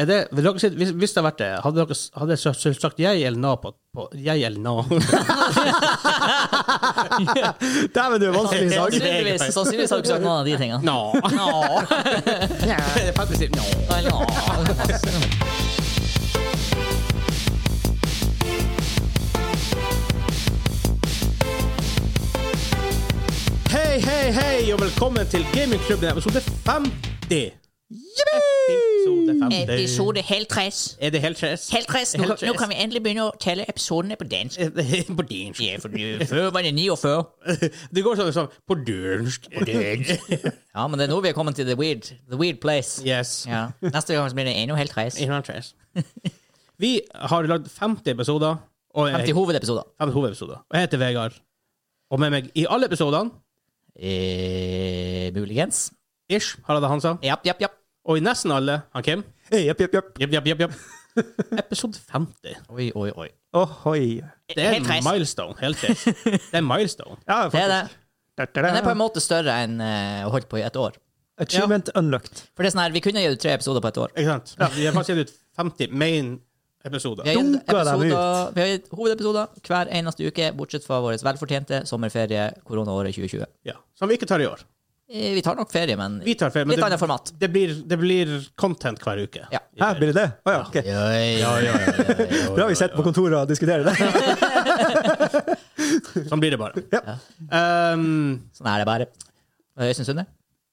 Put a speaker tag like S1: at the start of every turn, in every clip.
S1: Er det, vil dere, si- hvis, hvis det hadde vært det, hadde dere s- hadde dere s- sagt jeg eller na på, på Jeg eller na?
S2: Dæven, du er vanskelig i dag.
S3: Sannsynligvis sannsynligvis har du ikke sagt noen av de tingene.
S1: Na. na.
S3: Vel, nå.
S1: Hei, hei, hei, og velkommen til Gamingklubben episode 50. Episode 50.
S3: Episode helt tress.
S1: Er det helt stress?
S3: Helt tress. Nå, kan- nå kan vi endelig begynne å telle episodene på dansk.
S1: På dansk.
S3: Før var det 49.
S1: Det går sånn sånn På dansk.
S3: Ja, men det er nå vi er kommet til the weird, the weird place.
S1: Yes.
S3: Ja. Neste gang så blir det ennå helt tress.
S1: Ikke noe stress. Vi har lagd 50 episoder. Og jeg,
S3: 50 hovedepisoder.
S1: 50 hovedepisoder. Og jeg heter Vegard. Og med meg i alle episodene
S3: Eh, muligens.
S1: ish har jeg det Hansa.
S3: Japp, japp, japp.
S1: Og i nesten alle han Kim.
S2: Hey, Jepp, jepp, jepp.
S1: Japp, japp, japp, japp. Episode 50.
S3: Oi, oi, oi.
S2: Ohoi.
S1: Det er
S3: Helt
S1: en
S3: tress.
S1: milestone. Helt tress. Det er en milestone.
S2: Ja,
S3: Det er det.
S2: faktisk.
S3: Den er på en måte større enn eh, å holde på i et år.
S2: Achievement unlocked.
S3: For det er sånn her, vi kunne gitt ut tre episoder på et år.
S1: Ikke sant? Vi har faktisk gitt ut 50 main episoder.
S3: Vi har gitt,
S2: Dunker dem
S3: episoder, vi har gitt hovedepisoder hver eneste uke, bortsett fra vår velfortjente sommerferie koronaåret 2020.
S1: Ja. Som vi ikke tar i år.
S3: Eh, Vi tar nok ferie, men
S1: Vi tar ferie, men
S3: litt
S1: det-
S3: annet format.
S1: Det blir, det blir content hver uke.
S3: Ja.
S2: Hæ, blir det det? Å ja, ok.
S3: Ja, ja, ja,
S2: Det har vi sett på kontoret og diskuterer det.
S1: Sånn blir det bare.
S2: Ja.
S1: Um,
S3: Sånn er det bare. Eh, Øystein Sunde?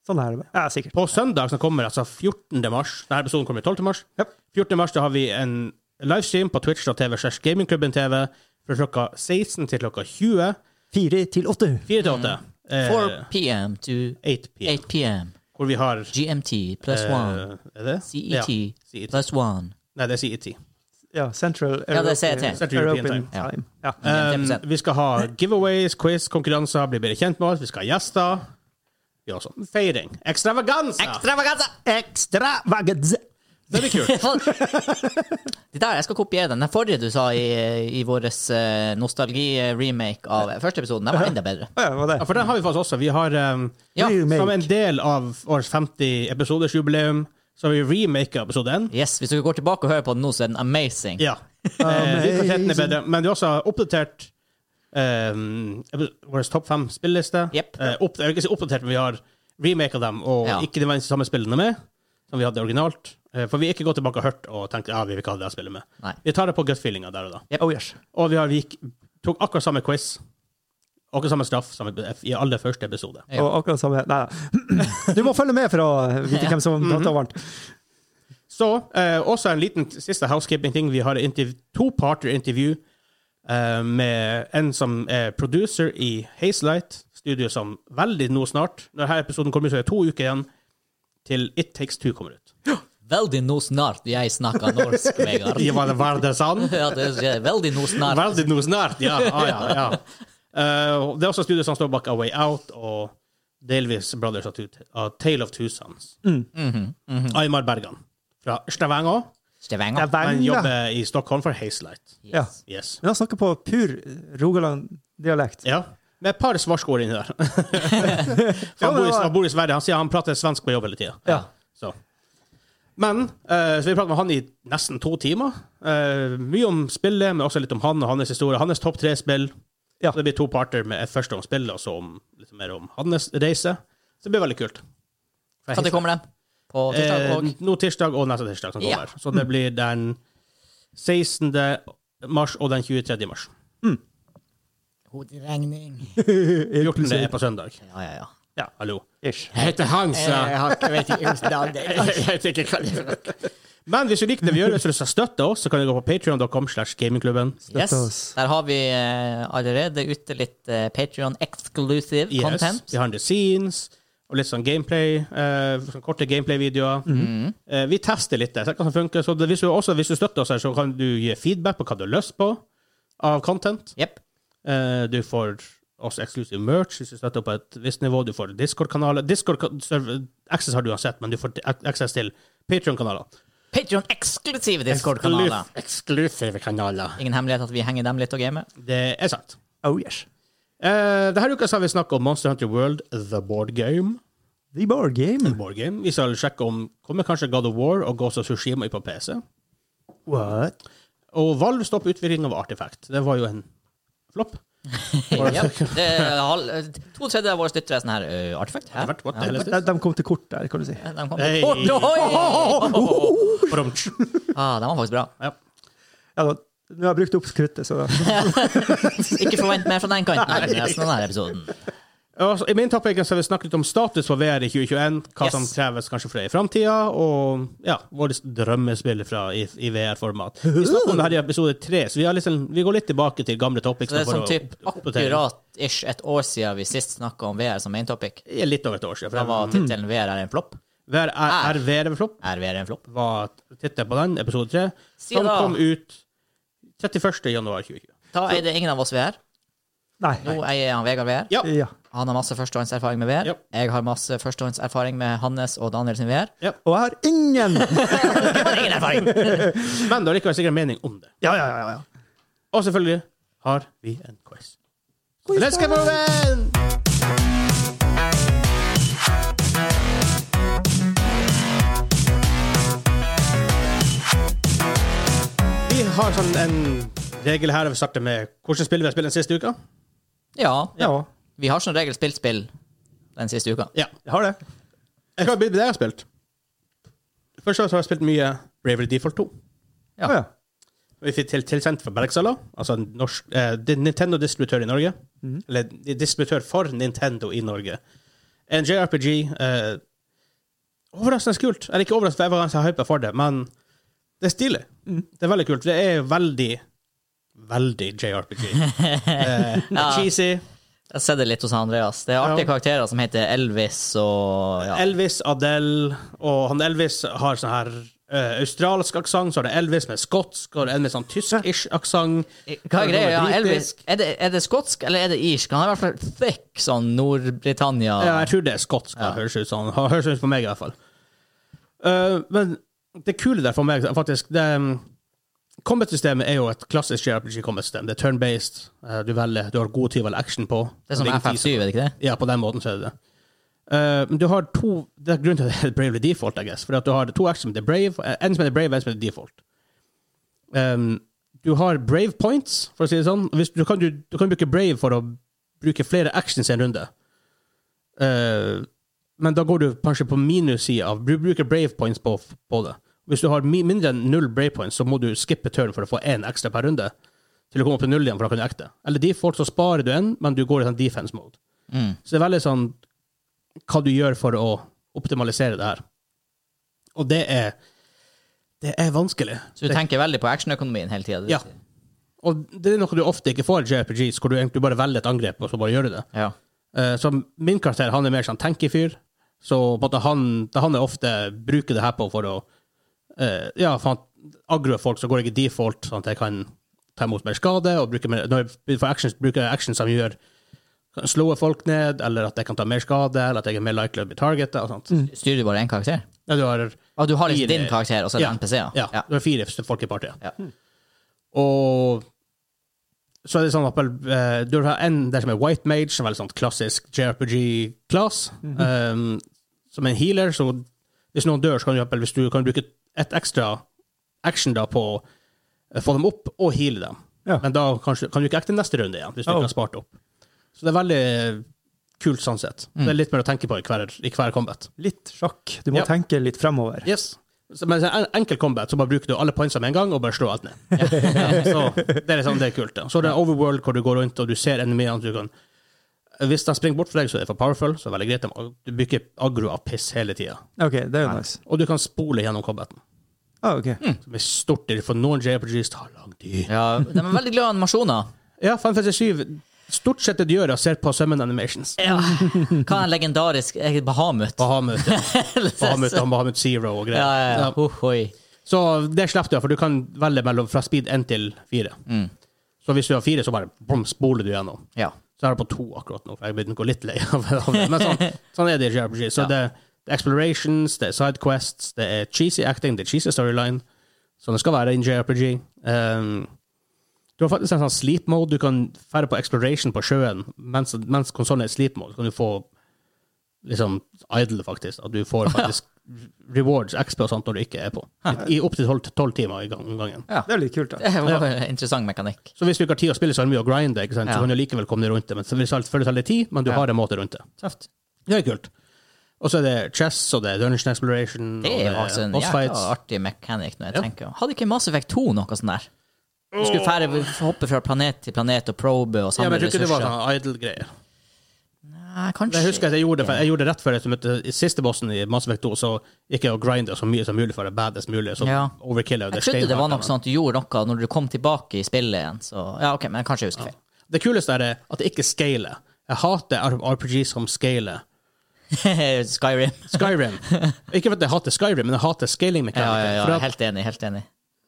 S2: Sånn er det. Ja, sikkert.
S1: på søndag som kommer, altså 14. mars Denne episoden kommer 12. mars.
S2: Ja.
S1: 14. mars da har vi en livestream på Twitch.tv slash Gamingklubben TV fra klokka 16 til klokka 20.
S2: Fire til åtte.
S1: 4 til 8.
S3: Mm.
S1: Eh,
S3: 4 p.m. to
S1: 8 p.m.
S3: 8 p.m.
S1: Hvor vi har
S3: GMT plus
S1: eh, E
S3: 1.
S1: Er det?
S3: CET
S1: Ja, CET.
S3: plus 1.
S1: Nei, det er E CET.
S2: Ja, Central
S3: Ja, det er
S2: European-
S3: CET.
S1: Central European
S2: European
S3: Time.
S2: Time. Ja.
S1: Um,
S3: 100%.
S1: vi skal ha giveaways, quiz, konkurranser, bli bedre kjent med oss, vi skal ha gjester. Vi har også feiring. Ekstravaganza!
S3: Extravaganza!
S2: Extravagance.
S1: Det blir kult.
S3: Det der, jeg skal kopiere den. Den forrige du sa i, i vår nostalgi-remake av første episoden, den var enda bedre.
S2: Å ja, hva var
S1: Ja,
S2: det?
S1: for den har vi faktisk også. Vi har um,
S3: Ja,
S2: Remake.
S1: Som en del av års 50 episoders jubileum, så har vi remaka episode 1.
S3: Yes, Hvis dere går tilbake og hører på den nå, så er den amazing.
S1: Ja. Eh, vi kvaliteten er bedre, men vi har også oppdatert um, vår topp fem spilleliste.
S3: Jep.
S1: Eh, opp, jeg vil ikke si oppdatert, men vi har remaka dem, og
S3: Ja.
S1: ikke de samme spillene med, som vi hadde originalt. Eh, for vi har ikke gått tilbake og hørt og tenkt ja, vi vil ikke ha det der spillet med.
S3: Nei.
S1: Vi tar det på gut-feelinga der og da.
S2: Oh yes.
S1: Og vi, har, vi gikk, tok akkurat samme quiz, akkurat samme straff, som i aller første episode.
S3: Ja.
S2: Og akkurat samme Nei da. Du må følge med for å vite hvem som prater varmt.
S3: Mm-hmm.
S1: Så, eh, også en liten siste housekeeping-ting. Vi har interv- to parter intervju eh, med en som er producer i Hazelight, studio som veldig nå snart Når denne episoden kommer ut, så er det to uker igjen til It Takes Two kommer ut.
S3: Veldig nå snart jeg snakker norsk, Vegard.
S1: Ja, var det, var det sant?
S3: Ja, det er veldig nå snart.
S1: Veldig nå snart, ja. Ah, ja, ja. Eh, og det er også studio som står bak A Way Out og delvis Brothers of Two, av Tale of Two Sons. Aymar Bergan fra Stavanger.
S3: Stavanger.
S1: Han jobber i Stockholm for Hazelight.
S2: Ja.
S3: Yes.
S1: Yes.
S2: Men han snakker på pur Rogaland-dialekt.
S1: Ja. Med et par svarskår inni der. For
S2: Ja,
S1: han,
S2: men
S1: bor i,
S2: det var-
S1: han bor i Sverige. Han sier han prater svensk på jobb hele tida.
S2: Ja.
S1: Så. Men eh, så vi pratet med han i nesten to timer. Eh, mye om spillet, men også litt om han og hans historie. Hans topp tre spill.
S2: Ja.
S1: Så det blir to parter med først om spillet, og så om, litt mer om hans reise. Så det blir veldig kult.
S3: Når kommer den? På tirsdag?
S1: Eh,
S3: Og
S1: nå tirsdag og neste tirsdag som
S3: Ja.
S1: kommer. Så det blir den 16. mars og den 23. mars.
S3: hoderegning.
S1: 14. er på søndag.
S3: Ja, ja, ja.
S1: Ja, hallo.
S2: Ish.
S1: Eh, Jeg heter Hansa. Men hvis du likte det vi gjør, hvis du har lyst til å støtte oss, så kan du gå på patreon.com slash gamingklubben.
S3: Yes,
S2: Støtte oss.
S3: der har vi eh, allerede ute litt eh, Patreon exclusive
S1: Yes.
S3: content.
S1: Vi har the scenes og litt sånn gameplay. eh, sånn korte gameplay-videoer. Eh, vi tester litt det. ser hva som funker. Så det, hvis, du også, hvis du støtter oss her, så kan du gi feedback på hva du har lyst på av content.
S3: Jepp.
S1: Eh, du får også exclusive merch hvis du støtter opp på et visst nivå. Du får Discord-kanaler. Discord-access har du uansett, men du får access til Patreon-kanaler.
S3: Patreon eksklusive Discord-kanaler.
S1: Exclusive kanaler.
S3: Ingen hemmelighet at vi henger dem litt og gamer.
S1: Det er sant.
S2: Oh yes.
S1: Eh, denne uka så har vi snakket om Monster Hunter World, The Board Game.
S2: The Board Game.
S1: board game. Vi skal sjekke om kommer kanskje God of War og Ghost of Sushima på PC.
S2: What?
S1: Og Valve stopper utvikling av Artifact. Det var jo en flopp.
S3: ja, det er halv- eh, to tredjedeler av våre lyttere er sånn her uh, Artifact? Hæ?
S1: Artifact, what the hell
S2: De,
S1: is this?
S2: de kom til kort der, kan du si.
S3: De kom
S1: Hey.
S3: Oi, oi!
S1: Bromtsj.
S3: Ah, den var faktisk bra.
S1: Ja.
S2: Ja, da, nå har jeg brukt opp kruttet, så
S3: Ikke forvent mer fra den kanten i resten av denne episoden.
S1: Og så altså, I min topic så har vi snakket litt om status for VR i 2021, hva
S3: Yes.
S1: som kreves kanskje fra i framtida, og ja, våre drømmespill fra i, i VR-format.
S3: Uhuh.
S1: Vi snakker om det her i episode tre, så vi, har liksom, vi går litt tilbake til gamle topics.
S3: Så det er
S1: for
S3: sånn
S1: å
S3: typ
S1: oppdatere.
S3: akkurat ish et år siden vi sist snakka om VR som main topic.
S1: Det er Litt over et år siden.
S3: Da
S1: for
S3: var tittelen 'VR er en flopp'.
S1: VR er, er VR en flopp,
S3: Er VR en flopp?
S1: var tittelen på den, episode tre,
S3: Si
S1: som
S3: da.
S1: kom ut 31. januar 2020.
S3: Da er det ingen av oss VR.
S2: Nei.
S3: Nå eier han Vegard VR.
S1: Ja.
S2: Ja.
S3: Han har masse førstehåndserfaring med VR.
S1: Ja.
S3: Jeg har masse førstehåndserfaring med Hannes og Daniel sin VR.
S2: Og jeg har ingen
S3: Jeg har ingen erfaring!
S1: Men det har likevel sikkert mening om det.
S2: Ja, ja, ja. ja.
S1: Og selvfølgelig har vi en quiz. Let's get moving! Vi har sånn en regel her. Vi starter med hvordan spill vi har spilt den siste uka.
S3: Ja.
S2: ja.
S3: Vi har som regel spilt spill den siste uka.
S1: Ja.
S2: Jeg har det.
S1: Jeg kan begynne med det jeg har spilt. Først og fremst har jeg spilt mye Bravery Default 2.
S3: Ja.
S2: Å, ja.
S1: Vi fikk til, tilsendt fra Bergsala, altså en norsk, eh, det er Nintendo-distributør i Norge.
S3: Mhm.
S1: Eller di- distributør for Nintendo i Norge. En JRPG. Eh, overraskende kult. Eller ikke overraskende, for jeg var ganske hypa for det, men det er stilig.
S3: Mhm.
S1: Det er veldig kult. Det er veldig, veldig JRPG. eh,
S3: Ja.
S1: Cheesy.
S3: Jeg har sett det litt hos Andreas. Det er artige karakterer som heter Elvis og ja.
S1: Elvis, Adele Og han Elvis har sånn her eh, australsk aksent, så har det Elvis med skotsk, og det er en med sånn tysk-ish aksent.
S3: Hva er greia? Ja, Elvis
S1: Britisk.
S3: er det, er det skotsk, eller er det irsk? Han er i hvert fall thick sånn Nord-Britannia.
S1: Ja, jeg tror det er skotsk. Ja. Høres ut som han høres ut på meg, i hvert fall. Eh, men det kule der for meg, faktisk det, um, Combat-systemet er jo et klassisk JRPG-combat-system. Det er turn-based. eh, du velger, du har god tid å velge action på.
S3: Det er sånn som
S1: Ligger
S3: FF7, er det ikke det?
S1: Ja, på den måten så er det det. Eh, men du har to Det er grunnen til at det heter Bravely Default, I guess. For at du har to acts som heter Brave, eh, en som heter Brave, en som heter Default. Ehm, du har Brave points, for å si det sånn. Hvis, du, kan, du, du kan bruke Brave for å bruke flere actions i en runde. Eh, men da går du kanskje på minussida av Du bruker Brave points på, på det. Hvis du har mi, mindre enn null Brave points, så må du skippe turn for å få én ekstra per runde. Til å komme opp til null igjen, for da kan du ekte. Eller default, så sparer du en, men du går i sånn defense mode.
S3: Mm.
S1: Så det er veldig sånn hva du gjør for å optimalisere det her. Og det er det er vanskelig.
S3: Så du tenker veldig på actionøkonomien hele tida?
S1: Ja. Og det er noe du ofte ikke får i JRPGs, hvor du egentlig bare velger et angrep og så bare gjør du det.
S3: ja.
S1: Eh, Så min karakter han er mer sånn tenkefyr, så på en måte han, det han er ofte bruker det her på for å eh, Ja, for han aggroer folk, så går jeg i default, sånn at jeg kan ta imot mer skade. og bruke mer, Når jeg får actions, bruker jeg actions som gjør kan slå folk ned, eller at jeg kan ta mer skade, eller at jeg er mer likely å bli targetet og sånt.
S3: Styrer du bare én karakter?
S1: Ja, du har
S3: Ah, Mm. du har liksom
S1: Fire-
S3: din karakter, og så er det
S1: Ja.
S3: NPC-er?
S1: Ja, det var fire folk i partiet.
S3: Ja.
S1: Og så er det sånn at eh, du har en der som er white mage, som er veldig sånn klassisk JRPG-class, eh, som er en healer, så hvis noen dør, så kan du, for eksempel, hvis du kan bruke et ekstra action da på å få dem opp og heale dem.
S2: Ja.
S1: Men da kanskje, kan du ikke ekte neste runde igjen, hvis du
S2: Oh.
S1: ikke har spart opp. Så det er veldig kult sånn sett. Det er litt mer å tenke på i hver, i hver combat.
S2: Litt sjakk. Du må
S1: Ja.
S2: tenke litt fremover.
S1: Yes. Så, men så en enkel combat, så bare bruker du alle pointsene med en gang og bare slår alt ned. så det er liksom det er kult. Da. Så det er overworld hvor du går rundt og du ser enemiene. Du kan, hvis de springer bort fra deg, så er det for powerful. Så er det veldig greit. De- Du bruker aggro av piss hele tida.
S2: OK, det er jo nice.
S1: Og du kan spole gjennom combaten.
S2: Ah, ok.
S1: Som er stort, for noen JRPGs tar lang tid.
S3: Ja, De er veldig glad i animasjoner.
S1: Ja, 557 Stort sett det du gjør, er å se på Summon Animations.
S3: Ja. Hva er en legendarisk eh, Bahamut?
S1: Bahamut, Bahamut, Bahamut Zero og
S3: Ja,
S1: greier.
S3: ja, ja.
S1: Ja.
S3: Ohoi.
S1: Så det slipper du, for du kan velge mellom fra speed 1 til 4. Så hvis du har 4, så bare bom, spoler du gjennom.
S3: ja.
S1: Så er det på 2 akkurat nå, for jeg begynner å gå litt lei av av det. Men sånn, sånn er det i JRPG. Så
S3: Ja.
S1: det, det er explorations, det er sidequests, det er cheesy acting, det er cheesy storyline. Sånn det skal være i en JRPG. Um, du har faktisk en sånn sleep mode. Du kan ferde på exploration på sjøen mens, mens konsollen er i sleep mode. Så kan du få liksom idle, faktisk. At du får faktisk rewards, XP og sånt når du ikke er på. I opptil tolv timer i gang- om gangen.
S3: Ja.
S2: Det er litt kult, da.
S3: Det var en interessant mekanikk.
S1: Så hvis du ikke har tid å spille så er det mye å grinde, ikke sant?
S3: Ja.
S1: så kan du likevel komme deg rundt det. Men så vil det selvfølgelig ta litt tid, men du
S3: Ja.
S1: har en måte rundt det.
S3: Tøft.
S1: Det er kult. Og så er det chess, og det er dungeon exploration,
S3: Det
S1: og
S3: er
S1: det
S3: faktisk en
S1: boss
S3: jækla
S1: fights.
S3: artig mekanikk. når jeg
S1: Ja.
S3: tenker. Hadde ikke Mass Effect 2 noe sånn der? Du skulle fære, hoppe fra planet til planet og probe og
S1: Ja,
S3: samle
S1: men jeg tror ikke det var
S3: ressurser.
S1: sånn idle-greier.
S3: Nei, kanskje
S1: Jeg husker at jeg gjorde det, for- jeg gjorde det rett før jeg møtte siste bossen i Mass Effect 2, så gikk jeg og grinda så mye som mulig for det baddest mulig, så
S3: Ja.
S1: overkilla jeg
S3: Jeg
S1: det
S3: trodde det var
S1: steinhardt,
S3: noe sånn at du gjorde noe når du kom tilbake i spillet igjen. Så, ja, ok, men kanskje jeg husker feil.
S1: men Det kuleste er at det ikke scaler. Jeg hater RPG som scaler.
S3: Skyrim.
S1: Skyrim. Ikke for at jeg hater Skyrim, men jeg hater scaling
S3: Ja, ja,
S1: mechanics.
S3: ja,
S1: For
S3: jeg
S1: at
S3: er helt enig. helt enig.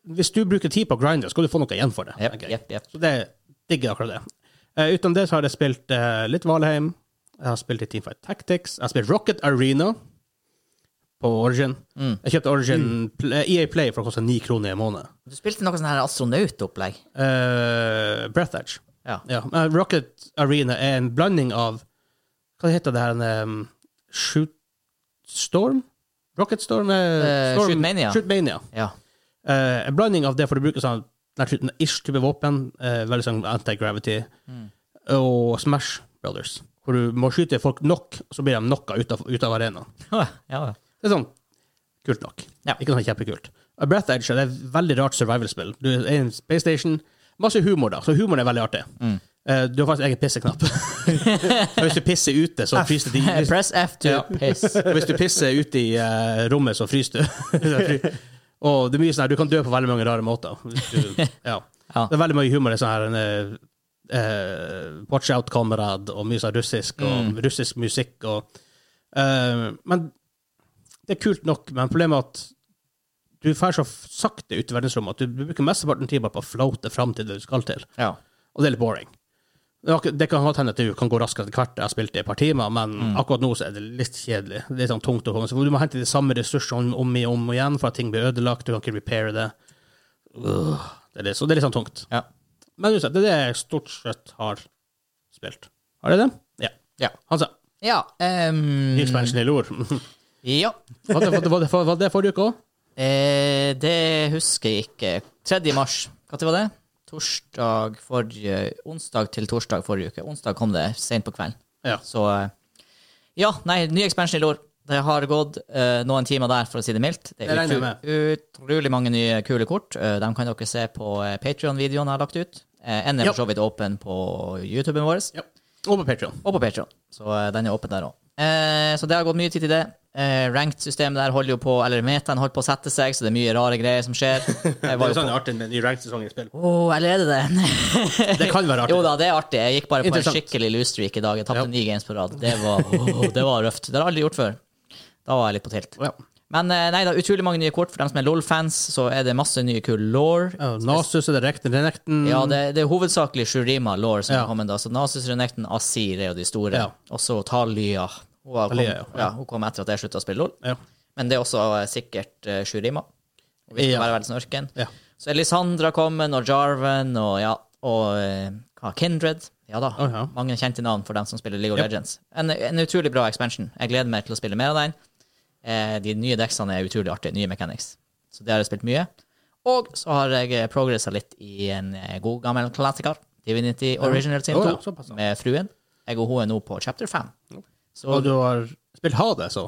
S1: hvis du bruker tid på å grinde, skal du få noe igjen for det.
S3: Jep,
S1: tenker jeg.
S3: jep, jep.
S1: Så det digger jeg akkurat det. Eh, utenom det så har jeg spilt eh, litt Valheim. Jeg har spilt i Teamfight Tactics. Jeg har spilt Rocket Arena på Origin.
S3: Mm.
S1: Jeg kjøpte Origin pl- eh, EA Play for å koste ni kroner i måneden.
S3: Du spilte noe sånn her astronautopplegg.
S1: Eh, Breath Edge.
S3: Ja.
S1: Ja. men Rocket Arena er en blanding av Hva heter det her en, um, Shoot Storm? Rocket Storm?
S3: Eh,
S1: eh, Storm
S3: Shootmania.
S1: Shootmania.
S3: ja.
S1: Eh, en blanding av det, for du bruker sånn ish-type våpen, eh, veldig sånn anti-gravity, og Smash Brothers, hvor du må skyte folk nok, så blir de knocka ut av, ut av arenaen.
S3: ja. ja.
S1: Det er sånn kult nok.
S3: Ja.
S1: Ikke sånn kjempekult. Eh, Breath Edge det er et veldig rart survival-spill. Du er i en space station, masse humor, da, så humoren er veldig artig. Eh, du har faktisk egen pisseknapp. Så hvis du pisser ute, så fryser de
S3: Press F to
S1: Ja.
S3: piss.
S1: og hvis du pisser ute i eh, rommet, så fryser du. og det er mye sånn her, du kan dø på veldig mange rare måter. Hvis du, ja.
S3: Ja.
S1: Det er veldig mye humor i sånn her en, eh, eh, Watch Out Kamerad og mye sånn russisk, og russisk musikk og eh, Men det er kult nok, men problemet er at du drar så sakte ut i verdensrommet at du bruker mesteparten av tiden bare på å floate fram til det du skal til.
S3: Ja.
S1: Og det er litt boring. Det er akkur- Det kan godt hende at du kan gå raskere etter hvert. Jeg har spilt det i et par timer, men akkurat nå så er det litt kjedelig. Det er sånn tungt å komme seg. Du må hente de samme ressursene om og om igjen for at ting blir ødelagt. Du kan ikke repaire det. Øh, det, er litt, så det er litt sånn tungt.
S3: Ja.
S1: Men uansett, det er det jeg stort sett har spilt. Har jeg det? Ja. Mm.
S3: Ja.
S1: Hansa,
S3: ja ehm,
S1: ny expansion i Lord.
S3: ja.
S1: Var det, var det, var det, var det forrige uke òg?
S3: Eh, det husker jeg ikke. 3. mars. Når var det? Torsdag forrige Onsdag til torsdag forrige uke. Onsdag kom det sent på kvelden.
S1: Ja.
S3: Så eh, Ja, nei, ny expansion i lår. Det har gått eh, noen timer der, for å si det mildt. Det
S1: Det
S3: er
S1: regner jeg
S3: utro- utrolig mange nye kule kort. Eh, dem kan dere se på eh, Patreon-videoen jeg har lagt ut. Eh, en er
S1: Ja.
S3: for så vidt åpen på YouTuben vår.
S1: Ja. Og på Patreon.
S3: Og på Patreon. Så eh, den er åpen der òg. Eh, så det har gått mye tid til det. Eh, Ranked-systemet der holder jo på Eller metaen holder på å sette seg, så det er mye rare greier som skjer. Jeg
S1: Det
S3: var
S1: er
S3: jo
S1: sånn
S3: på
S1: artig med en ny ranked-sesong i spill.
S3: Åh, eller er det det?
S1: Det kan være artig.
S3: Jo da, det er artig. Jeg gikk bare på en
S1: Interessant.
S3: skikkelig loose streak i dag. Jeg
S1: Ja.
S3: tapte ni games på rad. Det var, åh, det var røft. Det har jeg aldri gjort før. Da var jeg litt på tilt.
S1: Ja.
S3: Men eh, nei da, utrolig mange nye kort. For dem som er LOL-fans, så er det masse nye kule law.
S1: Ja, Nasus er det rekten, renekten
S3: Ja, det, det er hovedsakelig Shurima Law som
S1: Mm. Ja.
S3: har kommet da. Så Nasus Renekton, Asir er jo de store.
S1: Ja.
S3: Og så Talia. Hun, har
S1: Talia,
S3: kom, ja, hun kom etter at jeg slutta å spille LOL.
S1: Ja.
S3: Men det er også eh, sikkert eh, Shurima. Og vi skal
S1: Ja.
S3: være verdens ørken.
S1: Ja.
S3: Så Elisandra kommet, og Jarven, og ja, og eh, hva, Kindred. Ja da.
S1: Å, ja.
S3: Mange kjente navn for dem som spiller League of
S1: Yep.
S3: Legends. En, en utrolig bra expansion. Jeg gleder meg til å spille mer av den. Eh, de nye deksene er utrolig artige. Nye mechanics. Så det har jeg spilt mye. Og så har jeg progressa litt i en eh, god gammel klassiker, Divinity Original Sin
S1: Å,
S3: 2,
S1: ja, såpass, ja.
S3: med fruen. Jeg og hun er nå på chapter 5. Så
S1: Og du har spilt Hades så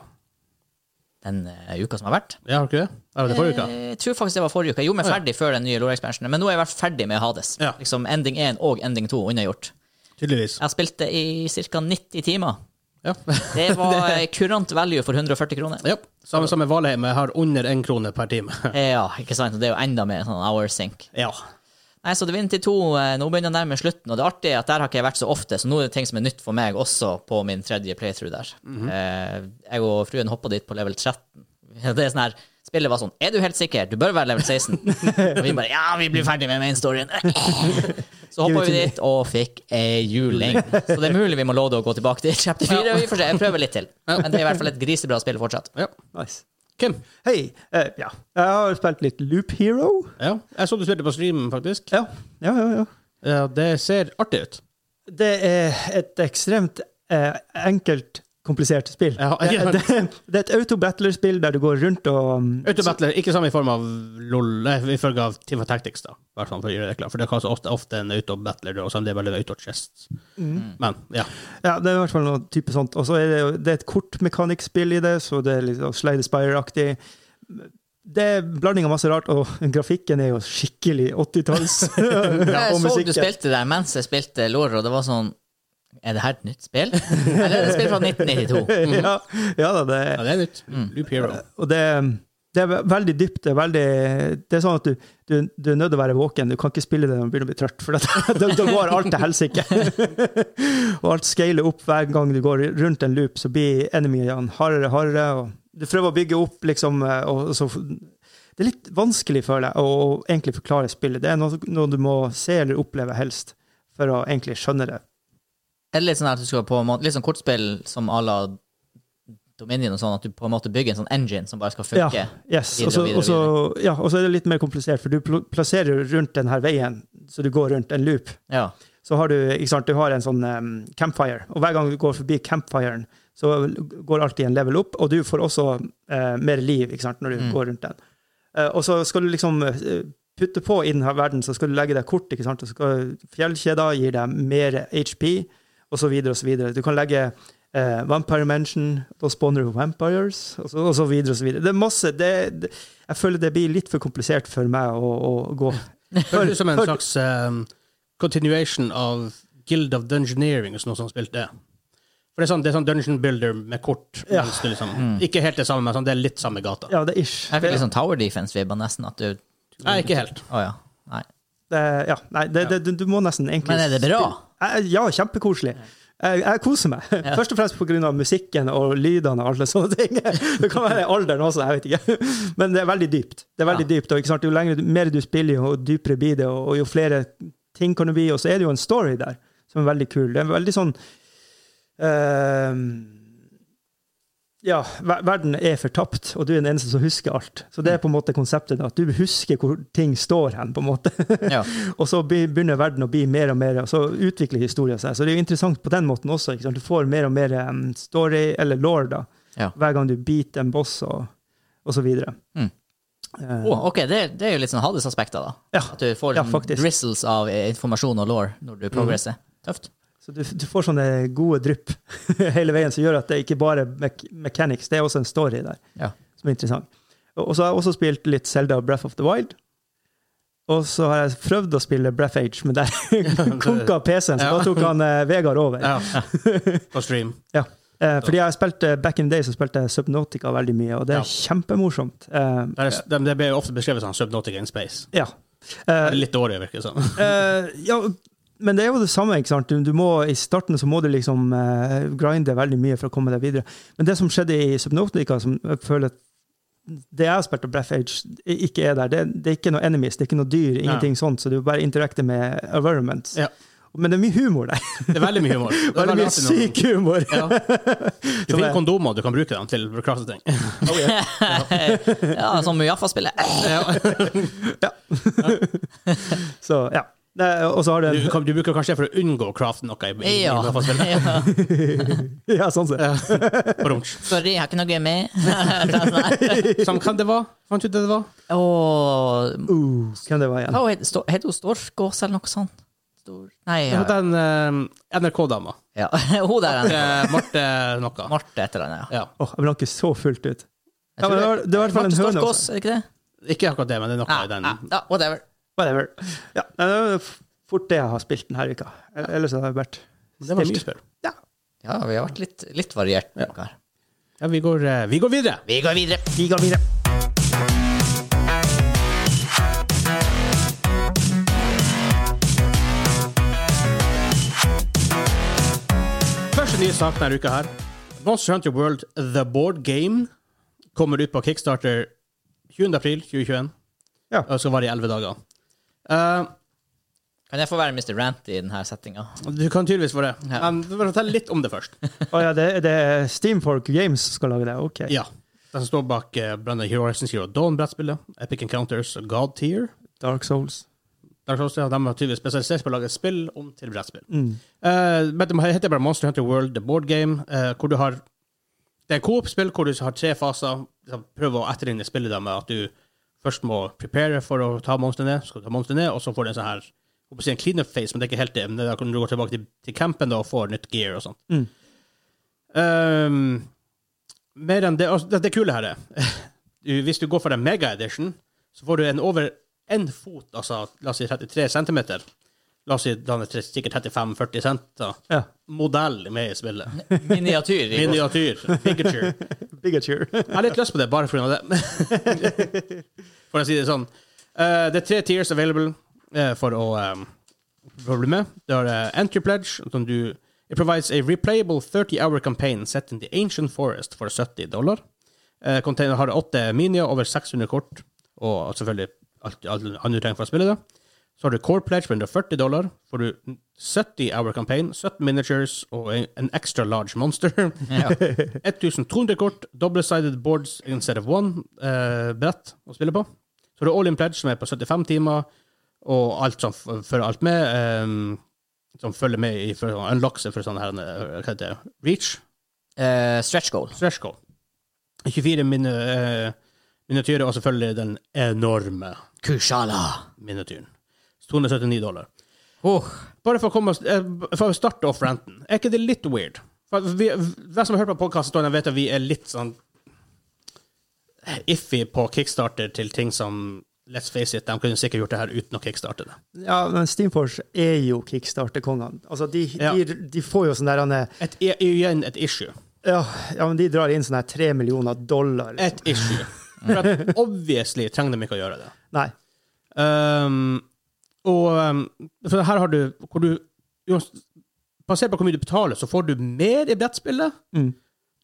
S3: den eh, uka som har vært
S1: Ja, har du ikke det? Eller var det forrige uka?
S3: Eh, Jeg tror faktisk det var forrige uke. Jeg gjorde meg ferdig før den nye lore-expansionen, men nå er jeg vært ferdig med Hades.
S1: Ja.
S3: Liksom Ending 1 og ending 2 unnagjort.
S1: Tydeligvis.
S3: Jeg spilte i ca. 90 timer.
S1: Ja.
S3: Det var eh, kurant value for 140 kroner.
S1: ja. Samme som med Valheim, jeg har under én krone per time.
S3: Eh, Ja, ikke sant? Og Det er jo enda mer sånn hour sync.
S1: ja.
S3: Nei, så Divinity 2 eh, nå begynner jeg å nærme slutten, og det artige er at der har ikke jeg vært så ofte, så nå er det ting som er nytt for meg også på min tredje playthrough der. eh, jeg og fruen hoppa dit på level 13. Det er sånn her, Spillet var sånn Er du helt sikker? Du bør være level 16. og vi bare Ja, vi blir ferdig med main storyen. så hoppa vi dit og fikk ei juling. Så det er mulig vi må love det å gå tilbake til chapter 4. Vi får se. Jeg prøver litt til. Men det er i hvert fall et grisebra spill fortsatt.
S1: ja.
S2: Nice.
S1: Kim,
S2: Hei. eh, ja. Jeg har spilt litt Loop Hero.
S1: ja. jeg så du spilte på streamen, faktisk.
S2: Ja, ja, ja. ja.
S1: Ja, det ser artig ut.
S2: Det er et ekstremt eh, enkelt komplisert spill.
S1: Ja,
S2: det,
S1: ja.
S2: det, det er et autobattler-spill der du går rundt og mm,
S1: Autobattler, ikke samme i form av LOL, nei, i følge av Team of Tactics, da. Bare sånn for å gjøre det klart. For det kalles ofte, ofte en autobattler, og så er det bare en autochest. Men, ja.
S2: Ja, det er i hvert fall noe type sånt. Og så er det, jo- det er et kortmekanikkspill i det, så det er litt sånn Slay the Spire-aktig. Det er en blanding av masse rart, og grafikken er jo skikkelig 80-talls. ja, og
S3: jeg så du
S2: musikken.
S3: spilte der mens jeg spilte LOR, og det var sånn Er det her et nytt spill? Eller er det et spill fra 1992?
S2: ja, ja da, det
S1: ja, det er nytt. Loop Hero.
S2: Og det, det er ve- veldig dypt. Det er, veldig, det er sånn at du, du, du er nødt til å være våken. Du kan ikke spille det når du begynner å bli trøtt, for at- da, da går alt til helsike. og alt scaler opp hver gang du går rundt en loop, så blir enemyene hardere og hardere. Og du prøver å bygge opp, liksom, og så Det er litt vanskelig, føler jeg, å å egentlig forklare spillet. Det er noe, noe du må se eller oppleve helst for å egentlig skjønne det.
S3: Er det litt sånn at du skal på en måte, litt sånn kortspill som à la Dominion og sånn, at du på en måte bygger en sånn engine som bare skal funke?
S2: Ja, yes.
S3: Videre og
S2: og så-
S3: videre og
S2: og så- ja, og så er det litt mer komplisert, for du pl- plasserer jo rundt denne veien, så du går rundt en loop.
S3: Ja.
S2: Så har du, ikke sant, du har en sånn em, campfire, og hver gang du går forbi campfiren, så går alltid en level opp, og du får også eh, mer liv ikke sant, når du
S3: Mm.
S2: går rundt den. Eh, og så skal du liksom eh, putte på i denne verden, så skal du legge deg kort, ikke sant, og så skal fjellkjeder gir deg mer HP, og så videre og så videre. Du kan legge eh, Vampire Mansion, da spawner du Vampires, og så, og så videre og så videre. Det er masse det, det, Jeg føler det blir litt for komplisert for meg å, å gå.
S1: Høres ut som en
S2: Hør-
S1: slags ehm, continuation av Guild of Dungeoneering, hvis noen som spilte det. For det er sånn, det er sånn dungeon builder med kort.
S2: Ja.
S1: mens du liksom, Ikke helt det samme, men sånn, det er litt samme gata.
S2: Ja, det er ish.
S3: Jeg fikk litt sånn Tower Defense-vibber nesten. At du
S1: Nei, ikke helt.
S3: Å ja. Nei.
S2: Det, ja, nei, det, det, du, du må nesten egentlig
S3: Men er det bra?
S2: Eh, Ja, kjempekoselig. Jeg, jeg koser meg.
S3: Ja.
S2: Først og fremst pga. musikken og lydene og alle sånne ting. Det kan være alderen også, jeg vet ikke. Men det er veldig dypt. Det er veldig dypt, og ikke sant? Jo lengre, du- mer du spiller, jo dypere blir det, og, og jo flere ting kan det bli. Og så er det jo en story der som er veldig kul. Det er en veldig sånn eh, ja, ver- verden er fortapt, og du er den eneste som husker alt. Så det er
S3: Mm.
S2: på en måte konseptet, at du husker hvor ting står hen, på en måte.
S3: Ja.
S2: Og så be- begynner verden å bli mer og mer, og så utvikler historien seg. Så det er jo interessant på den måten også. Ikke sant? Du får mer og mer em, story, eller law, da.
S3: Ja.
S2: Hver gang du biter en boss, og, og så videre.
S3: Mm.
S2: Eh,
S3: Å, Oh, ok, det, det er jo litt sånn Hades-aspekter, da.
S2: Ja.
S3: At du får
S2: Ja,
S3: sånn
S2: faktisk.
S3: drizzles av eh, informasjon og law når du progresser. Tøft.
S2: Så du, du får sånne gode drypp hele veien, som gjør at det ikke bare er me- mechanics, det er også en story der.
S3: Ja.
S2: som er interessant. Og og så har jeg også spilt litt Zelda Breath of the Wild. Og så har jeg prøvd å spille Breath Age, men der konka PC-en, så da tok han eh, Vegard over.
S1: Ja. På stream.
S2: Eh, fordi jeg spilte back in the day så spilte jeg Subnotica veldig mye, og det
S1: Ja.
S2: er kjempemorsomt. Eh,
S1: Der er, de, det blir ofte beskrevet som Subnotica in Space.
S2: ja. Eh,
S1: Det er Litt dårlig, virker det som.
S2: Eh, ja, men det er jo det samme. ikke sant? Du, du må, I starten så må du liksom eh, grinde veldig mye for å komme deg videre. Men det som skjedde i Subnotica, som jeg føler at det jeg har spilt av Breath Age, ikke er der. Det, det er ikke noe enemies, det er ikke noe dyr, ingenting sånt. Så du bare interakter med environments.
S1: Ja.
S2: Men det er mye humor der.
S1: Det er veldig mye humor. Det er
S2: Veldig mye
S1: alltid noe-
S2: syk humor.
S1: Ja. Du
S2: Så
S1: finner
S2: det-
S1: kondomer du kan bruke dem til for å krasse ting.
S3: ja, som Mujaffa-spillet.
S2: Så, ja. Nei, Og så har du
S1: Du,
S2: en
S1: kan, du bruker kanskje det for å unngå å crafte noe. I, i, i,
S3: Ja.
S1: hvert fall spillet.
S3: ja.
S2: Ja, sånn sett.
S1: Brunch.
S3: Sorry, jeg har ikke noe med. Det er sånn her.
S1: Som hva det var? Fant du ut det det var?
S3: Åh,
S2: Uh, hvem det var igjen?
S3: Hva heter Sto- heter hun? Storfgås eller noe sånt? Stor... Nei,
S1: Det
S3: ja.
S1: var den eh, NRK-dama.
S3: ja. Hun der. er-
S1: Eh, Marte noe.
S3: Marte et eller annet, ja.
S1: Ja.
S2: Åh, jeg ble ikke så fullt ut.
S3: Jeg
S2: Ja,
S3: tror
S2: men det var, det var i hvert fall
S3: Marte
S2: en høne. også.
S3: Storfgås, er det ikke det?
S1: Ikke akkurat det, men det er noe
S3: Ja,
S1: i den.
S3: ja, ja, whatever.
S2: Whatever. Ja, nei, det var f- fort det jeg har spilt denne uka. Ellers har jeg vært
S1: Det var mye
S2: stilt.
S1: spill.
S3: Ja, vi har vært litt, litt variert. med dere her.
S1: Ja, vi går, eh, vi går videre.
S3: Vi går videre.
S2: Vi går videre.
S1: Første nye sak denne uka her. Monster Hunter World The Board Game kommer ut på Kickstarter 20. april 2021.
S2: Ja.
S1: Og skal vare i 11 dager. Eh,
S3: Kan jeg få være Mr. Rant i denne settinga?
S1: du kan tydeligvis få det.
S3: Ja.
S1: Men vi får fortelle litt om det først.
S2: Å ja, det, det er Steamfork Games som skal lage det. Ok.
S1: Ja. Den som står bak uh, Brenda Horizon Zero Dawn-brettspillet, Epic Encounters og God Tier.
S2: Dark Souls.
S1: Der står det at De har tydeligvis spesialisert på å lage spill om til brettspill.
S2: Mm.
S1: Eh, men det heter bare Monster Hunter World The Board Game, eh, hvor du har Det er et Coop-spill hvor du har tre faser. Liksom, Prøv å etterligne spillet da med at du først må prepare for å ta monsteret ned, så skal du ta monsteret ned, og så får du en sånn her jeg holdt på å si en clean-up phase, men det er ikke helt det. Men det er da når du går tilbake til, til campen da, og får nytt gear og sånt.
S2: Mm.
S1: Ehm, mer enn det, altså, det, det kule her er du, Hvis du går for en mega edition, så får du en over én fot, altså la oss si 33 cm. La oss si da er det sikkert 35-40 cm.
S2: Ja.
S1: Modell med i spillet.
S3: Miniatyr. i-
S1: Miniatyr. Pikachu.
S2: Bigature.
S1: Jeg har litt lyst på det, bare pga. det. for å si det sånn. Eh, det er tre tiers available eh, for å eh, for å bli med. Du har eh, Entry Pledge, som du It provides a replayable 30-hour campaign set in the ancient forest for 70 dollar. Eh, Container har åtte minier, over 600 kort, og selvfølgelig alt, alt annet du trenger for å spille det. Så har du Core Pledge på 140 dollar. Får du 70-hour campaign, 17 miniatures og en, en extra large monster.
S3: Ja.
S1: 1200 kort, double-sided boards instead of one, eh, brett å spille på. Så har du All In Pledge, som er på 75 timer, og alt som f- fører alt med, eh, som følger med i for, unlocks for sånn her, eh, hva heter det, reach,
S3: Eh, stretch goal.
S1: stretch goal. 24 min, eh, miniatyrer, og selvfølgelig den enorme
S3: Kushala.
S1: miniatyren. 279 dollar.
S3: Oh.
S1: Bare for å, komme, oss- eh, for å starte off ranten, er ikke det litt weird? For at vi, hvem som har hørt på podkasten, vet at vi er litt sånn iffy på kickstarter til ting som Let's face it, de kunne sikkert gjort det her uten å kickstarte det.
S2: Ja, men Steamforce er jo kickstarter-kongene. Altså, de,
S1: Ja.
S2: de, de får jo sånn der han er-
S1: Et, i- igjen et issue.
S2: ja, ja, men de drar inn sånn her tre millioner dollar.
S1: Et issue. For at obviously trenger de ikke å gjøre det.
S2: Nei.
S1: Um, og um, for her har du hvor du uans- Basert på hvor mye du betaler, så får du mer i brettspillet.
S2: Mm.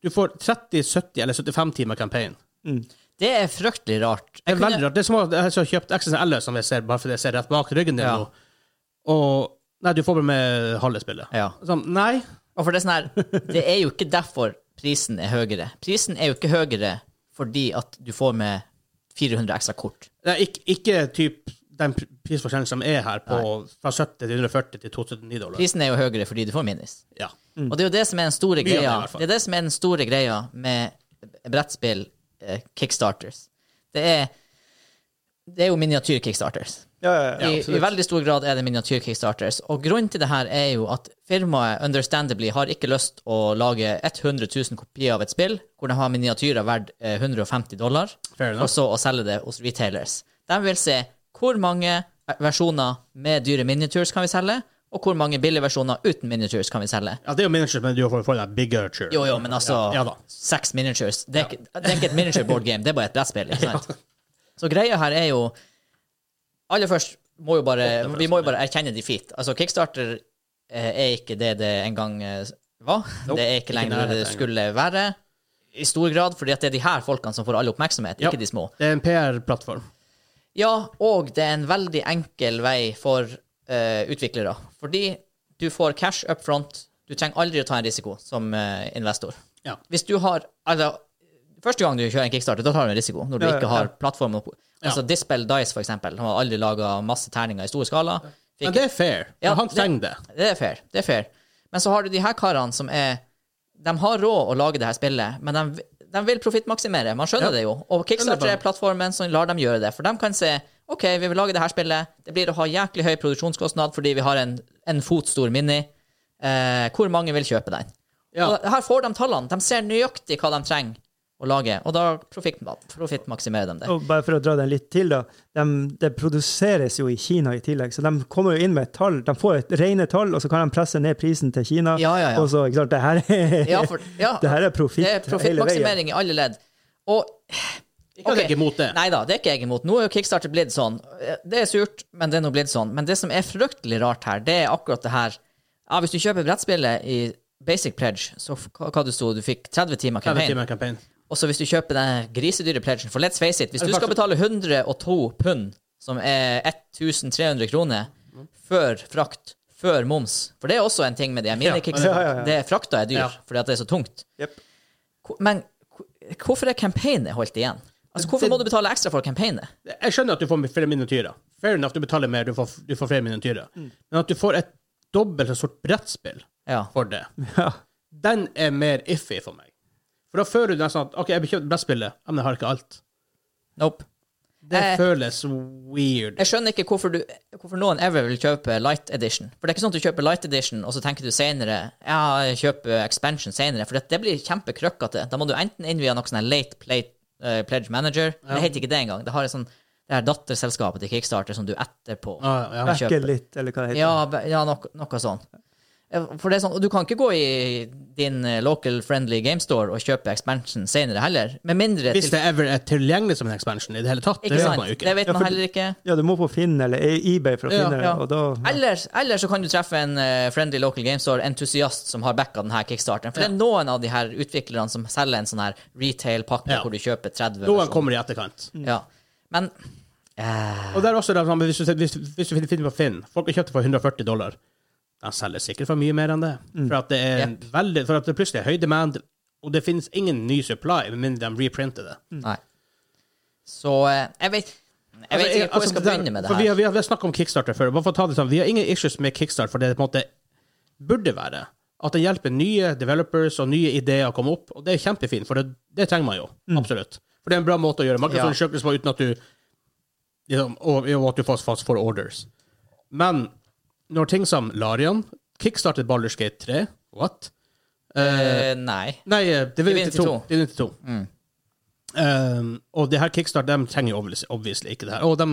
S1: Du får 30, 70 eller 75 timer campaign.
S2: Mm.
S3: Det er fryktelig rart.
S1: Det
S3: Jeg
S1: er
S3: kunne-
S1: veldig rart. Det er som om jeg har kjøpt XSL, som jeg ser, bare fordi jeg ser rett bak ryggen din
S3: Ja.
S1: nå. Og Nei, du får bare med halve spillet.
S3: Ja.
S1: Sånn, nei.
S3: Og for det er sånn her, det er jo ikke derfor prisen er høyere. Prisen er jo ikke høyere fordi at du får med 400 ekstra kort.
S1: Det er ikke, ikke typ den pr- prisforskjellen som er her, på, fra 70 til 140 til 279 dollar.
S3: Prisen er jo høyere fordi du får minis.
S1: Ja.
S3: Og det er jo det som er den store
S1: Mm. Mye av det, i
S3: greia,
S1: hvert fall.
S3: det er det som er den store greia med brettspill, eh, kickstarters. Det er, det er jo miniatyr-kickstarters.
S2: Ja, ja, ja.
S3: I, I veldig stor grad er det miniatyr-kickstarters. Og grunnen til det her er jo at firmaet understandably har ikke lyst å lage 100 000 kopier av et spill hvor de har miniatyrer verdt eh, 150 dollar,
S1: Fair enough.
S3: og så å selge det hos retailers. De vil se hvor mange eh, versjoner med dyre miniatures kan vi selge, og hvor mange billige versjoner uten miniatures kan vi selge.
S1: ja, det er jo miniature, men du får får deg bigger.
S3: Jo, jo, men altså
S1: Ja, ja da.
S3: Seks miniatures. Det er, ikke, det er ikke et miniature board game, det er bare et brettspill. Ikke sant? Så greia her er jo Aller først må jo bare, vi må jo bare erkjenne defeat. Altså, Kickstarter eh, er ikke det det en gang eh, var.
S1: Nope,
S3: det er
S1: ikke
S3: ikke lenger det
S1: nærheten
S3: det skulle være. I stor grad, fordi at det er de her folkene som får all oppmerksomhet,
S1: Ja.
S3: ikke de små.
S1: Det er en PR-plattform.
S3: Ja, og det er en veldig enkel vei for eh, utviklere. Fordi du får cash up front. Du trenger aldri å ta en risiko som eh, investor.
S1: Ja.
S3: Hvis du har altså, Første gang du kjører en kickstarter, da tar du en risiko. Når du
S2: Ja, ja,
S3: ikke har plattformen opp. Altså
S1: Ja.
S3: Dispel Dice, for eksempel. Han har aldri laga masse terninger i stor skala.
S1: Men
S3: Fikk,
S1: det er fair.
S3: Ja,
S1: for han
S3: det-
S1: trenger det.
S3: det er fair. Det er fair. Men så har du de her karene som er De har råd å lage det her spillet, men de, de vil profittmaksimere. Man skjønner
S1: Ja.
S3: det jo. Og Kickstarter
S1: Skjønner
S3: er plattformen som lar dem gjøre det. For de kan se OK, vi vil lage det her spillet. Det blir å ha jæklig høy produksjonskostnad fordi vi har en, en fot stor mini. Eh, hvor mange vil kjøpe den?
S1: Ja.
S3: Og her får de tallene. De ser nøyaktig hva de trenger å lage, og da profitt- profittmaksimerer de det.
S2: Og bare for å dra den litt til, da. dem- det produseres jo i Kina i tillegg, så de kommer jo inn med et tall. De får et rene tall, og så kan de presse ned prisen til Kina.
S3: Ja, ja, ja.
S2: Og så, ikke sant, det her er,
S3: Ja, for, ja,
S2: det her er profitt
S3: det er
S2: hele veien.
S3: profittmaksimering i alle ledd. Og
S1: Ikke at jeg er
S3: Ok.
S1: imot det.
S3: Nei da, det er ikke jeg imot. Nå er jo Kickstarter blitt sånn. Det er surt, men det er nå blitt sånn. Men det som er fryktelig rart her, det er akkurat det her ja, Hvis du kjøper brettspillet i Basic Pledge, så f- hva, hva du sto, du fikk 30 timer
S1: 30
S3: campaign.
S1: timer campaign.
S3: Og så hvis du kjøper den grisedyre pledgen, for let's face it, hvis
S1: Er det
S3: du skal
S1: faktisk-
S3: betale 102 pund, som er 1300 kroner, før frakt, før moms For det er også en ting med de her minikicks.
S2: Ja, ja, ja.
S3: Det- Frakta er dyr,
S1: Ja.
S3: fordi at det er så tungt.
S2: Jep.
S3: Hvor- Men hvor- hvorfor er campaignet holdt igjen? Altså, Hvorfor må du betale ekstra for campaignet?
S1: Jeg skjønner at du får flere miniatyrer. Fair enough, du betaler mer, du får, du får flere miniatyrer.
S3: Mm.
S1: Men at du får et dobbelt så stort brettspill
S3: Ja.
S1: for det,
S2: Ja.
S1: den er mer iffy for meg. For da føler du nesten at OK, jeg bekjøpte brettspillet, men jeg har ikke alt.
S3: Nope.
S1: Det
S3: Eh,
S1: føles weird.
S3: Jeg skjønner ikke hvorfor, du, hvorfor noen ever vil kjøpe light edition. For det er ikke sånn at du kjøper light edition, og så tenker du senere ja, jeg kjøper expansion senere. For det, det blir kjempekrøkkete. Da må du enten inn via noe sånn her late play, eh, pledge manager. men Det heter ikke det engang. Det har et sånn det her datterselskapet til Kickstarter som du etterpå
S1: Ah, ja.
S3: kan kjøpe.
S2: Backer litt, eller hva det heter.
S3: Ja, be- ja noe, noe sånn. Eh, For det er sånn, og Du kan ikke gå i din eh, local friendly game store og kjøpe expansion senere heller. Med mindre
S1: Hvis det ever er tilgjengelig som en expansion i det hele tatt, det
S3: Ikke
S1: vet
S3: sant?
S1: man jo
S3: Det
S1: ikke.
S3: vet
S2: Ja,
S3: man
S2: for-
S3: heller ikke.
S2: Ja, du må på Finn eller E- eBay for å
S1: Ja,
S2: finne det,
S3: ja.
S2: og da
S3: Eller, eller så kan du treffe en eh, friendly local game store-entusiast som har backa denne kickstarteren. For det er noen av de her utviklerne som selger en sånn her retail-pakke
S1: Ja.
S3: hvor du kjøper 30
S1: Noen
S3: versjoner.
S1: kommer i etterkant.
S3: Ja. Men eh,
S1: Og der er også det samme, hvis du, hvis, hvis du finner- finner på Finn Folk har kjøpt det for 140 dollar. De selger sikkert for mye mer enn det.
S3: Mm.
S1: For at det er veldig, for at det plutselig er høy demand, og det finnes ingen ny supply, med mindre de reprinter det.
S3: Nei. Så eh, jeg vet Jeg vet ikke hvor jeg skal begynne med det
S1: Altså, for Vi har,
S3: her.
S1: vi har, vi har snakket om Kickstarter før. Bare for å ta det sånn, vi har ingen issues med Kickstarter, for det på en måte burde være. At det hjelper nye developers og nye ideer å komme opp, og det er kjempefint, for det, det trenger man jo.
S3: Mm.
S1: Absolutt. For det sånn er en bra måte å gjøre markedsundersøkelser på uten at du liksom, og, og at du fast, fast får orders. Men når ting som Larian kickstartet Baldur's Gate 3 What?
S3: Eh, nei.
S1: Nei, eh, det vil
S3: Divinity
S1: ikke to. Divinity 2. Um, og det her Kickstart de trenger jo obviously, obviously ikke det her. Og de,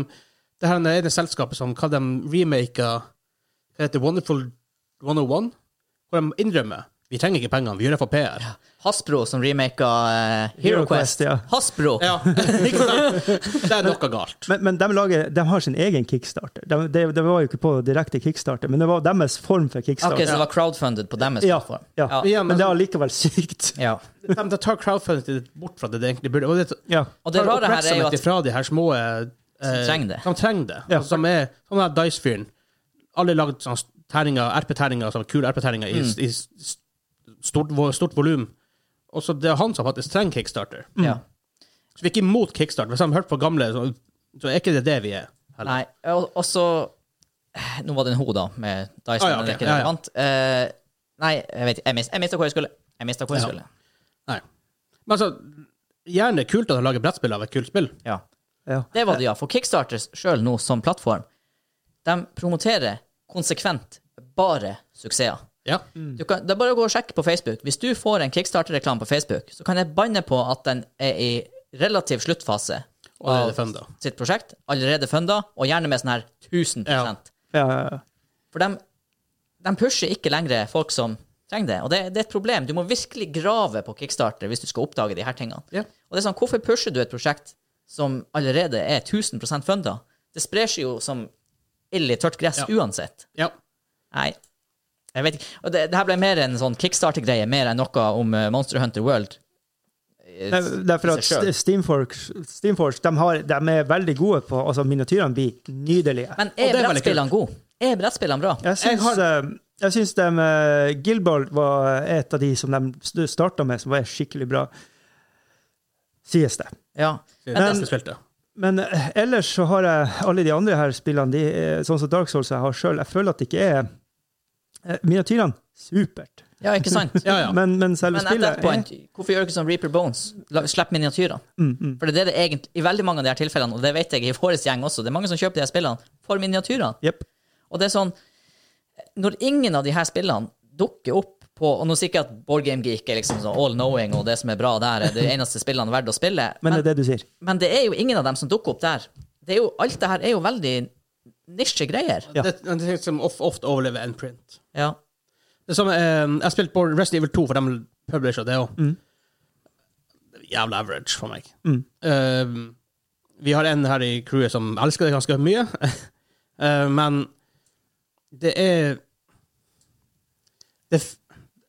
S1: det her er det selskapet som hva de remaker Hva heter det? Wonderful 101? Hvor de innrømmer vi trenger ikke pengene, vi gjør det for PR.
S3: Hasbro som remaka uh, Hero
S2: Hero Quest,
S3: Quest.
S2: ja.
S3: Hasbro!
S1: Ja, ikke sant? Det er noe galt.
S2: Men, men de, lager, de har sin egen kickstarter. De, det- det var jo ikke på direkte kickstarter, men det var deres form for kickstarter.
S3: Ok, så det var crowdfunded på deres
S2: Ja,
S3: plattform.
S2: ja.
S1: Ja,
S2: Men
S1: men
S2: det er allikevel sykt.
S3: ja.
S1: de, de tar crowdfunding bort fra det det egentlig burde. Og det,
S2: Ja.
S3: Og det
S1: tar
S3: rare her er
S1: oppmerksomhet
S3: jo at
S1: ifra de her små eh,
S3: Som trenger det.
S1: Som trenger det.
S2: Ja.
S1: Altså, Som er sånn her Dice-fyren. Alle lagd sånn terninger, RP-terninger, sånn kule RP-terninger i,
S3: Mm.
S1: i s- stort, vo- stort volum. Og så det er han som faktisk trenger kickstarter.
S2: Mm.
S3: ja.
S1: Så vi er ikke imot kickstarter. Hvis de har hørt på gamle, så, så er ikke det det vi er. heller.
S3: Nei, og, og så eh, Nå var det en ho, da, med Dyson.
S1: Ah, ja,
S3: men
S1: ok,
S3: det er
S1: ja,
S3: ikke
S1: ja.
S3: relevant. Eh, nei, jeg vet ikke. Jeg mis- Jeg mista hvor jeg skulle. Jeg mista hvor jeg
S1: Ja.
S3: skulle.
S1: Nei. Men altså, gjerne kult at de lager brettspill av et kult spill.
S3: Ja.
S2: Ja.
S3: Det var det, ja. For Kickstarters sjøl nå, som plattform, de promoterer konsekvent bare suksesser.
S1: Ja.
S3: Du kan, det er bare å gå og sjekke på Facebook. Hvis du får en Kickstarter-reklame på Facebook, så kan jeg banne på at den er i relativ sluttfase
S1: Allerede funda.
S3: sitt prosjekt. Allerede funda, og gjerne med sånn her 1000
S1: Ja.
S2: Ja, ja, ja.
S3: For de, de pusher ikke lenger folk som trenger det. Og det, det er et problem. Du må virkelig grave på Kickstarter hvis du skal oppdage de her tingene.
S1: Ja.
S3: Og det er sånn, Hvorfor pusher du et prosjekt som allerede er 1000 funda? Det sprer seg jo som ild i tørt gress
S1: Ja.
S3: uansett.
S1: ja.
S3: Nei. Jeg vet ikke. Og det, det her ble mer en sånn Kickstarter-greie, mer enn noe om eh, Monster Hunter World. Eh,
S2: Det er- det er for
S3: i
S2: at
S3: seg selv.
S2: Ste- Steamforge, Steamforge de, har, de er veldig gode på altså Miniatyrene blir nydelige.
S3: Men
S1: Og
S3: er
S1: det er veldig
S3: brettspillene gode? Er brettspillene bra?
S2: Jeg syns,
S1: Jeg
S2: eh, jeg syns de, eh, Gilbert var et av de som de starta med, som var skikkelig bra, sies det.
S3: Ja.
S1: Det
S3: Men-
S1: er neste spilte.
S2: Men eh, ellers så har jeg alle de andre her spillene, de, er- sånn som Dark Souls jeg har sjøl, jeg føler at det ikke er eh, Miniatyrene supert.
S3: ja, ikke sant?
S1: Ja, ja.
S2: Men, men selve
S3: Men at that
S2: spillet er,
S3: point, hvorfor gjør du ikke som Reaper Bones? La- Slipp miniatyrene.
S2: mm, mm.
S3: For det er det det egentlig, i veldig mange av de her tilfellene, og det vet jeg i vår gjeng også, det er mange som kjøper de her spillene for miniatyrene.
S2: Jepp.
S3: Og det er sånn, når ingen av de her spillene dukker opp på, og nå sier jeg ikke at Board Game Geek er liksom sånn all-knowing, og det som er bra der, er det eneste spillene verdt å spille,
S2: Men
S3: men,
S2: det er det du sier.
S3: men det er jo ingen av dem som dukker opp der. Det er jo, alt det her er jo veldig nisjegreier.
S2: Ja.
S1: Det, det er ting som of- ofte overlever en print.
S3: Ja.
S1: Det samme, eh, jeg spilte på Resident Evil 2, for de publisher det òg. Jævla average for meg. Eh, vi har en her i crewet som elsker det ganske mye, Eh, men det er det, f-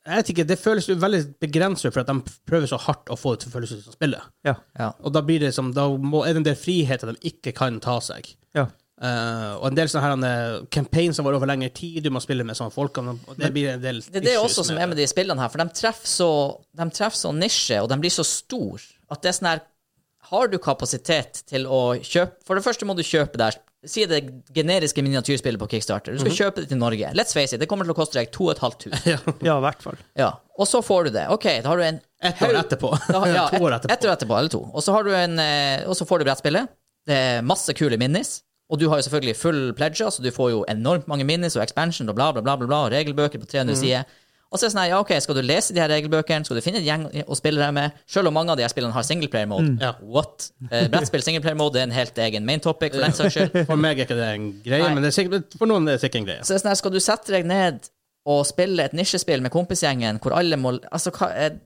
S1: Jeg vet ikke, det føles jo veldig begrenset for at de prøver så hardt å få det til å føles ut som spillet.
S2: Ja.
S3: Ja.
S1: Og da, blir det som, da må, er det en del friheter de ikke kan ta seg.
S2: ja.
S1: Eh, og en del sånne her, eh, campaigns som var over lengre tid, du må spille med sånne folk. Og det blir en del
S3: Det, det er
S1: issues
S3: også som er med de spillene her, for de treffer så, de treffer så nisje, og de blir så stor, at det er sånn her Har du kapasitet til å kjøpe For det første må du kjøpe der Si det generiske miniatyrspillet på Kickstarter. Du skal kjøpe det til Norge. Let's face it, det kommer til å koste deg 2500.
S2: ja, i hvert fall.
S3: Ja. Og så får du det. OK, da har du en
S1: Ett år etterpå.
S3: Da, ja,
S1: to år
S3: et,
S1: etterpå.
S3: ett år etterpå, eller to. Og så, har du en, eh, og så får du brettspillet. Det er masse kule minis. Og du har jo selvfølgelig full pledger, så du får jo enormt mange minis og expansion og bla, bla, bla, bla, bla og regelbøker på 300
S1: Mm.
S3: sider. Og så er det sånn her, ja, ok, skal du lese de her regelbøkene, skal du finne en gjeng å spille dem med, selv om mange av de her spillene har singleplayer-mode.
S1: Mm. Ja.
S3: What? Eh, brettspill singleplayer-mode er en helt egen main topic, for den saks skyld.
S1: For meg er ikke det en greie,
S3: Nei.
S1: men det er sikkert, for noen er det sikkert en greie.
S3: Så det er sånn her, skal du sette deg ned og spille et nisjespill med kompisgjengen, hvor alle må Altså, hva er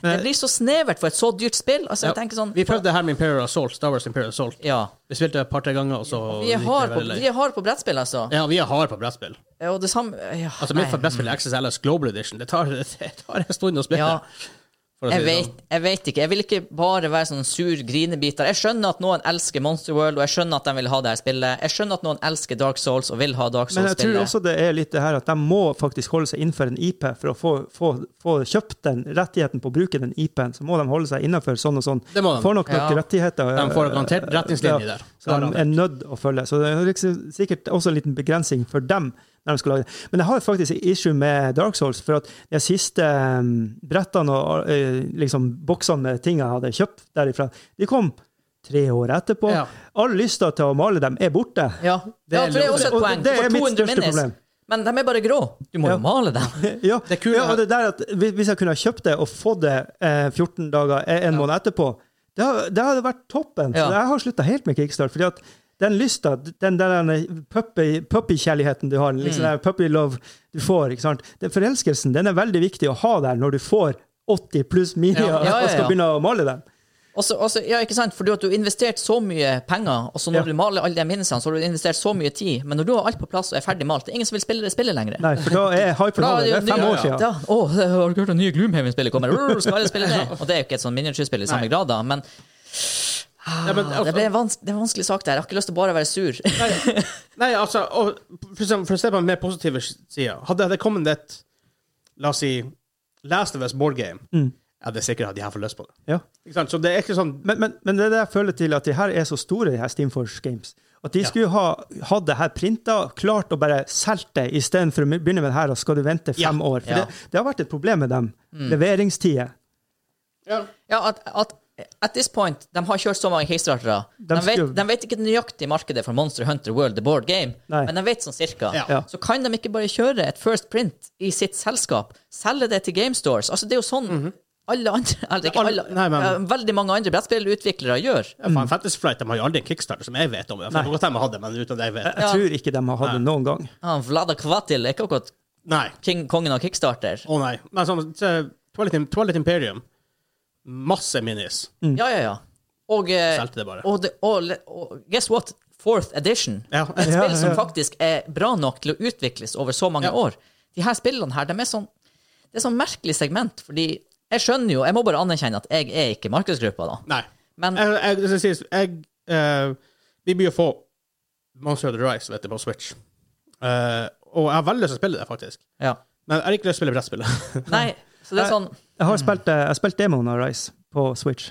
S3: det blir så snevert for et så dyrt spill. Altså, jeg tenker sånn
S1: Vi prøvde det her med Imperial Assault, Star Wars Imperial Assault.
S3: Ja.
S1: Vi spilte et par-tre ganger, og så
S3: Vi er
S1: gikk det
S3: hard på,
S1: veldig lei.
S3: vi er hard på brettspill, altså.
S1: Ja, vi er hard på brettspill.
S3: Og det samme ja,
S1: Altså,
S3: nei.
S1: mitt favorittspill er XSLS Global Edition. Det tar, det tar en stund å spille.
S3: Ja,
S1: for å si
S3: jeg,
S1: det sånn.
S3: vet, jeg vet ikke. Jeg vil ikke bare være sånn sur grinebiter. Jeg skjønner at noen elsker Monster World, og jeg skjønner at de vil ha det her spillet. Jeg skjønner at noen elsker Dark Souls og vil ha Dark
S2: Men jeg tror
S3: Souls-spillet.
S2: også det er litt det her at de må faktisk holde seg innenfor en IP for å få, få, få kjøpt den rettigheten på å bruke den IP-en. Så må de holde seg innenfor sånn og sånn.
S1: Det må de.
S2: Får nok nok
S3: Ja.
S2: rettigheter. eh,
S1: De får garantert retningslinjer der.
S2: Så de
S1: Garantert.
S2: er nødt å følge. Så det er liksom sikkert også en liten begrensning for dem. når de skal lage det. Men jeg har faktisk et issue med Dark Souls, for at de siste um, brettene og eh, liksom boksene med ting jeg hadde kjøpt derifra, de kom tre år etterpå.
S1: Ja.
S2: All lysta til å male dem er borte.
S3: Ja.
S1: Det
S3: ja,
S1: er
S3: for det er også et
S2: Og
S3: poeng. Du
S2: det
S3: får
S2: er mitt
S3: 200
S2: største
S3: minis,
S2: problem.
S3: men de er bare grå. Du må
S2: Ja.
S3: jo male dem.
S2: Ja,
S1: Det kule
S2: ja,
S1: er-
S2: og det der at hvis- Hvis jeg kunne ha kjøpt det og fått det eh, 14 dager, eh, en måned etterpå, det, har- det hadde vært toppen.
S3: Ja.
S2: Så jeg har slutta helt med kickstart. fordi at den lysta, den der derne puppy- puppy-kjærligheten du har, liksom den puppy-love du får ikke sant? Den Forelskelsen den er veldig viktig å ha der når du får 80 pluss minia
S1: Ja,
S3: ja, ja,
S2: og skal
S3: ja.
S2: begynne å male dem.
S3: Og så- og så- ja, ikke sant? Fordi at du har investert så mye penger, og så
S2: Ja.
S3: når du maler alle de minnesene, så har du investert så mye tid, men når du har alt på plass og er ferdig malt, det er ingen som vil spille det spillet lenger.
S2: Nei, for da er hypen
S3: Da
S2: over. Det
S3: er
S2: er
S3: det jo
S2: fem
S3: nye-
S2: år siden.
S3: Ja, å, har du hørt det nye Gloomhaven-spillet kommer? Rrr, Skal alle spille det? Og det er jo ikke et sånn miniatyrspill i
S1: Nei.
S3: samme grad, da, men
S1: Ja, men,
S3: Ah,
S1: altså-
S3: det, ble en vans det er en vanskelig sak der. Jeg har ikke lyst til å bare være sur.
S1: Nei, nei altså, og, for, eksempel, for å se på den mer positive sida Hadde det kommet et La oss si Last of Us board game, jeg hadde sikkert hatt jævla lyst på det.
S2: Ja.
S1: Ikke sant? Så det er ikke sånn
S2: Men, men, men det er det jeg føler til, at de her er så store, de her Steamforce Games. At de skulle ha hatt det her printa, klart å bare solgt det, istedenfor å begynne med det her, og skal du vente fem
S1: Ja. Mm.
S2: år. For
S3: Ja.
S2: det, det har vært et problem med dem. Leveringstider.
S1: ja.
S3: Ja, at, at At this point, de har kjørt så mange kickstartere. De, vet,
S2: skulle-
S3: de vet ikke nøyaktig markedet for Monster Hunter World, the board game,
S2: Nei.
S3: men de vet sånn cirka.
S1: Ja.
S2: Ja.
S3: Så kan de ikke bare kjøre et first print i sitt selskap, selge det til GameStores? Altså, det er jo sånn alle andre eller, ikke
S1: Alle-
S3: alle,
S1: nei, men-
S3: ja, Veldig mange andre brettspillutviklere gjør.
S1: Ja, faen, Fantasy Flight de har jo aldri en kickstarter som jeg vet om. Jeg får godt hende jeg hadde, men uten at jeg vet.
S2: Jeg tror ikke de har hatt det noen gang.
S3: Han Vlada Kvatil er ikke akkurat
S1: Nei.
S3: king, kongen av kickstarter.
S1: Å nei. Men sånn så, Twilight, Im- Twilight Imperium Masse minis.
S2: Mm.
S3: Ja, ja, ja. Og, eh,
S1: Solgte det bare.
S3: Og, det, og, le- og guess what? Fourth edition.
S1: Ja.
S3: Et
S2: Ja,
S3: spill som
S2: ja.
S3: faktisk er bra nok til å utvikles over så mange
S1: Ja.
S3: år. De her spillene her, de er sånn, det er sånn merkelig segment, fordi jeg skjønner jo, jeg må bare anerkjenne at jeg er ikke markedsgruppa da.
S1: Nei.
S3: Men
S1: Jeg, jeg, jeg, jeg, eh, vi blir å få Monster of the Rise vet du, på Switch. Eh, og jeg har veldig lyst til å spille det, faktisk.
S3: ja.
S1: Men jeg har ikke lyst til å spille brettspillet.
S3: Nei, så det er sånn
S1: Mm.
S2: Jeg har spilt, eh, jeg har spilt demoen av Rise på Switch.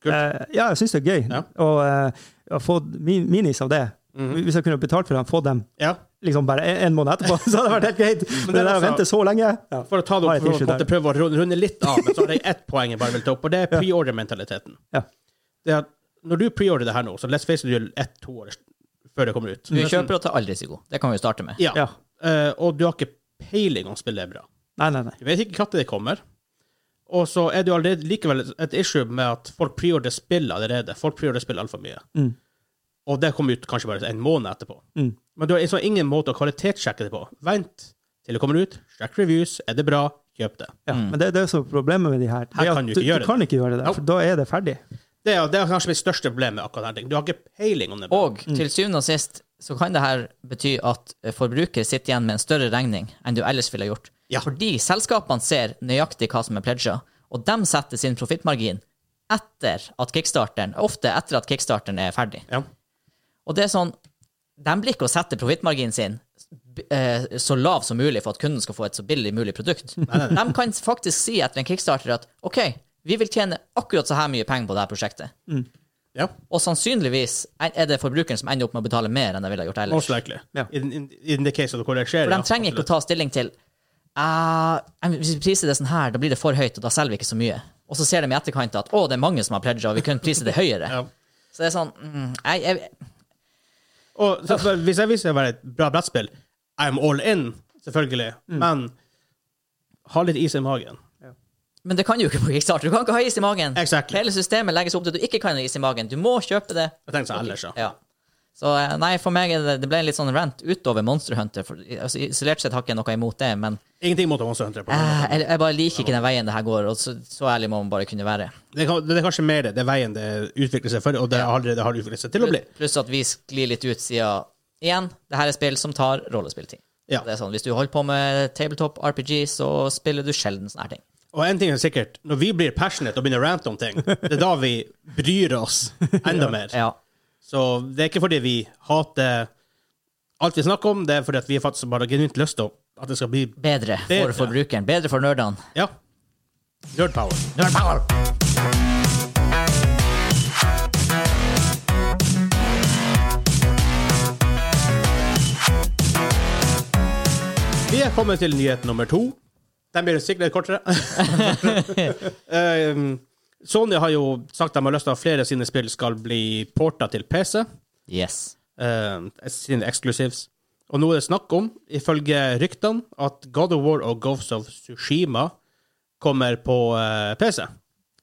S1: Kult.
S2: Eh, ja, jeg syns det er gøy.
S1: Ja. Mm-hmm.
S2: Og eh, å få min minis av det. Hvis jeg kunne betalt for dem, få dem
S1: ja.
S2: liksom bare en, en måned etterpå, så hadde det vært helt greit. Men,
S1: det er
S2: det der å
S1: altså-
S2: vente så lenge ja.
S1: For å ta det opp,
S2: Har et
S1: for å på
S2: issue
S1: en måte
S2: der.
S1: prøve å runde, runde litt av, men så har jeg ett poeng jeg bare vil ta opp, og det er preorder-mentaliteten.
S2: Ja.
S1: Det er at Når du preorder det her nå, så let's face it, du gjør ett-to år før det kommer ut.
S3: Du kjøper og tar all risiko. Det kan vi jo starte med.
S1: Ja.
S2: Ja.
S1: Eh, og du har ikke peiling om spillet er bra.
S2: Nei, nei, nei.
S1: Du vet ikke når det kommer. Og så er det jo allerede likevel et issue med at folk preorder spill allerede. Folk preorder spill altfor mye.
S2: Mm.
S1: Og det kommer ut kanskje bare en måned etterpå.
S2: Mm.
S1: Men du har liksom ingen måte å kvalitetssjekke det på. Vent til det kommer ut, sjekk reviews, er det bra, kjøp det.
S2: Ja, Men det, det er jo så problemet med de her. Det
S1: Mm. Her
S2: er at
S1: kan du ikke gjøre
S2: du kan
S1: det.
S2: ikke gjøre det.
S1: Nope.
S2: For da er det ferdig.
S1: Det er, det er kanskje mitt største problem med akkurat denne ting. Du har ikke peiling om det. er bra.
S3: Og til syvende og sist så kan det her bety at eh, forbruker sitter igjen med en større regning enn du ellers ville gjort.
S1: Ja.
S3: Fordi selskapene ser nøyaktig hva som er pledger, og de setter sin profittmargin etter at kickstarteren, ofte etter at kickstarteren er ferdig.
S1: Ja.
S3: Og det er sånn, de blir ikke å sette profittmarginen sin b- eh, så lav som mulig for at kunden skal få et så billig mulig produkt. De kan faktisk si etter en kickstarter at OK, vi vil tjene akkurat så her mye penger på dette prosjektet.
S1: ja.
S3: Og sannsynligvis er det forbrukeren som ender opp med å betale mer enn de ville ha gjort ellers.
S1: Most likely.
S2: Ja.
S1: In, in, in the case of the correction.
S3: For de trenger ikke å ta stilling til «Ah, Hvis vi priser det sånn her, da blir det for høyt, og da selger vi ikke så mye. Og og så ser de i etterkant at å, det er mange som har pledga, og vi kunne prise det høyere.
S1: Ja.
S3: Så det er sånn mm, jeg, jeg,
S1: Og så, så hvis jeg viser det å være et bra brettspill, I'm all in, selvfølgelig, men ha litt is i magen.
S3: Men det kan jo ikke på Kickstarter. Du kan ikke ha is i magen.
S1: Exactly.
S3: Hele systemet legges opp til at du ikke kan ha is i magen. Du må kjøpe det.
S1: Jeg tenker sånn ellers, ja.
S3: Ja. Så eh, nei, for meg er det, det ble en litt sånn rant utover Monster Hunter. For, altså, isolert sett har ikke jeg noe imot det, men
S1: Ingenting mot Monster Hunter. på
S3: eh, jeg, jeg bare liker ikke den veien det her går, og så, så ærlig må man bare kunne være.
S1: Det, kan, det er kanskje mer det, det er veien det utvikler seg for, og det allerede har utviklet seg til å bli.
S3: Pluss at vi sklir litt ut siden igjen, det her er spill som tar rollespilltid.
S1: Ja.
S3: Det er sånn, Hvis du holder på med tabletop RPG, så spiller du sjelden sånne her ting.
S1: Og en ting er sikkert, når vi blir passionate og begynner å rante om ting, det er da vi bryr oss enda mer.
S3: Ja.
S1: Så det er ikke fordi vi hater alt vi snakker om, det er fordi at vi faktisk bare har genuint lyst til at det skal bli
S3: Bedre for
S1: Bedre.
S3: forbrukeren. Bedre for nerdene.
S1: Ja. Nerd power.
S3: Nerd power!
S1: Vi er kommet til nyhet nummer to. Den blir sikkert kortere. um, Sony har jo sagt at de har lyst til at flere av sine spill skal bli porta til PC,
S3: Yes.
S1: um, sine exclusives. Og nå er det snakk om, ifølge ryktene, at God of War og Ghosts of Tsushima kommer på eh, PC.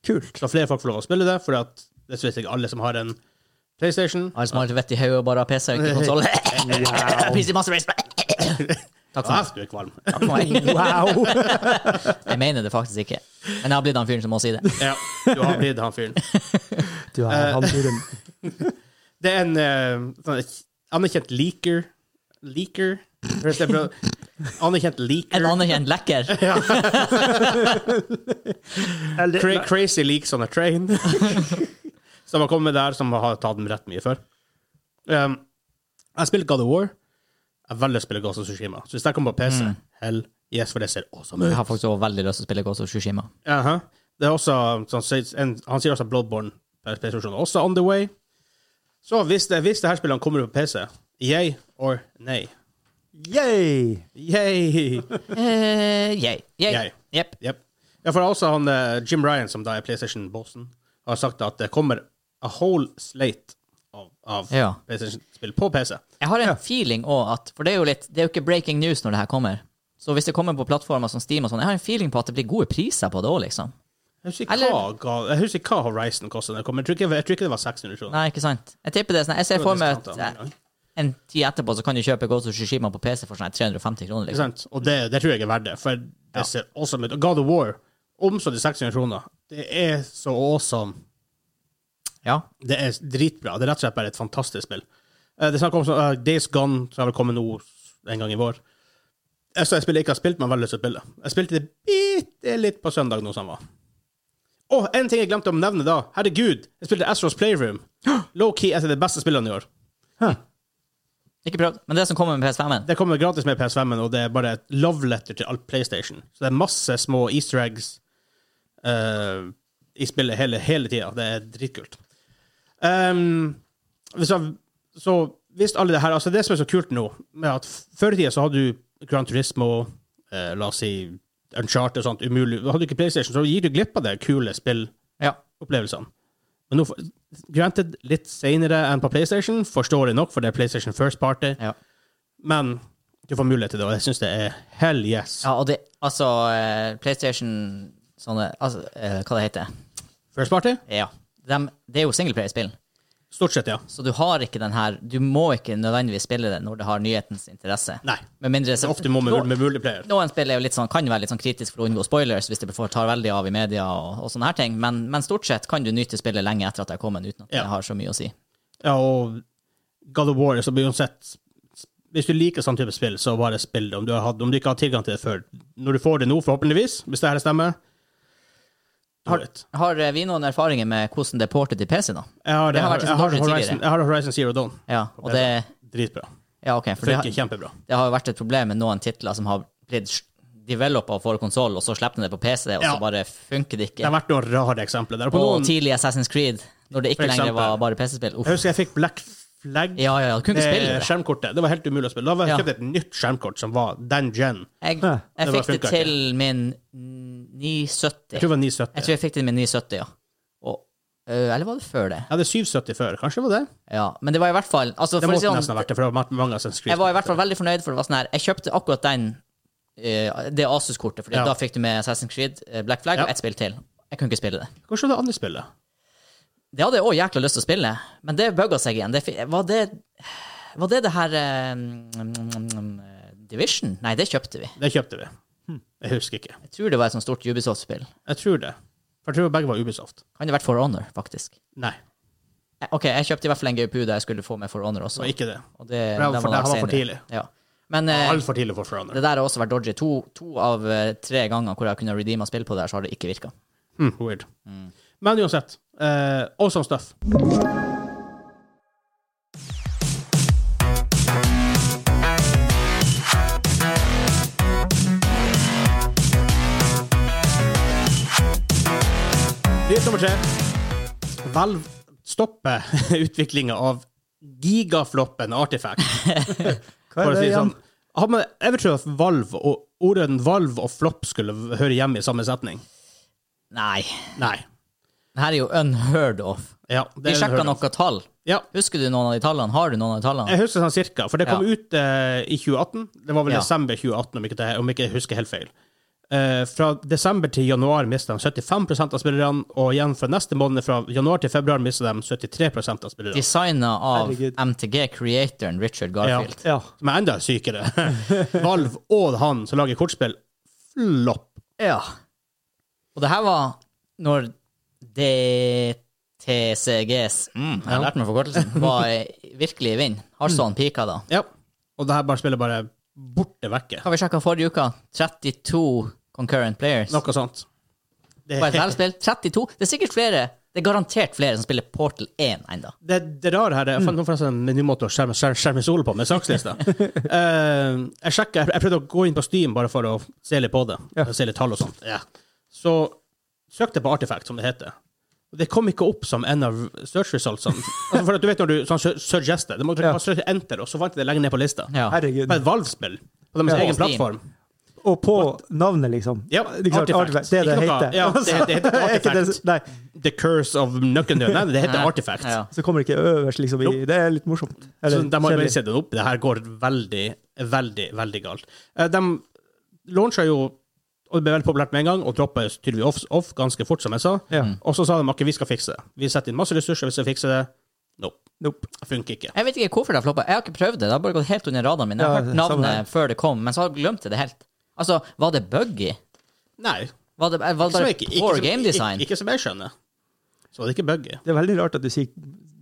S2: Kult.
S1: Så flere folk får lov å spille det, for at det er ikke alle som har en PlayStation.
S3: Alle som har litt vett i hodet og bare har PC og ikke konsoll. PC Master Race. Takk for meg.
S1: Ah, du er kvalm.
S3: Takk for meg.
S2: Wow!
S3: Jeg mener det faktisk ikke. Men jeg har blitt han fyren som må si det.
S1: ja, du har blitt han fyren. Eh,
S2: Du er han fyren.
S1: Det er en eh, sånn anerkjent leaker Leaker? Hvis det er bra. Anerkjent leaker.
S3: En anerkjent lekker.
S2: Eller-
S1: Cra crazy leaks on a train. som har kommet der, som har tatt dem rett mye før. Um, jeg spiller God of War. Jeg velger å spille Ghost of Tsushima. Så hvis jeg kommer på PC, hell yes, for det ser awesome ut.
S3: Jeg har faktisk også veldig lyst til å spille Ghost of Tsushima.
S1: Aha. Det er også, sånn, så- en, han sier også at Bloodborne er spesifikasjonen også on the way. Så hvis det, hvis det her spillene kommer på PC, yay or nei?
S2: Yay!
S1: Yay!
S3: Eh, yay. Yay.
S1: Yay.
S3: Jepp.
S1: Yep. Ja, for også han, eh, Jim Ryan, som da er PlayStation-bossen, har sagt at det kommer a whole slate av, av
S3: Ja.
S1: PlayStation-spill på PC.
S3: Jeg har en feeling også at For det er jo litt Det er jo ikke breaking news når det her kommer. Så hvis det kommer på plattformer som Steam og sånn, jeg har en feeling på at det blir gode priser på det òg, liksom.
S1: Jeg husker,
S3: Eller-
S1: hva, ga- jeg husker ikke hva Horizon kostet da det kom. Jeg tror, ikke, jeg tror ikke det var 600 kroner.
S3: Nei, ikke sant? Jeg tipper det er sånn Jeg ser
S1: Det var
S3: for meg
S1: discountet
S3: at
S1: en gang.
S3: eh, en tid etterpå så kan du kjøpe Ghost of Tsushima på PC for sånn her 350 kroner,
S1: Ikke
S3: liksom.
S1: sant? Og det, det tror jeg er verdt det, for det ser awesome ut. Og God of War, om så de 600 kroner, det er så awesome.
S3: Ja.
S1: Det er dritbra. Det er rett og slett bare et fantastisk spill. Eh, Det er snakk om så, eh, Days Gone, som har vel kommet nå en gang i vår. Jeg så et spill jeg ikke har spilt, men har veldig lyst til å spille. Jeg spilte det bitte litt på søndag nå som var. Å, en ting jeg glemte å nevne da. Herregud, jeg spilte Astros Playroom. Low-key et av de beste spillene i år.
S3: Ikke prøvd. Men det som kommer med PS5-en
S1: Det kommer gratis med PS5-en, og det er bare et love letter til alt PlayStation. Så det er masse små easter eggs eh, i spillet hele, hele tida. Det er dritkult. Ehm, hvis jeg, så hvis alle det her Altså, det som er så kult nå, med at f- før i tida så hadde du Grand Turismo, eh, la oss si Uncharted og sånt, umulig. Hadde du ikke PlayStation, så gikk du glipp av de kule spillopplevelsene.
S3: Ja.
S1: Men nå, får- granted, litt seinere enn på PlayStation, forståelig nok, for det er PlayStation First Party.
S3: ja.
S1: Men du får mulighet til det, og jeg syns det er hell yes.
S3: Ja, og det Altså, eh, PlayStation Sånne Altså, eh, hva det heter
S1: First party?
S3: Ja. Dem- det er jo singleplayerspill,
S1: Stort sett, ja.
S3: så du har ikke den her Du må ikke nødvendigvis spille det når det har nyhetens interesse.
S1: Nei.
S3: Med mindre så,
S1: Ofte må med,
S3: Nå-
S1: med multiplayer.
S3: Noen spill er jo litt sånn, kan være litt sånn kritisk for å unngå spoilers hvis det får- tar veldig av i media og, og sånne her ting, men, men stort sett kan du nyte spillet lenge etter at det er kommet, uten at
S1: Ja.
S3: det har så mye å si.
S1: Ja, og God of War, så blir uansett Hvis du liker sånn type spill, så bare spill det. Om du, har hatt, om du ikke har tilgang til det før. Når du får det nå, forhåpentligvis, hvis det her stemmer.
S3: Har-
S1: do it.
S3: Har eh, vi noen erfaringer med hvordan det er portet til PC, da?
S1: Jeg har,
S3: det
S1: jeg
S3: har
S1: har,
S3: vært
S1: jeg har,
S3: liksom
S1: Horizon,
S3: tidligere.
S1: jeg har Horizon Zero Dawn.
S3: Ja, og det
S1: Dritbra.
S3: Ja, OK, for
S1: Funker
S3: det, har-
S1: kjempebra.
S3: det har jo vært et problem med noen titler som har blitt developa for konsoll, og så slipper de det på PC, og
S1: Ja.
S3: så bare funker
S1: Det
S3: det ikke.
S1: har vært noen rare eksempler der. På
S3: Og
S1: noen,
S3: tidlig Assassin's Creed, når det
S1: For
S3: ikke lenger
S1: eksempel.
S3: var bare PC-spill. Uff.
S1: jeg husker jeg fikk Black Flag
S3: Ja, ja, ja, du kunne ikke
S1: med
S3: spille det.
S1: Eh, skjermkortet. Det var helt umulig å spille. Da var jeg
S3: Ja.
S1: kjøpt et nytt skjermkort som var den gen.
S3: Jeg,
S1: Det
S2: Hæ.
S3: jeg
S1: bare
S3: fikk det
S1: funker
S3: til min
S1: Jeg tror
S3: 970.
S1: det var 970.
S3: Jeg tror jeg fikk den med 970, ja. Og, øh, eller var det før det?
S1: Jeg hadde 770 før. Kanskje det var det?
S3: Ja, men det var i hvert fall altså,
S1: Det
S3: for å si
S1: måtte
S3: sånn,
S1: nesten ha vært det, for det var mange Assassin's Creed.
S3: Jeg var i hvert fall veldig fornøyd, for det var sånn her Jeg kjøpte akkurat den eh, det Asus-kortet, Fordi
S1: Ja.
S3: da fikk du med Assassin's Creed, eh, Black Flag
S1: Ja.
S3: og ett spill til. Jeg kunne ikke spille det.
S1: Kanskje det var det andre spillet?
S3: Det hadde jeg òg jækla lyst til å spille, men det bugga seg igjen. Det, fi- var, det, var det det her eh, mm, mm, mm, Division? Nei, det kjøpte vi.
S1: Det kjøpte vi. Jeg husker ikke.
S3: Jeg tror det var et sånt stort Ubisoft-spill.
S1: Jeg tror det. For jeg tror begge var Ubisoft.
S3: Kan det ha vært For Honor, faktisk?
S1: Nei,
S3: Eh, OK, jeg kjøpte i hvert fall en GPU der jeg skulle få med For Honor
S1: det
S3: også.
S1: var ikke det.
S3: Og det,
S1: For det var
S3: den
S1: for- det
S3: lagt
S1: var for
S3: senere.
S1: tidlig.
S3: Ja. Men eh,
S1: Altfor tidlig for Forerunner.
S3: det der har også vært dodgy. To, to av eh, tre ganger hvor jeg kunne redeema spill på det, her, så har det ikke virka.
S1: Mm, weird. Men uansett, eh, awesome stuff. Nyhet nummer tre. Valve stopper utviklinga av gigafloppen Artifact.
S2: Hva
S1: For
S2: er
S1: å
S2: det
S1: si det
S2: igjen?
S1: sånn. Har man- Jeg tror at Valve og ordene Valve og flopp skulle høre hjemme i samme setning.
S3: Nei.
S1: Nei.
S3: Det her er jo unheard of.
S1: Ja, det
S3: Vi
S1: er en
S3: sjekka
S1: hurdle.
S3: noen tall.
S1: Ja,
S3: Husker du noen av de tallene? Har du noen av de tallene?
S1: jeg husker sånn cirka, for det kom
S3: Ja.
S1: ut eh, i 2018. Det var vel
S3: Ja.
S1: desember 2018, om ikke, det, om ikke jeg husker helt feil. Eh, fra desember til januar mista de 75 av spillerne, og igjen fra neste måned, fra januar til februar, mista de 73 av spillerne.
S3: Designa av
S2: Herregud.
S3: MTG-creatoren Richard
S1: Ja.
S3: Garfield.
S2: Ja.
S1: Som er enda sykere. Valve og han som lager kortspill, flopp.
S3: Ja. Og det her var når DTCGs mm, Jeg har lært meg forkortelsen. Var eh, virkelig i vind. Harsson pika da.
S1: Ja. Og det her bare spillet bare borte vekke.
S3: Har vi sjekka forrige uke? 32 concurrent players.
S1: Noe sånt. Det,
S3: På et velspill. 32. Det er sikkert flere. Det er garantert flere som spiller Portal 1 ennå.
S1: det, det rare her er
S2: Mm.
S1: Jeg fant nå forresten en menymåte å skjerme, skjerme, skjerme solen på med sakslista. Eh, jeg sjekket, jeg, jeg prøvde å gå inn på Steam bare for å se litt på det.
S2: Ja.
S1: Se litt tall og sånt. Ja. Så søkte jeg på Artifact, som det heter. Og Det kom ikke opp som en av search resultsene. Altså, for at du vet når du sånn, su- suggested, du må trykke
S2: Ja.
S1: på søke enter, og så fant jeg det lenger ned på lista.
S3: Ja.
S1: Det
S2: Herregud.
S1: var et valvspill på deres
S2: Ja.
S1: egen
S3: Steam.
S1: plattform.
S2: Og på navnet, liksom.
S1: Ja,
S2: Ikke sant? Artifact. Det er det
S1: Ikke noe-
S2: heter.
S1: Ja, det, det heter
S2: Er ikke det-
S1: Artifact.
S2: Nei,
S1: The Curse of Nuckendu. Nei, det heter
S3: Ja.
S1: Artifact.
S3: Ja.
S2: så kommer det ikke øverst, liksom. I,
S1: Jo.
S2: det er litt morsomt.
S1: Så de har
S2: kjedelig.
S1: bare sett det opp. Det her går veldig, veldig, veldig galt. Eh, De launcha jo, og det ble veldig populært med en gang, og droppa tydeligvis off, off ganske fort, som jeg sa.
S2: Ja.
S3: Mm.
S1: Og så sa de at vi skal fikse det. Vi setter inn masse ressurser hvis vi fikser det. Nope.
S2: Nope.
S1: Det Funker ikke.
S3: Jeg vet ikke hvorfor det har floppa. Jeg har ikke prøvd det. Det har bare gått helt under radaren min. Jeg
S2: Ja,
S3: har hørt
S2: samme
S3: navnet
S2: her.
S3: før det kom, men så har jeg glemt det helt. Altså, var det buggy?
S1: Nei.
S3: Var det, var det
S1: Som
S3: bare
S1: jeg, ikke, ikke,
S3: poor
S1: som-
S3: game design?
S1: Ikke, ikke som jeg skjønner. Så var det ikke buggy.
S2: Det er veldig rart at du sier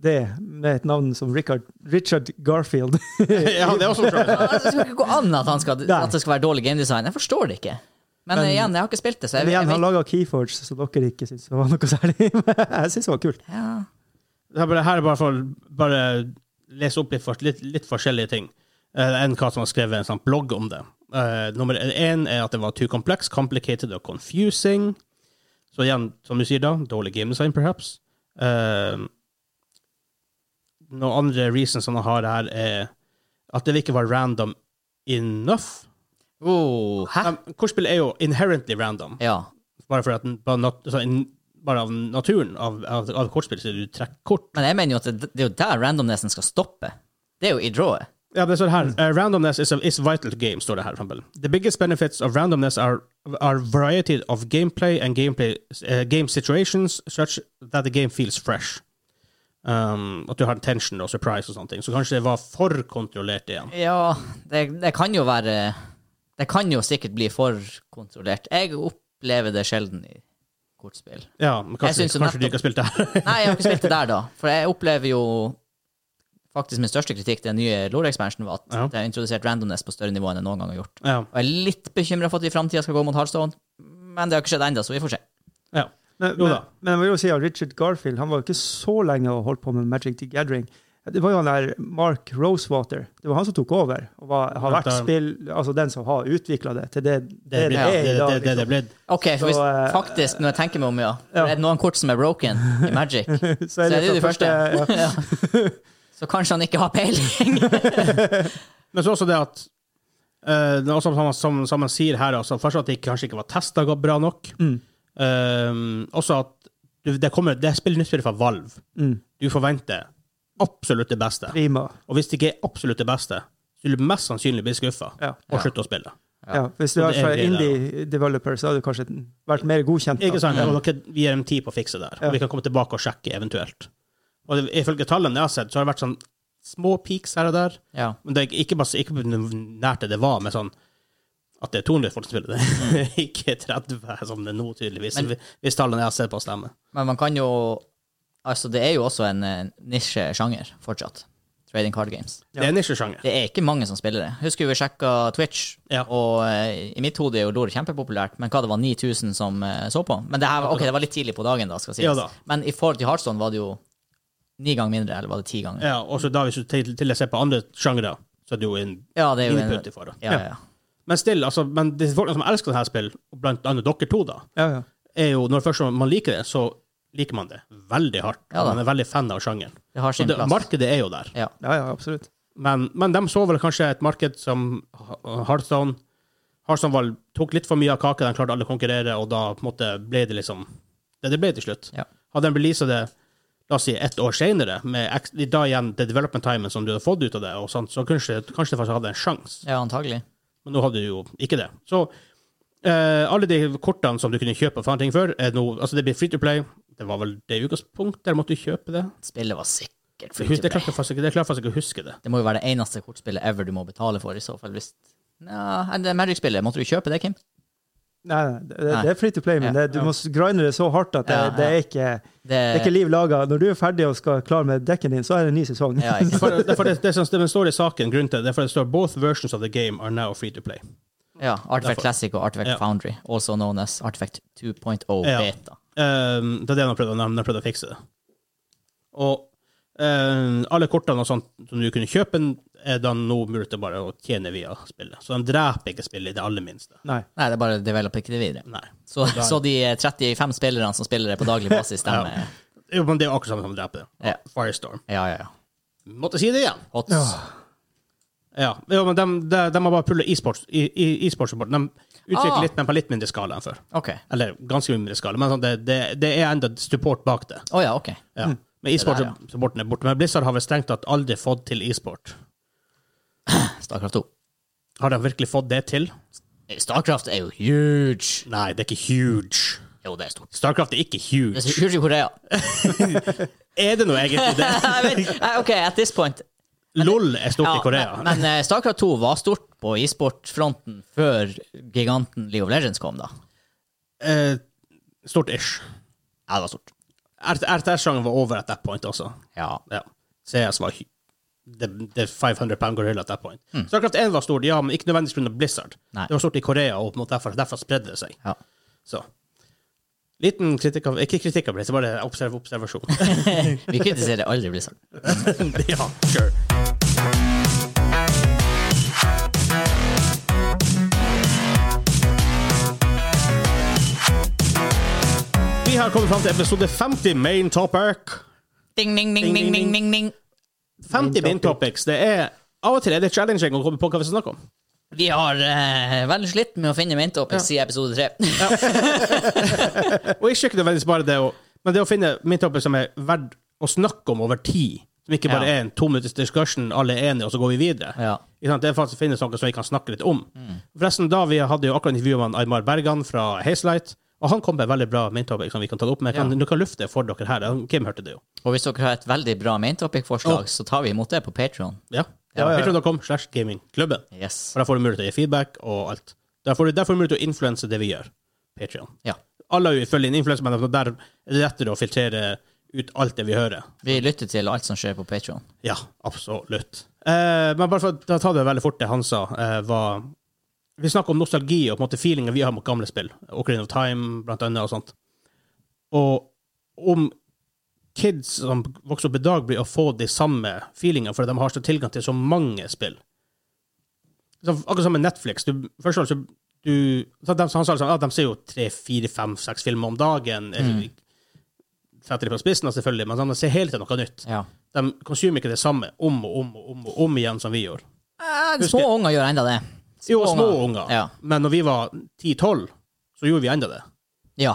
S2: det med et navn som Richard, Richard Garfield.
S1: ja, det er også utrolig.
S3: Altså, det skal ikke gå an at, han skal,
S2: Nei.
S3: at det skal være dårlig game design. Jeg forstår det ikke. Men,
S2: Men-
S3: igjen, jeg har ikke spilt det, så jeg,
S2: Men
S3: jeg
S2: igjen, han
S3: vet
S2: laga Keyforge, så dere ikke syns det var noe særlig. Jeg syns det var kult.
S3: ja.
S1: Det her bare- her er bare for bare lese opp litt, for- litt, litt forskjellige ting eh, enn hva som har skrevet en sånn blogg om det. Eh, nummer én er at det var too complex, complicated og confusing. Så igjen, som du sier da, dårlig game design, perhaps. Eh, noen andre reasons han har her, er at det ikke var random enough.
S3: Oh, hæ?
S1: Um, Kortspill er jo inherently random,
S3: Ja.
S1: bare, for at, den- bare, nat altså, in- bare av naturen av, av, av kortspill, så du trekker kort.
S3: Men jeg mener jo at det, det er jo der randomnessen skal stoppe. Det er jo i drawet.
S1: Ja, det står her. Uh, randomness is, is vital to game, står det her. for eksempel. The biggest benefits of randomness are, are variety of gameplay and gameplay, eh, game situations such that the game feels fresh. Um, at du har tension og surprise og sånne ting. Så kanskje det var for kontrollert igjen.
S3: Ja, det, det kan jo være Det kan jo sikkert bli for kontrollert. Jeg opplever det sjelden i kortspill.
S1: Ja, men kanskje,
S3: Jeg synes jo
S1: kanskje du ikke har spilt det her.
S3: Nei, jeg har ikke spilt det der, da. For jeg opplever jo faktisk min største kritikk til den nye Lore-ekspansjonen var at
S1: Ja.
S3: det har introdusert randomness på større nivå enn jeg noen gang har gjort.
S1: ja,
S3: Og jeg er litt bekymra for at vi i framtida skal gå mot Hardstone, men det har ikke skjedd ennå, så vi får se.
S1: ja.
S2: Men,
S1: Jo
S2: men,
S1: da.
S2: men jeg vil jo si at Richard Garfield han var jo ikke så lenge og holdt på med Magic the Gathering. Det var jo han der Mark Rosewater. Det var han som tok over. og var, har vært
S1: Dette-
S2: spill, altså Den som har utvikla det til det
S1: Det
S2: det,
S1: er
S2: det
S1: blitt
S2: er
S1: det, det,
S2: i dag.
S1: det, det, er
S2: Liksom.
S1: blitt.
S3: OK, for hvis,
S2: Så, eh,
S3: faktisk, når jeg tenker meg om, ja,
S2: ja.
S3: er det noen kort som er broken i Magic,
S2: Så er det,
S3: jo
S2: det
S3: det første.
S2: første ja.
S3: så kanskje han ikke har peiling.
S1: Men så også det at Eh, det er også, som, som, som man sier her, altså, først at det kanskje ikke var testa godt bra nok.
S2: Mm.
S1: Eh, også at du, det, kommer, det spiller nyttspill fra Valve.
S2: Mm.
S1: Du forventer absolutt det beste.
S2: Prima.
S1: Og hvis det ikke er absolutt det beste, så vil du mest sannsynlig bli skuffa
S2: Ja.
S1: og slutte å spille.
S3: Ja.
S2: Ja. Hvis du
S1: Og
S2: er
S1: det er det
S2: fra
S1: der,
S2: indie developer, så hadde du kanskje vært mer godkjent. da.
S1: Ikke sant? Og dere, vi gir dem tid på å fikse det. her,
S2: Ja.
S1: Og vi kan komme tilbake og sjekke eventuelt. Og det, ifølge tallene jeg har sett, så har det vært sånn små peaks her og der.
S3: Ja.
S1: Men det er ikke, bare, ikke nært det det var, men sånn at det er 200 folk som spiller det.
S2: Mm.
S1: ikke 30, som det er nå, tydeligvis.
S3: Men-
S1: hvis tallene jeg har sett på, stemmer.
S3: Men man kan jo Altså, det er jo også en eh, nisjesjanger fortsatt. Trading card games.
S2: Ja.
S1: Det er en nisjesjanger.
S3: Det er ikke mange som spiller det. Husker vi sjekka Twitch,
S1: Ja.
S3: og eh, i mitt hode er jo LOR kjempepopulært, men hva det var 9000 som eh, så på? Men det her var, ok, det var litt tidlig på dagen, da, skal sies.
S1: Ja da.
S3: Men i forhold til Heartstone var det jo ni ganger mindre, eller var det ti ganger?
S1: Ja, og så da hvis du til, til å se på andre sjangere, så er det jo en
S3: Ja, det er jo en,
S1: input i forhold.
S3: ja, ja, ja.
S1: Men still, altså, men de folkene som elsker dette spillet, og blant annet dere to, da,
S2: Ja, ja.
S1: er jo når først man liker det, så liker man det veldig hardt.
S3: Ja da.
S1: man er veldig fan av sjangeren.
S3: Det har
S1: Så
S3: sin
S1: det,
S3: plass.
S1: markedet er jo der.
S3: Ja.
S2: ja, ja, absolutt.
S1: Men, men de så vel kanskje et marked som Hardstone Hardstone var, tok litt for mye av kaka, de klarte alle å konkurrere, og da på en måte ble det liksom det det ble til slutt.
S3: Ja.
S1: Hadde de releasa det la oss si ett år senere, med ex- da igjen det development timen som du hadde fått ut av det, og sånt, så kanskje, kanskje det faktisk hadde en sjanse.
S3: ja, antagelig.
S1: Men nå hadde du jo ikke det. Så eh, alle de kortene som du kunne kjøpe for andre ting før, er nå Altså, det blir free to play. Det var vel det utgangspunktet, eller måtte du kjøpe det?
S3: Spillet var sikkert
S1: For
S3: free
S1: jeg
S3: to play.
S1: klarer faktisk ikke- jeg klarer faktisk ikke å huske det.
S3: Det må jo være det eneste kortspillet ever du må betale for, i så fall. Hvis Nja, det Magic-spillet, måtte du kjøpe det, Kim?
S2: Nei, nei, det,
S3: Nei.
S2: det er free to play, men
S3: Ja.
S2: det, du må grinde det så hardt at det,
S3: Ja, ja.
S2: det er ikke
S3: Det,
S2: det er ikke liv laga. Når du er ferdig og skal klare med dekken din, så er det en ny sesong.
S3: Ja, ikke sant?
S1: For, det, er for det, det, som, det står i saken, grunnen til det, det er for det står both versions of the game are now free to play.
S3: Ja, Artifact
S1: Derfor.
S3: Classic og Artifact
S1: Ja.
S3: Foundry, also known as Artifact 2.0
S1: Ja.
S3: Beta.
S1: Ehm, det er det de har prøvd, å- de har prøvd å fikse det. Og ehm, alle kortene og sånt som du kunne kjøpe, er da nå mulig til bare å tjene via spillet. Så de dreper ikke spillet i det aller minste.
S2: Nei.
S3: Nei, det er bare develop ikke det videre.
S1: Nei.
S3: Så,
S1: Der.
S3: så de 35 spillerne som spiller det på daglig basis, de
S1: Ja. Jo, men det er jo akkurat samme som å drepe det.
S3: Ja.
S1: Firestorm.
S3: Ja, ja, ja.
S1: Måtte si det igjen.
S3: Hots.
S2: Ja.
S1: Ja, jo, men de, de, de har bare pulla e-sports i, i, e-sportsrapporten. De utvikler
S3: Ah.
S1: litt, men på litt mindre skala enn før.
S3: OK. Å
S1: Eller ganske mindre skala, men sånn, det, det, det er enda support bak det.
S3: ja, OK.
S1: Ja. Men
S3: Mm. Det der,
S1: e-sportsupporten er borte. Men Blizzard har vel strengt tatt aldri fått til e-sport.
S3: Starcraft 2.
S1: Har de virkelig fått det til?
S3: Starcraft er jo huge.
S1: Nei, det er ikke huge.
S3: Jo, det er stort.
S1: Starcraft er ikke
S3: Det
S1: huge.
S3: er så huge i Korea.
S1: Er det noe egentlig det?
S3: Jeg vet, nei, OK, at this point
S1: LOL er stort
S3: ja,
S1: i Korea.
S3: Men, men eh, Starcraft 2 var stort på e-sportfronten før giganten League of Legends kom, da.
S1: Eh, stort ish.
S3: Ja, det var stort.
S1: RTS-sjangeren var over at that point også.
S3: Ja.
S1: Ja. CS var hy- det, det 500 pound gorilla at that point. Starcraft 1 var stort, ja, men ikke nødvendigvis pga. Blizzard.
S3: Mm. Nei.
S1: Det var stort i Korea, og på en måte derfor, derfor spredde det seg.
S3: ja.
S1: Så. Liten kritikk av Ikke kritikk av Blizzard, bare observ, observasjon.
S3: Vi kritiserer aldri Blizzard.
S1: ja, sure. Vi har kommet fram til episode 50 main topic.
S3: Ding, ding, ding, ding, ding, ding, ding.
S1: 50 main topics. Det er Av og til er det challenging å komme på hva vi skal snakke om.
S3: Vi har eh, vel slitt med å finne maintopics i episode tre.
S1: Og ikke nødvendigvis bare det å Men det å finne min topic som er verdt å snakke om over tid, som ikke bare
S3: Ja.
S1: er en to minutters discussion, alle er enige, og så går vi videre.
S3: Ja.
S1: Ikke sant? Det er faktisk å finne noe som vi kan snakke litt om. Forresten, da vi hadde jo akkurat intervjuet med Aymar Bergan fra Hazelight, og han kom med en veldig bra main topic som vi kan ta det opp med. Jeg Kan, Du kan lufte det for dere her. Kim hørte det jo.
S3: Og hvis dere har et veldig bra maintopic-forslag, så tar vi imot det på Patreon.
S1: Ja.
S2: Ja, ja, ja.
S1: Patreon.com slash gamingklubben.
S3: Yes.
S1: Og da får du mulighet til å gi feedback og alt. Der får du, der får du mulighet til å influense det vi gjør. Patreon.
S3: Ja.
S1: Alle er jo ifølge en influenser, men der er det lettere å filtrere ut alt det vi hører.
S3: Vi lytter til alt som skjer på Patreon.
S1: Ja, absolutt. Eh, men bare for å ta- ta det veldig fort, det han sa, eh, var Vi snakker om nostalgi og på en måte feelingen vi har mot gamle spill. Ocarina of Time, blant annet, og sånt. Og om kids som vokser opp i dag, blir å få de samme feelingene fordi de har så tilgang til så mange spill. Så, akkurat som med Netflix. Du, først og fremst, så du, så de, han sa liksom, at de ser jo tre, fire, fem, seks filmer om dagen. eller Setter det på spissen, da, selvfølgelig, men de ser hele tiden noe nytt.
S3: Ja.
S1: De konsumer ikke det samme om og om og om, og om igjen som vi gjorde.
S3: Eh,
S1: Husker-
S3: små unger gjør enda det.
S1: Jo, små
S3: unger.
S1: unger.
S3: Ja.
S1: Men når vi var 10-12, så gjorde vi enda det.
S3: Ja.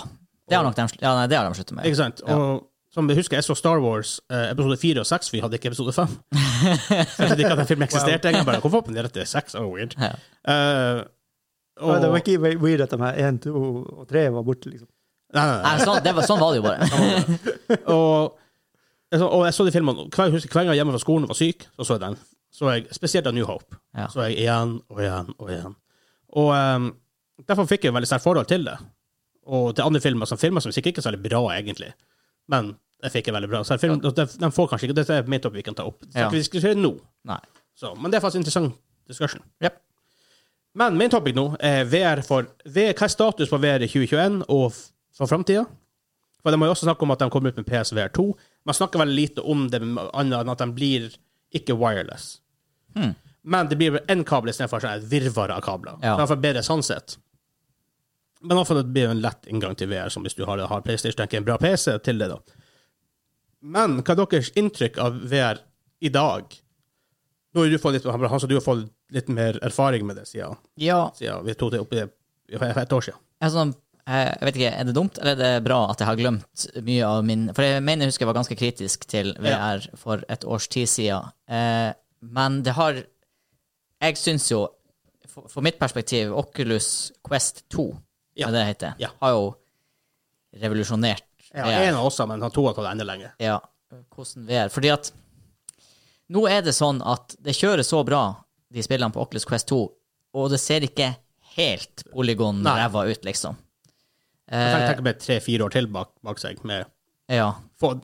S3: Det har nok de, sl- ja, nei, det har de sluttet med.
S1: Ikke sant?
S3: Ja.
S1: Og som jeg husker, jeg så Star Wars eh, episode 4 og 6, for vi hadde ikke episode 5. Så jeg trodde ikke at den filmen eksisterte engang. Bare, Hvorfor oppnå dette 6? Oh, weird.
S3: Ja.
S1: Eh, og,
S2: Ja, Det var ikke we- weird at de her én, to og tre var borte, liksom.
S1: Nei, nei, nei.
S3: Nei, sånn, det var, sånn var det jo bare.
S1: og, jeg så, og jeg så de filmene hver, husker, hver gang jeg var hjemme fra skolen og var syk, så så jeg den. Så jeg, spesielt av New Hope.
S3: Ja.
S1: Så jeg igjen og igjen og igjen. Og ehm, derfor fikk jeg et veldig sterkt forhold til det. Og til andre filmer som filmer som sikkert ikke er så veldig bra, egentlig. Men jeg fikk det veldig bra. Så film, de, de får kanskje ikke Dette er mitt opp vi kan ta opp. Så
S3: Ja.
S1: vi diskuterer nå.
S3: Nei.
S1: Så, men det er faktisk en interessant discussion.
S3: Jep.
S1: Men min topic nå er VR for VR, Hva er status på VR i 2021 og f- for framtida? For de har jo også snakket om at de kommer ut med PSVR2. Man snakker veldig lite om det, med annet enn at de blir ikke wireless.
S3: Hmm.
S1: Men det blir én kabel istedenfor sånn et virvar av kabler.
S3: Ja.
S1: Ja. Derfor bedre sansett. Men iallfall det blir en lett inngang til VR, som hvis du har, har PlayStation, tenker jeg, en bra PC til det, da. Men hva er deres inntrykk av VR i dag? Nå har du fått litt, Hans, du har fått litt mer erfaring med det siden,
S3: Ja,
S1: siden vi tok det opp i for et år siden.
S3: altså, eh, jeg vet ikke, er det dumt, eller er det bra at jeg har glemt mye av min For jeg mener jeg husker jeg var ganske kritisk til VR for et års tid siden. Eh, men det har Jeg syns jo, for, for mitt perspektiv, Oculus Quest 2,
S1: Ja.
S3: er det det heter,
S1: Ja.
S3: har jo revolusjonert
S1: Ja,
S3: VR.
S1: En av oss, men han to har tatt det enda lenger.
S3: Ja, hvordan VR. Fordi at nå er det sånn at det kjører så bra, de spillene på Oculus Quest 2, og det ser ikke helt
S1: Nei.
S3: polygon-ræva ut, liksom.
S1: Jeg tenker-
S3: Eh,
S1: tenker med tre-fire år til bak, bak seg. Med,
S3: ja.
S1: for,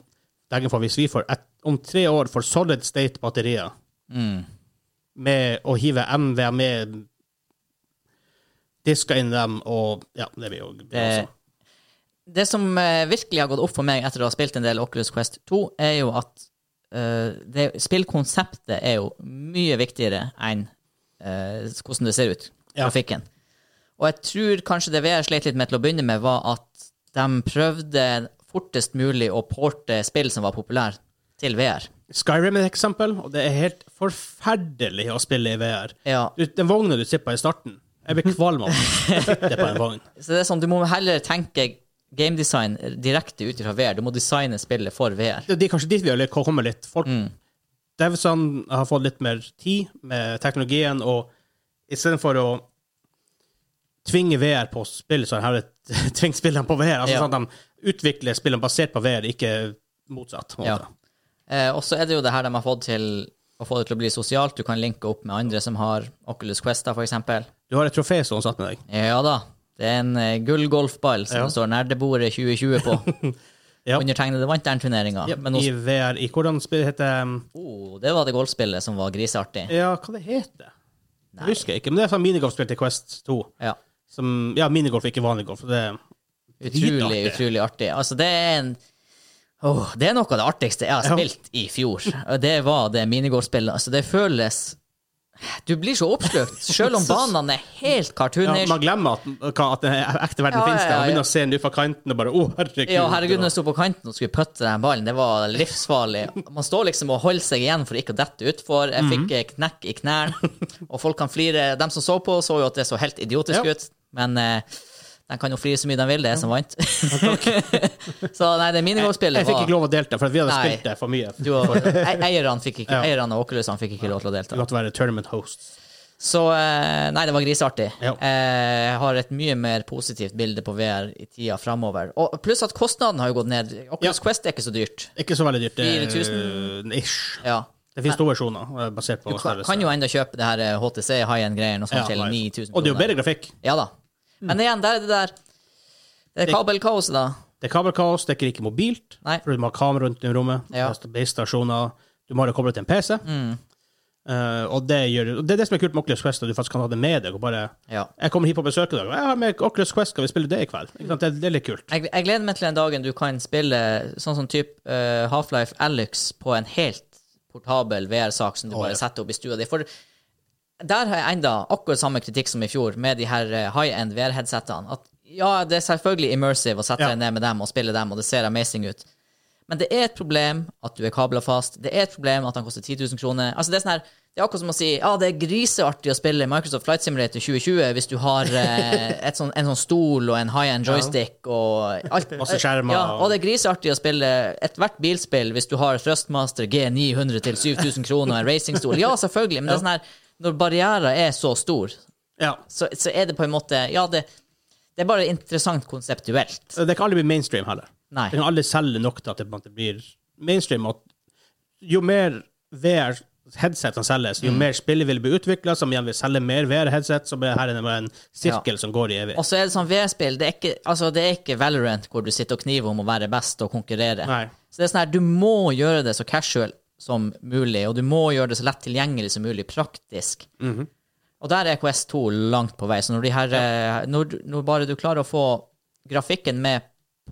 S1: tenker for hvis vi får et, om tre år får solid state-batterier
S3: Mm.
S1: med å hive MVM med disker E, inn dem, og ja, det blir jo det blir
S3: Eh,
S1: også.
S3: det som eh, virkelig har gått opp for meg etter å ha spilt en del Oculus Quest 2, er jo at eh, det, spillkonseptet er jo mye viktigere enn eh, hvordan det ser ut.
S1: Ja.
S3: Trafikken. Og jeg tror kanskje det VR slet litt med til å begynne med, var at de prøvde fortest mulig å porte spill som var populære, til VR.
S1: Skyrim er et eksempel, og det er helt forferdelig å spille i VR.
S3: Ja.
S1: Du, den vogna du sitter på i starten, jeg blir kvalm av å sitte på en vogn.
S3: Så det er sånn, du må heller tenke gamedesign direkte ut fra VR. Du må designe spillet for VR.
S1: Det det er kanskje dit vi har lyst til å komme litt. Folk,
S3: Mm.
S1: Devsene har fått litt mer tid med teknologien, og istedenfor å tvinge VR på spill, så har de tvingt spillene på VR. Altså
S3: Ja.
S1: sånn at De utvikler spillene basert på VR, ikke motsatt. på en
S3: Ja.
S1: måte.
S3: Eh, og så er det jo det her de har fått til å få det til å bli sosialt. Du kan linke opp med andre som har Oculus Quest, da, for eksempel.
S1: Du har et trofé stående satt med deg.
S3: Ja da. Det er en eh, gull golfball som
S1: Ja.
S3: det står nerdebordet 2020 på.
S1: Ja.
S3: Undertegnede vant den turneringa. Men
S1: I
S3: hos,
S1: VR i hvordan spill heter um,
S3: oh, det var det golfspillet som var griseartig.
S1: Ja, hva det heter det?
S3: Nei.
S1: Husker jeg ikke, men det er sånn minigolfspill til Quest 2.
S3: Ja.
S1: Som, ja, minigolf, ikke vanlig golf. Det,
S3: Utrolig,
S1: Dritartig.
S3: utrolig artig. Altså, det er en Åh, Det er noe av det artigste jeg har
S1: Ja.
S3: spilt i fjor. Og Det var det minigolfspillet. Altså, det føles Du blir så oppslukt, selv om banene er helt
S1: ja,
S3: cartoonish.
S1: man glemmer at, hva- at den ekte verden
S3: Ja,
S1: finnes der,
S3: ja, ja,
S1: og begynner
S3: ja.
S1: å se den ut fra kanten og bare Å, herregud.
S3: Ja, herregud, når jeg sto på kanten og skulle putte den ballen, det var livsfarlig. Man står liksom og holder seg igjen for ikke å dette utfor. Jeg
S1: Mhm.
S3: fikk eh, knekk i knærne, og folk kan flire. De som så på, så jo at det så helt idiotisk
S1: Ja.
S3: ut, men eh, de kan jo flire så mye de vil, det er jeg som vant. så nei, det minigolfspillet
S1: Jeg fikk ikke
S3: var
S1: lov å delta, for at vi hadde
S3: Nei.
S1: spilt det for mye.
S3: du og, e- eierne fikk ikke,
S1: Ja.
S3: eierne og Oculusene fikk ikke lov til å
S1: Vi
S3: delta.
S1: måtte være tournament hosts.
S3: Så eh, nei, det var griseartig.
S1: Ja.
S3: Eh, Jeg har et mye mer positivt bilde på VR i tida framover. Pluss at kostnaden har jo gått ned. Oculus Quest er ikke så dyrt.
S1: Ikke så veldig dyrt. det-
S3: 4000?
S1: Ish.
S3: Ja.
S1: Det finnes to versjoner eh, basert på
S3: Du kan, kan jo ennå kjøpe det her eh, HTC high end-greiene og sånn til 9000
S1: Og det er jo bedre Mm. grafikk.
S3: Ja da. Men igjen, der er det der Det er kabelkaoset, da.
S1: Det er kabelkaos, det er ikke like mobilt,
S3: Nei.
S1: for du må ha kamera rundt i rommet,
S3: Ja. Mm.
S1: du har basestasjoner, du må ha det koblet til en PC. Eh, og det, gjør, og det er det som er kult med Oculus Quest, at du faktisk kan ha det med deg. og bare,
S3: Ja.
S1: Jeg kommer hit på besøk i dag, og jeg har med Oculus Quest, skal vi spille det i kveld? Ikke sant? Det, det er litt kult.
S3: Jeg, jeg gleder meg til den dagen du kan spille sånn som type eh, Half-Life Alyx på en helt portabel VR-sak som du
S1: ja.
S3: bare setter opp i stua di. For der har jeg enda akkurat samme kritikk som i fjor med de her eh, high-end VR-headsetene. At ja, det er selvfølgelig immersive å sette
S1: Ja.
S3: deg ned med dem og spille dem, og det ser amazing ut. Men det er et problem at du er kabla fast. Det er et problem at han koster 10 000 kroner. Altså, det er sånn her Det er akkurat som å si ja, det er griseartig å spille Microsoft Flight Simulator 2020 hvis du har eh, et sånn, en sånn stol og en high-end joystick og alt.
S1: Masse skjermer.
S3: Ja, og det er griseartig å spille ethvert bilspill hvis du har Thrustmaster G900 til 7000 kroner og en racingstol. Ja, selvfølgelig, men det er sånn her, når barrierer er så stor,
S1: Ja.
S3: så, så er det på en måte Ja, det, det er bare interessant konseptuelt.
S1: Det kan aldri bli mainstream heller.
S3: Nei.
S1: Det kan aldri selge nok til at det på en måte blir mainstream. At jo mer VR-headset som selges, jo mer spill vil bli utvikla, som igjen vil selge mer VR-headset, så blir her er det bare en sirkel som går i evig.
S3: Og så er det sånn VR-spill, det, er ikke- altså, det er ikke Valorant hvor du sitter og kniver om å være best og konkurrere.
S1: Nei.
S3: Så det er sånn her, du må gjøre det så casual som mulig, og du må gjøre det så lett tilgjengelig som mulig, praktisk.
S1: Mhm.
S3: Og der er KS2 langt på vei, så når, de her, eh, når, du- når bare du klarer å få grafikken med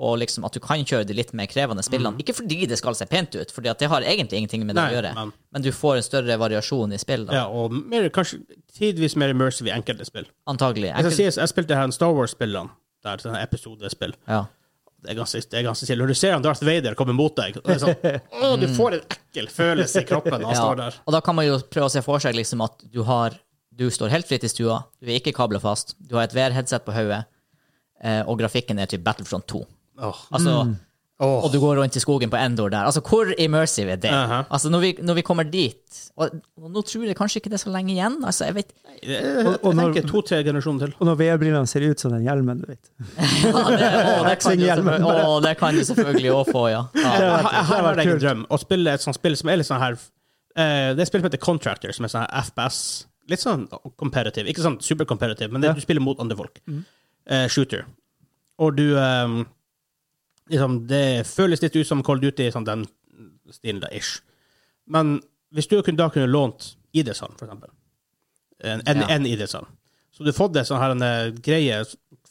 S3: på liksom at du kan kjøre de litt mer krevende spillene, ikke fordi det skal se pent ut, for det har egentlig ingenting med det
S1: Mhm. Nei,
S3: å gjøre,
S1: men-
S3: men. du får en større variasjon i spill, da,
S1: Ja, og mer, kanskje tidvis mer immersive i enkelte spill. Jeg,
S3: antagelig. Jeg
S1: skal
S3: kunne-
S1: sies, jeg spilte her en Star Wars-spillene, der sånne episodespill.
S3: ja.
S1: Det er ganske, det er ganske stille. Når du ser han Darth Vader komme mot deg, og det er sånn, å, du får en ekkel følelse i kroppen når han
S3: Ja,
S1: står der.
S3: Og da kan man jo prøve å se for seg liksom at du har Du står helt fritt i stua, du er ikke kabla fast, du har et VR-headset på hodet, eh, og grafikken er til Battlefront 2.
S1: Åh.
S3: Altså,
S1: Åh.
S3: Og du går rundt i skogen på Endor der. Altså, hvor immersive er det?
S1: Aha.
S3: Altså, når vi, når vi kommer dit og, og nå tror jeg kanskje ikke det er så lenge igjen. Altså, jeg vet
S1: Jeg
S2: og når-
S1: tenker to-tre generasjoner til.
S2: Og når VR-brillene ser ut som den hjelmen, du vet.
S3: ja, det, å, det kan du
S2: Hexing-hjelmen.
S3: selvfølgelig- å, det kan du selvfølgelig òg få, ja. ja.
S1: Jeg, jeg, jeg har
S2: vært
S1: en egen
S2: kult.
S1: drøm å spille et sånt spill som er litt sånn her eh, Det er et spill som heter Contractor, som er sånn her FPS. Litt sånn competitive. Ikke sånn supercompetitive, men det,
S2: Ja.
S1: du spiller mot andre folk. Eh, shooter. Og du eh, liksom, Det føles litt ut som Cold Duty, sånn den stilen der, ish. Men hvis du kunne, da kunne lånt ID-en, for eksempel En, en,
S3: Ja.
S1: en ID-en. Så du fått det sånn her en eh, greie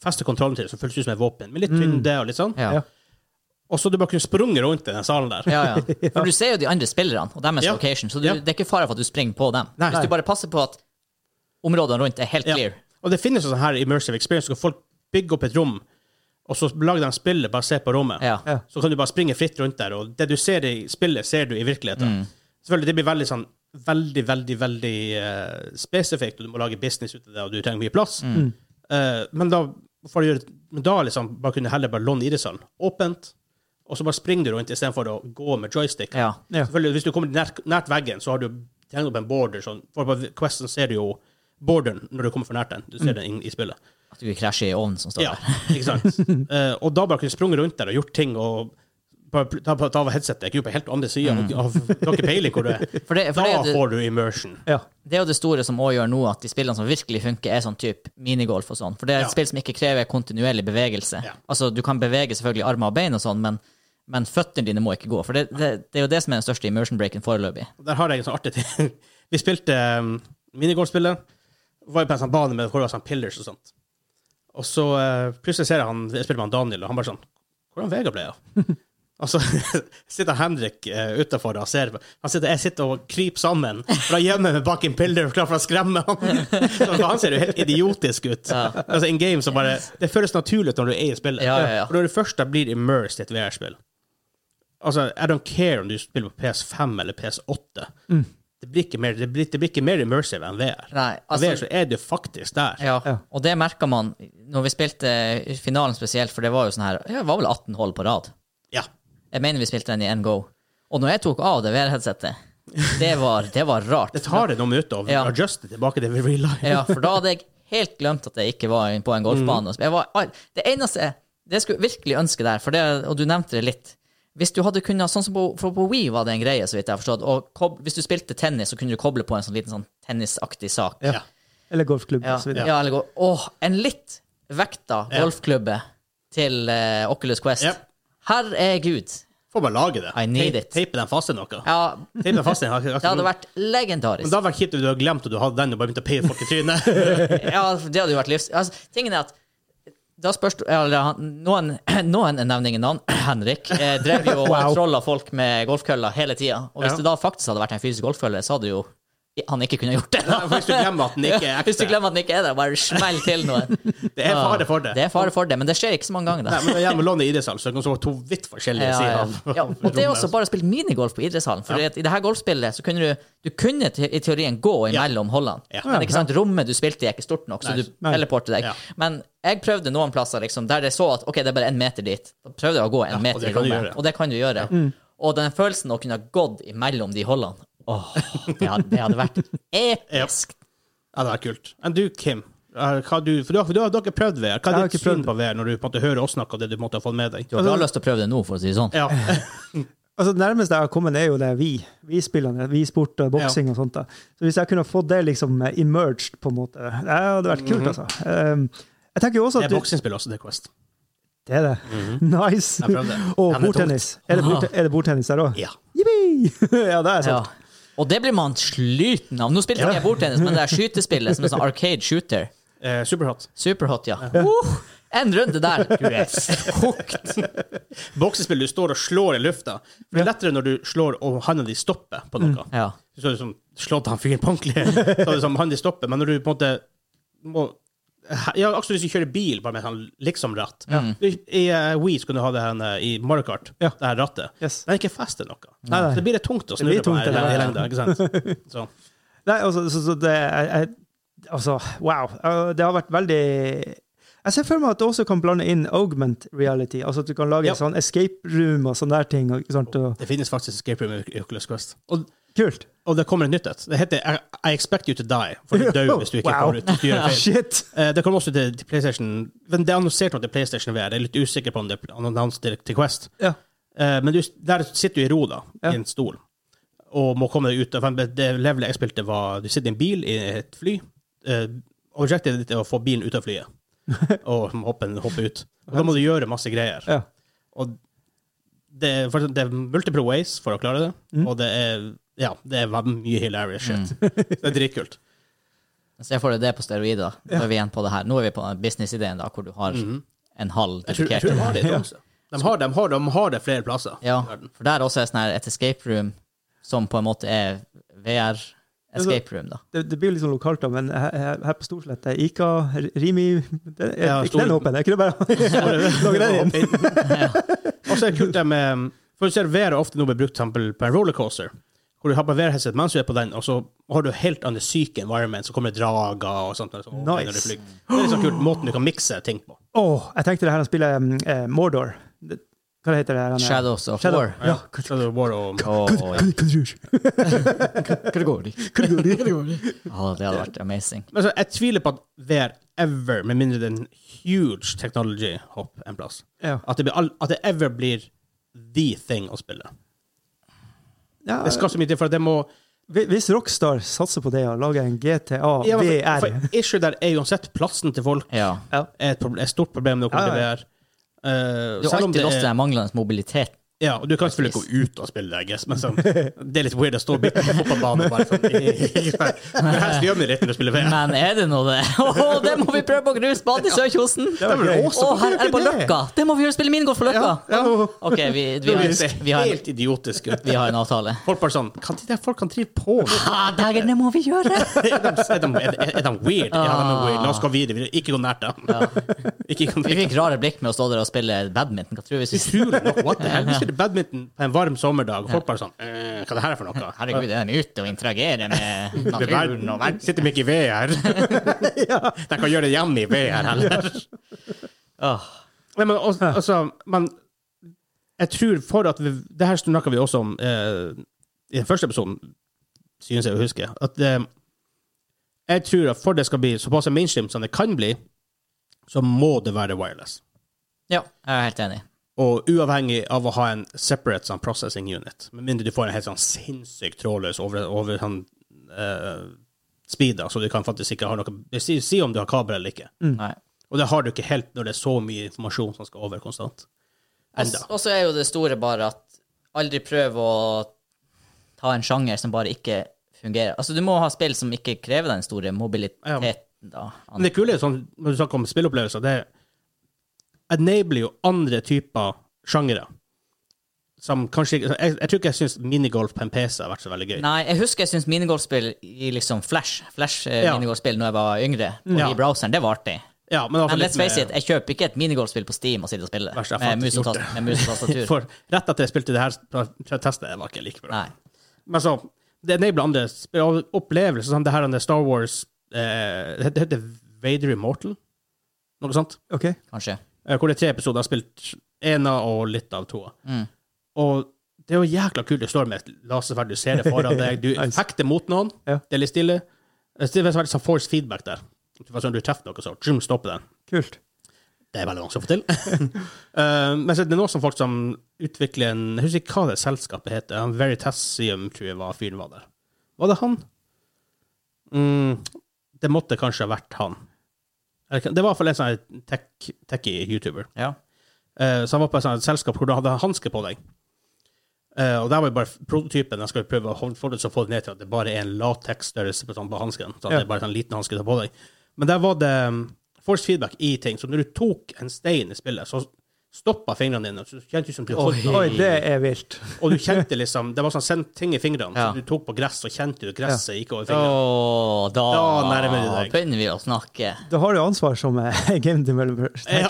S1: feste kontrollen til, som føles ut som et våpen, med litt tyngde og litt sånn.
S3: Ja.
S1: Og så du bare kunne sprunget rundt i den salen der.
S3: Ja, ja. For du ser jo de andre spillerne og deres
S1: Ja.
S3: location, så du,
S1: Ja.
S3: det er ikke fare for at du springer på dem.
S1: Nei.
S3: Hvis du bare passer på at områdene rundt er helt
S1: Ja.
S3: clear.
S1: Og det finnes jo sånn her immersive experience, hvor folk bygger opp et rom, og så lager de spillet basert på rommet.
S3: Ja.
S2: Ja.
S1: Så kan du bare springe fritt rundt der, og det du ser i spillet, ser du i virkeligheten.
S2: Mm.
S1: Selvfølgelig, det blir veldig sånn veldig, veldig, veldig eh, spesifikt, og du må lage business ut av det, og du trenger mye plass.
S2: Mm.
S1: Eh, men da for å gjøre men da liksom bare kunne heller bare låne i det sånn, åpent, og så bare springer du rundt istedenfor å gå med joystick.
S3: Ja.
S2: Ja.
S1: Selvfølgelig, Hvis du kommer nært, nært veggen, så har du tegnet opp en border. Sånn, for på Questen ser du jo borderen når du kommer for nært den. Du
S2: Mm.
S1: ser den inn i spillet.
S3: At du ikke krasjer i ovnen som står
S1: Ja,
S3: der.
S1: ikke sant? Eh, og da bare kunne sprunget rundt der og gjort ting og bare pl- ta, ta av headsetet, jeg gikk jo på helt andre sida, mm. du har ikke peiling hvor du er.
S3: For det,
S1: Da
S3: for det, er jo det,
S1: får du immersion.
S2: Ja.
S3: det er jo det store som òg gjør nå at de spillene som virkelig funker, er sånn type minigolf og sånn. For det er et
S1: Ja.
S3: spill som ikke krever kontinuerlig bevegelse.
S1: Ja.
S3: Altså, du kan bevege selvfølgelig armer og bein og sånn, men, men føttene dine må ikke gå. For det, det, det er jo det som er den største immersion breaken foreløpig.
S1: Og Der har jeg en sånn artig ting. Vi spilte um, minigolfspillet. Var jo på en sånn bane med hvor det var sånn pillars og sånt. Og så eh, plutselig ser jeg han jeg spilte med han Daniel, og han bare sånn Hvor er han Vegard ble av? Og så sitter Henrik uh, utafor og ser på. Han sitter, jeg sitter og kryper sammen for å gjemme meg bak en pillar klar for å skremme han. Så han ser jo helt idiotisk ut. Altså In game så bare Det føles naturlig når du er i spillet.
S3: Ja, ja, ja.
S1: For når du først da blir immersed i et VR-spill Altså, I don't care om du spiller på PS5 eller PS8. Det, blir ikke mer, det, blir, det blir ikke mer immersive enn VR.
S3: Mm. Nei,
S1: Altså, VR så er du faktisk der.
S3: Ja,
S2: Ja.
S3: og det merka man når vi spilte finalen spesielt, for det var jo sånn her ja, Det var vel 18 hull på rad.
S1: Ja.
S3: Jeg mener vi spilte den i én go. Og når jeg tok av det VR-headsetet, det var, det var rart.
S1: Det tar det noen minutter å
S3: Ja.
S1: adjuste tilbake til real life.
S3: Ja, for da hadde jeg helt glemt at jeg ikke var på en golfbane. Jeg var, all- det eneste det jeg skulle virkelig ønske der, for det, og du nevnte det litt Hvis du hadde kunnet, sånn som på, for på Wii var det en greie, så vidt jeg har forstått, og kob, hvis du spilte tennis, så kunne du koble på en sånn liten sånn tennisaktig sak.
S1: Ja.
S2: Eller golfklubb
S3: Ja,
S2: og så videre.
S3: ja, eller gå Åh, en litt vekta golfklubbe til eh, Oculus Quest.
S1: Ja.
S3: Herregud.
S1: Får bare lage det.
S3: I need
S1: Tei-
S3: it.
S1: Teipe den fast i noe.
S3: Ja,
S1: Teipe den fast i noe.
S3: det hadde vært
S1: Men
S3: legendarisk.
S1: da hadde det vært kjipt om du hadde glemt at du hadde den og bare begynte å peie folk i trynet.
S3: Ja, det hadde jo vært livs... Altså, tingen er at da spørs du eller, han- Noen, noen nevner ingen navn. Henrik eh, drev jo og
S2: Wow.
S3: trolla folk med golfkøller hele tida. Og hvis
S1: Ja.
S3: det da faktisk hadde vært en fysisk golfkølle, så hadde det jo han ikke kunne gjort det. da.
S1: Hvis du glemmer at den ikke er
S3: Hvis du
S1: ekte.
S3: glemmer at den ikke er der, bare smell til noe.
S1: Det er fare for det.
S3: Det er fare for det, men det skjer ikke så mange ganger.
S1: Nei,
S3: da.
S1: men Gjennom lånet i idrettshall, så kan du se to vidt forskjellige
S3: Ja, ja.
S1: sider. av-
S3: Ja, og det er også bare å spille minigolf på idrettshallen. For at i det her golfspillet så kunne du Du kunne te- i teorien gå imellom holdene,
S1: Ja.
S3: men ikke sant, rommet du spilte i, er ikke stort nok, så
S1: Nei.
S3: du teleporter deg.
S1: Ja.
S3: Men jeg prøvde noen plasser liksom, der jeg så at ok, det er bare én meter dit. Da prøvde jeg å gå en meter
S1: det
S3: i
S1: kan du
S3: rommet,
S1: gjøre. Mm.
S3: og det kan du gjøre. Og den følelsen å kunne ha gått imellom de holdene, åh, det, hadde, det hadde vært episk.
S1: Ja, det er kult. Men du, Kim, er- hva du, for du, har- for du har dere har prøvd VR. Hva
S2: har
S1: er ditt
S2: ikke prøvd
S1: syn på VR når du på en måte hører oss snakke om det du måtte ha fått med deg? Altså,
S3: Du har bra lyst til å prøve det nå, for å si det sånn.
S1: Ja.
S2: Altså, det nærmeste jeg har kommet, er jo det vi. Vi-spillene. Vi-sport og boksing og sånt. da. Så Hvis jeg kunne fått det liksom eh, emerged, på en måte Det hadde vært kult, altså. Um, jeg tenker jo også
S1: Mhm. Det
S2: at
S1: er
S2: du,
S1: boksingsspill også, det er Quest.
S2: Det er det. Nice!
S1: Jeg prøvde. Ja,
S2: Og
S1: men det er
S2: bordtennis. Er det, bord, er det bordtennis der òg?
S1: Ja.
S2: Jippi! ja, det er
S3: Ja.
S2: sant.
S3: Og det blir man sliten av. Nå spilte ikke jeg bordtennis, men det er skytespillet som er sånn arcade shooter.
S1: Eh, Superhot.
S3: Superhot, ja. Uh, en runde der. Du er kokt.
S1: Boksespill, du står og slår i lufta. Det er lettere når du slår og hånda di stopper på noe.
S3: Ja.
S1: Så er det sånn, slått han fyren på ordentlig. Så er det sånn, hånda di stopper. Men når du på en måte må ja, Akkurat hvis du kjører bil bare med sånn liksom-ratt. Du- I uh, Wii så kan du ha det her eh, i Mario Kart,
S2: Ja.
S1: det her rattet.
S2: Yes.
S1: Den er ikke fest til noe.
S2: Nei, nei.
S1: Så det blir litt tungt å
S2: Det blir
S1: snurre på
S2: tungt,
S1: her
S2: det
S1: i
S2: der.
S1: lengda, ikke sant? Så.
S2: Nei, altså, så, så det er, er- Altså, wow. Uh, Det har vært veldig jeg ser for meg at du også kan blande inn augment reality. altså at Du kan lage
S1: Ja.
S2: en sånn escape room og sånne der ting. og- Ikke sant? Og,
S1: Det finnes faktisk escape room i Oculus Quest. Og,
S2: kult!
S1: og det kommer et nytt et. Det heter I, I expect you to die, for du dør hvis du ikke
S2: Oh, Wow.
S1: kommer ut. Hvis du gjør feil.
S2: Ah, Shit!
S1: Eh, Det kommer også til, til PlayStation. Men det er annonsert nå til PlayStation VR. Jeg er litt usikker på om det er annonset til- til Quest.
S2: Ja.
S1: Eh, Men du, der sitter du i ro, da,
S2: Ja.
S1: i en stol, og må komme deg ut. av- Det levelet jeg spilte, var Du sitter i en bil i et fly. Eh, Objektet ditt er å få bilen ut av flyet og hoppe, hoppe ut. Og da må du gjøre masse greier.
S2: ja.
S1: Og det, er- for, det er multiple ways for å klare det, og det er, ja, det er veldig mye hilarious shit. Det er dritkult.
S3: Så jeg får det på steroider. Da Nå er vi igjen på det her. Nå er vi på den businessideen, da, hvor du har en halv
S1: Mhm. Jeg tror, jeg tror
S3: dedikert
S1: de har det i Tromsø. De har, de, har, de har det flere plasser. i
S3: Ja,
S1: verden.
S3: for der også er sånn her et escape room som på en måte er VR escape room, da.
S2: Det, det blir litt sånn lokalt, da, men her, her her på Storslett er Ica, Rimi det, er,
S1: Ja,
S2: Ikke
S1: Stor-
S2: den åpen? Er ikke det bare lage den inn?
S1: Og så er det kult det med For du ser VR er ofte nå blir brukt for eksempel på en rollercoaster. Hvor du har på VR-headset mens du er på den, og så har du helt annet syke environment, så kommer det drager og sånt. Og sånt
S2: Nice.
S1: når du flyr. Det er litt sånn kult måten du kan mikse ting på.
S2: Åh, jeg tenkte det her han spiller um, eh, Mordor. Det, hva heter det her? Han, er-
S3: Shadows of
S2: Shadow.
S3: War.
S2: Ja.
S1: Så det er bare å-
S3: Og, og,
S2: Kod- Kodrush.
S3: Kategori. Ja, det hadde vært amazing.
S1: Men så, jeg tviler på at VR ever, med mindre det er en huge technology hopp en plass,
S2: Ja.
S1: at det, blir, all- at det ever blir the thing å spille.
S2: Ja,
S1: Det skal så mye til, for det må
S2: hvi- hvis Rockstar satser på det og lager en GTA
S1: Ja, men
S2: VR
S1: for, for issue der er uansett plassen til folk
S3: Ja.
S1: er et, proble- et stort problem når det kommer
S2: Ja, ja.
S1: til VR. Eh,
S3: Du har
S1: selv om det
S3: alltid også
S1: er,
S3: den manglende mobiliteten.
S1: ja, og du kan selvfølgelig gå ut og spille det, I guess, men sånn, det er litt weird å stå bitte på fotballbanen og bare sånn Men helst gjør man det litt når du spiller VR.
S3: Men er det nå det? Åh, det må vi prøve på grusbanen i Sørkjosen!
S1: Det er vel
S2: ok.
S1: også-
S3: Å, her er det på
S2: Hvorfor gjør vi ikke
S3: Løkka! Det må vi gjøre, spille minigolf på Løkka! OK, vi, vi,
S1: Det
S3: har,
S1: ser
S3: vi, har,
S1: helt idiotisk ut.
S3: vi har en avtale.
S1: Folk bare sånn Hva er det der folk kan drive på med?
S3: Ah, dagen, det må vi gjøre!
S1: Er de, er de, er de- er de weird? Ja, de er weird. La oss gå videre. Vi- Ikke gå nært dem. Ikke gå
S3: Vi
S1: nært
S3: fikk rare blikk med å stå der og spille badminton. Hva tror vi synes?
S1: Utrolig nok. What the hell? Vi spiller badminton på en varm sommerdag, og folk bare sånn eh, Hva er det her for noe?
S3: Herregud, er de ute og interagerer med
S1: Det er verden.
S3: naturen og verden?
S1: Sitter de ikke i VR? De kan gjøre det hjemme i VR heller.
S3: Åh,
S1: Nei, men al- altså, men jeg tror for at vi, Det her snakka vi også om eh, i den første episoden, synes jeg å huske. At eh, jeg tror at for det skal bli såpass mainstream som det kan bli, så må det være wireless.
S3: Ja, jeg er helt enig.
S1: Og uavhengig av å ha en separate sånn, processing unit. Med mindre du får en helt sånn sinnssykt trådløs over, over sånn, eh, speed, da, så du kan faktisk ikke ha noe Si, si om du har kabel eller ikke.
S3: Nei.
S1: Og det har du ikke helt når det er så mye informasjon som skal over konstant. Enda.
S3: Og så er jo det store bare at aldri prøv å ta en sjanger som bare ikke fungerer. Altså, du må ha spill som ikke krever den store mobiliteten, da.
S1: Men det kule er sånn, når du snakker om spilleopplevelser, det enabler jo andre typer sjangere. som kanskje ikke- Jeg, jeg tror ikke jeg syns minigolf på en PC har vært så veldig gøy.
S3: Nei, jeg husker jeg syntes minigolfspill i liksom Flash, Flash eh,
S1: Ja.
S3: minigolfspill når jeg var yngre, på,
S1: Ja.
S3: i browseren, det var artig.
S1: Ja, men, i hvert fall
S3: Men let's
S1: litt
S3: face
S1: med-
S3: it, jeg kjøper ikke et minigolfspill på Steam og sitter og spiller
S1: Verst, jeg har
S3: med mus
S1: faktisk
S3: og tast- med mus og tastatur.
S1: For rett etter jeg spilte det her, testet jeg var ikke like bra.
S3: Nei.
S1: Men så, det enabler andre sp- opplevelser, som det her andre Star Wars eh, Det det heter Vader Immortal, noe sånt?
S2: OK?
S3: Kanskje.
S1: Eh, Hvor det er tre episoder. Jeg har spilt ena og litt av toa.
S3: Mm.
S1: Og det er jo jækla kult. Du står med et lasersverd, du ser det foran deg, du
S2: Nice.
S1: fekter mot noen.
S2: Ja.
S1: Det er litt stille. Det er veldig sånn force feedback der. Du, får sånn, du treffer noe, så tjum, stopper den.
S2: Kult.
S1: Det er veldig vanskelig å få til. Eh, men så er det noen som folk som utvikler en Jeg husker ikke hva det selskapet heter. Han Veritasium, tror jeg var fyren var der. Var det han? Mm, det måtte kanskje ha vært han. Eller kan- Det var i hvert fall en sånn tech- techie YouTuber.
S3: Ja.
S1: Eh, så han var på et sånt selskap hvor du hadde hansker på deg. Eh, og der var jo bare prototypen. Jeg skal jo prøve å holde- få det, så få det ned til at det bare er en lateksstørrelse på, sånn, på hansken. Så at
S2: Ja.
S1: det er bare en sånn liten hanske du har på deg. Men der var det um, force feedback i ting. Så når du tok en stein i spillet, så stoppa fingrene dine. Så kjente du som du holdt
S2: Oi, det er vilt.
S1: Og du kjente liksom Det var sånn sendt ting i fingrene.
S3: Ja.
S1: Så du tok på gress, og kjente du gresset gikk over fingrene.
S3: Åh, da,
S1: Da nærmer du deg.
S3: begynner vi å snakke.
S2: Da har du ansvar som eh, game developer, tenker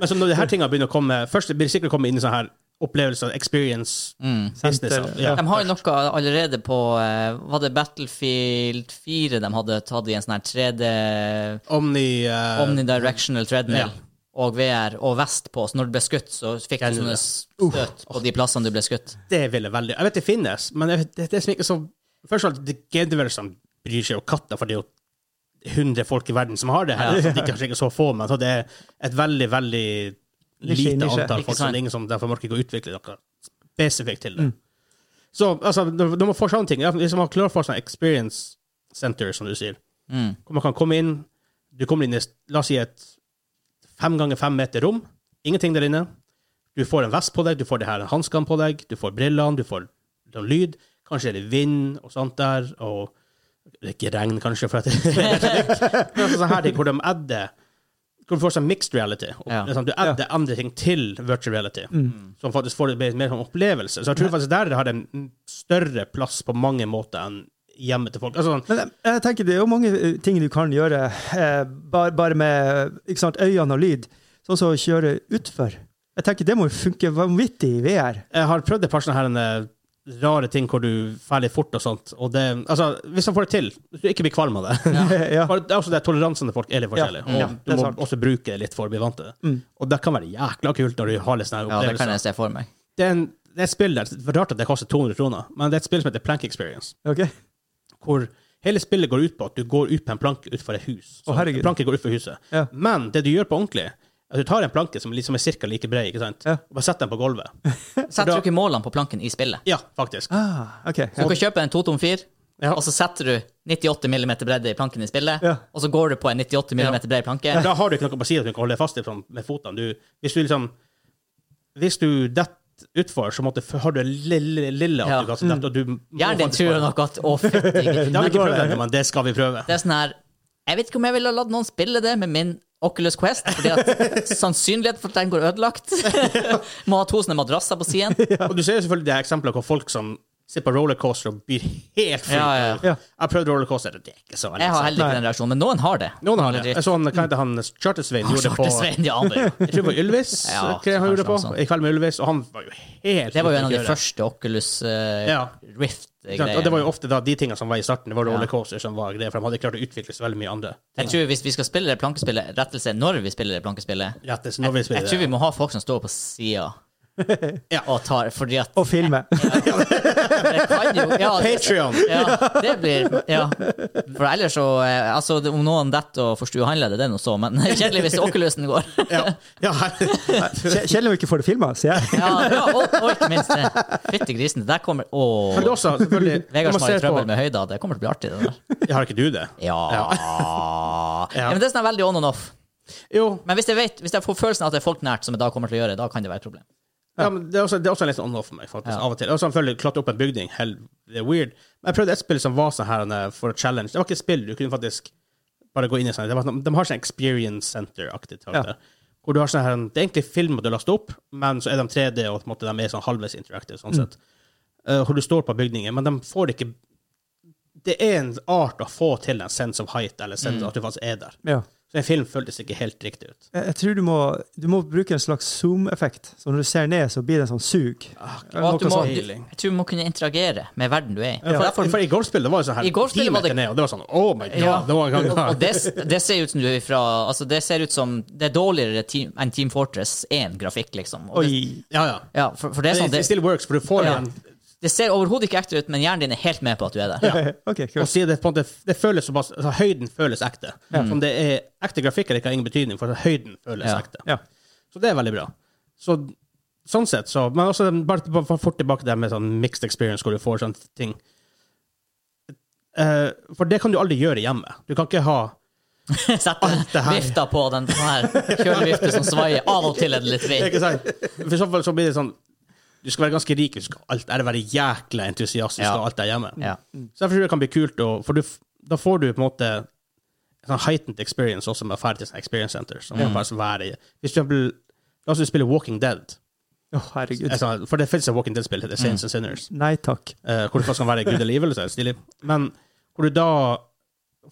S1: Men så når de her tingene begynner å komme Først det blir det sikkert å komme inn i sånne her opplevelser, experience,
S2: Mm.
S1: business
S2: Senter,
S1: ja.
S3: De har jo noe allerede på eh, Var det Battlefield 4 de hadde tatt i en sånn her 3D
S1: Omni, eh,
S3: Omnidirectional treadmill
S1: ja.
S3: og VR og vest på, så når du ble skutt, så fikk
S1: Kan
S3: du
S1: du
S3: sånne
S1: det?
S3: støt på de plassene du ble skutt.
S1: Det ville veldig Jeg vet det finnes, men jeg vet, det, det er som ikke så Først og fremst, det game developers bryr seg jo katta, for det er jo 100 folk i verden som har det her.
S3: Ja.
S1: Så de er kanskje ikke så få, men så det er et veldig, veldig
S2: Nisje,
S1: lite
S2: nisje.
S1: antall
S3: Ikke
S1: folk. Så
S3: sant? Mm.
S1: det er ingen som derfor orker ikke å utvikle noe spesifikt til det. Så altså, når når man får sånne ting ja, Hvis man klarer å få sånn experience center, som du sier,
S3: Mm.
S1: hvor man kan komme inn Du kommer inn i la oss si et fem ganger fem meter rom. Ingenting der inne. Du får en vest på deg, du får de her hanskene på deg, du får brillene, du får noe lyd. Kanskje er det vind og sånt der, og det er ikke regn, kanskje, for at det er sånn her ting hvor de adder hvor du får sånn mixed reality. Og,
S3: Ja. Mm.
S1: liksom, du adder andre ting til virtual reality, som faktisk får det mer- mer som opplevelse. Så jeg tror faktisk der det har en større plass på mange måter enn hjemmet til folk. Altså, sånn,
S2: Men jeg, jeg tenker det er jo mange eh, ting du kan gjøre eh, bare, bare med ikke sant, øynene og lyd. Sånn som å kjøre utfor. Jeg tenker det må jo funke vanvittig i VR.
S1: Jeg har prøvd et par sånne her eh, rare ting hvor du ferdig fort og sånt, og det Altså, hvis man får det til, hvis du ikke blir kvalm av det
S2: ja.
S1: For Det er også det toleransen til folk er litt forskjellig,
S2: Ja, ja,
S1: og
S2: det er
S1: du må
S2: sant.
S1: også bruke det litt for å bli vant til det.
S2: Mm.
S1: Og det kan være jækla kult når du har litt sånne her
S3: Ja, det kan
S1: opplevelser.
S3: jeg se for meg.
S1: det, er en, det er et spill der, det er rart at det koster 200 kroner, men det er et spill som heter Plank Experience,
S2: Ok?
S1: hvor hele spillet går ut på at du går ut på en planke utenfor et hus.
S2: Å, herregud.
S1: planken går ut for huset.
S2: Ja.
S1: Men det du gjør på ordentlig, er at du tar en planke som liksom er cirka like bred, ikke sant?
S2: Ja.
S1: og bare setter den på gulvet.
S3: Setter du ikke målene på planken i spillet?
S1: Ja, faktisk.
S2: Ah, ok.
S3: Så du kan kjøpe en 224,
S1: Ja.
S3: og så setter du 98 mm bredde i planken i spillet,
S2: Ja.
S3: og så går du på en 98 mm bred planke.
S1: Da har du ikke noe på siden du kan holde fast i sånn, med fotene. Du, hvis du liksom Hvis du detter utfor, så måtte, har du en lille, lille at
S3: Ja. Mm.
S1: du kan dette, og du må
S3: Hjernen din
S1: faktisk
S3: tror
S1: bare-
S3: nok at Å, fytti
S1: Det har vi
S3: grisen.
S1: ikke prøvd ennå, men det skal vi prøve.
S3: Det er sånn her Jeg vet ikke om jeg ville ha latt noen spille det med min Oculus Quest, fordi at sannsynligheten for at den går ødelagt Må ha to sånne madrasser på siden.
S1: Og du ser jo selvfølgelig det eksempelet hvor folk som sitter på rollercoaster og blir helt fri.
S3: Ja, ja.
S2: Ja.
S1: Jeg har prøvd rollercoaster, det er ikke så veldig.
S3: Jeg har heller
S2: Nei.
S3: ikke den reaksjonen, men noen har det.
S1: Noen har det. Jeg så han, hva heter han Chartersvein gjorde det på Jeg
S3: Charter-Svein, de andre.
S1: tror det var Ylvis
S3: Ja,
S1: hva han gjorde det på.
S3: kanskje noe sånt.
S1: I kveld med Ylvis, og han var jo helt
S3: Det var jo en
S1: ute
S3: av de
S1: å kjøre.
S3: første Oculus eh,
S1: Ja. Ikke sant?
S3: Rift-greiene.
S1: Og det var jo ofte da de tingene som var i starten, det var rollercoaster som var greia, for de hadde klart å utvikle så veldig mye andre.
S3: Jeg tror hvis vi skal spille det plankespillet, rettelse når vi spiller det plankespillet
S1: Rettes, når vi
S3: Jeg
S1: spiller
S3: tror vi
S1: det.
S3: må ha folk som står på sida
S1: Ja.
S3: og tar Fordi at
S2: Og filme.
S3: det kan jo Ja, det,
S1: Patreon
S3: ja, det blir Ja. For ellers så eh, Altså, det- om noen detter og får stuehandle, det er nå så, men kjedelig hvis Oculusen går.
S1: Ja. ja.
S2: Kje- Kjedelig om vi ikke får det filma, sier jeg.
S3: Ja, ja og, og ikke minst det. Fytti grisen, det der kommer Å.
S1: Men det er også, selvfølgelig når
S3: Vegard
S1: man
S3: som har
S1: ser
S3: litt trøbbel
S1: på-
S3: med høyder. Det kommer til å bli artig, det der.
S1: Ja, Har ikke du det?
S3: Ja.
S1: Ja.
S3: ja. Men det er sånn veldig on and off.
S1: Jo.
S3: Men hvis jeg, vet, hvis jeg får følelsen av at det er folk nært, som jeg da kommer til å gjøre, da kan det være et problem.
S1: Ja, men det, er også, det er også en liten on-off for meg, faktisk,
S3: Ja.
S1: av og til. Og selvfølgelig klatre opp en bygning. Hell, det er weird. Men jeg prøvde et spill som var sånn her eh, for å challenge. Det var ikke et spill, du kunne faktisk bare gå inn i sånn. Det var, sånn- de har sånn experience center-aktig.
S2: Ja.
S1: karakter. Hvor du har sånn her, det er egentlig filmer du laster opp, men så er de 3D, og på en måte de er sånn halvveis interactive. sånn sett. Eh, hvor du står på bygninger, men de får ikke Det er en art å få til en sense of height, eller sense at du faktisk er der.
S2: Ja.
S1: Så en film føltes ikke helt riktig ut.
S2: Eh, Jeg, jeg tror du må, du må bruke en slags zoom-effekt. Så når du ser ned, så blir det en sånn sug.
S3: Ah, Og at du må, du,
S1: Feeling.
S3: jeg tror du må kunne interagere med verden du er i.
S1: sånn. Ja, for, for, for I golfspillet var det sånn her
S3: I golfspillet
S1: ti
S3: var det-
S1: meter ned, og det var sånn Oh my god!
S3: Ja.
S1: Det var en gang
S3: Og og det, det ser ut som du er fra altså Det ser ut som Det er dårligere team, enn Team Fortress 1-grafikk, liksom. Og det,
S2: Oi.
S1: Ja, ja.
S3: ja, for, for det er sånn
S1: det,
S3: Det,
S1: still works, for du får
S3: Ja.
S1: en
S3: det ser overhodet ikke ekte ut, men hjernen din er helt med på at du er der.
S2: OK,
S1: Og
S2: kult.
S1: siden det, på en måte, det føles såpass, altså, høyden føles ekte. Som det er ekte grafikker ikke har ingen betydning, for høyden føles
S3: Ja.
S1: ekte.
S2: Ja.
S1: Så det er veldig bra. Så, sånn sett, så Men også den- bare, bare fort tilbake der med sånn mixed experience, hvor du får sånne ting. Eh, for det kan du aldri gjøre hjemme. Du kan ikke ha
S3: Sette
S1: det her.
S3: vifta på den sånn her kjølevifte som svaier. Av og til er det litt vind.
S1: Ikke sant? For i så fall så blir det sånn Du skal være ganske rik, du skal alt, eller være jækla entusiastisk
S3: Ja.
S1: og alt der hjemme.
S3: Ja.
S1: Så derfor tror jeg det kan bli kult, å- for du, f- da får du på en måte en sånn heightened experience også med å dra til sånne experience center. Som kan faktisk være i. Hvis for eksempel, La oss si du spiller Walking Dead,
S2: Å, herregud.
S1: Eh, sånn, for det finnes et Walking Dead-spill, det er Saints and Sinners,
S2: Nei takk.
S1: eh, hvor du faktisk kan være good eller evil, så er det stilig. men hvor du da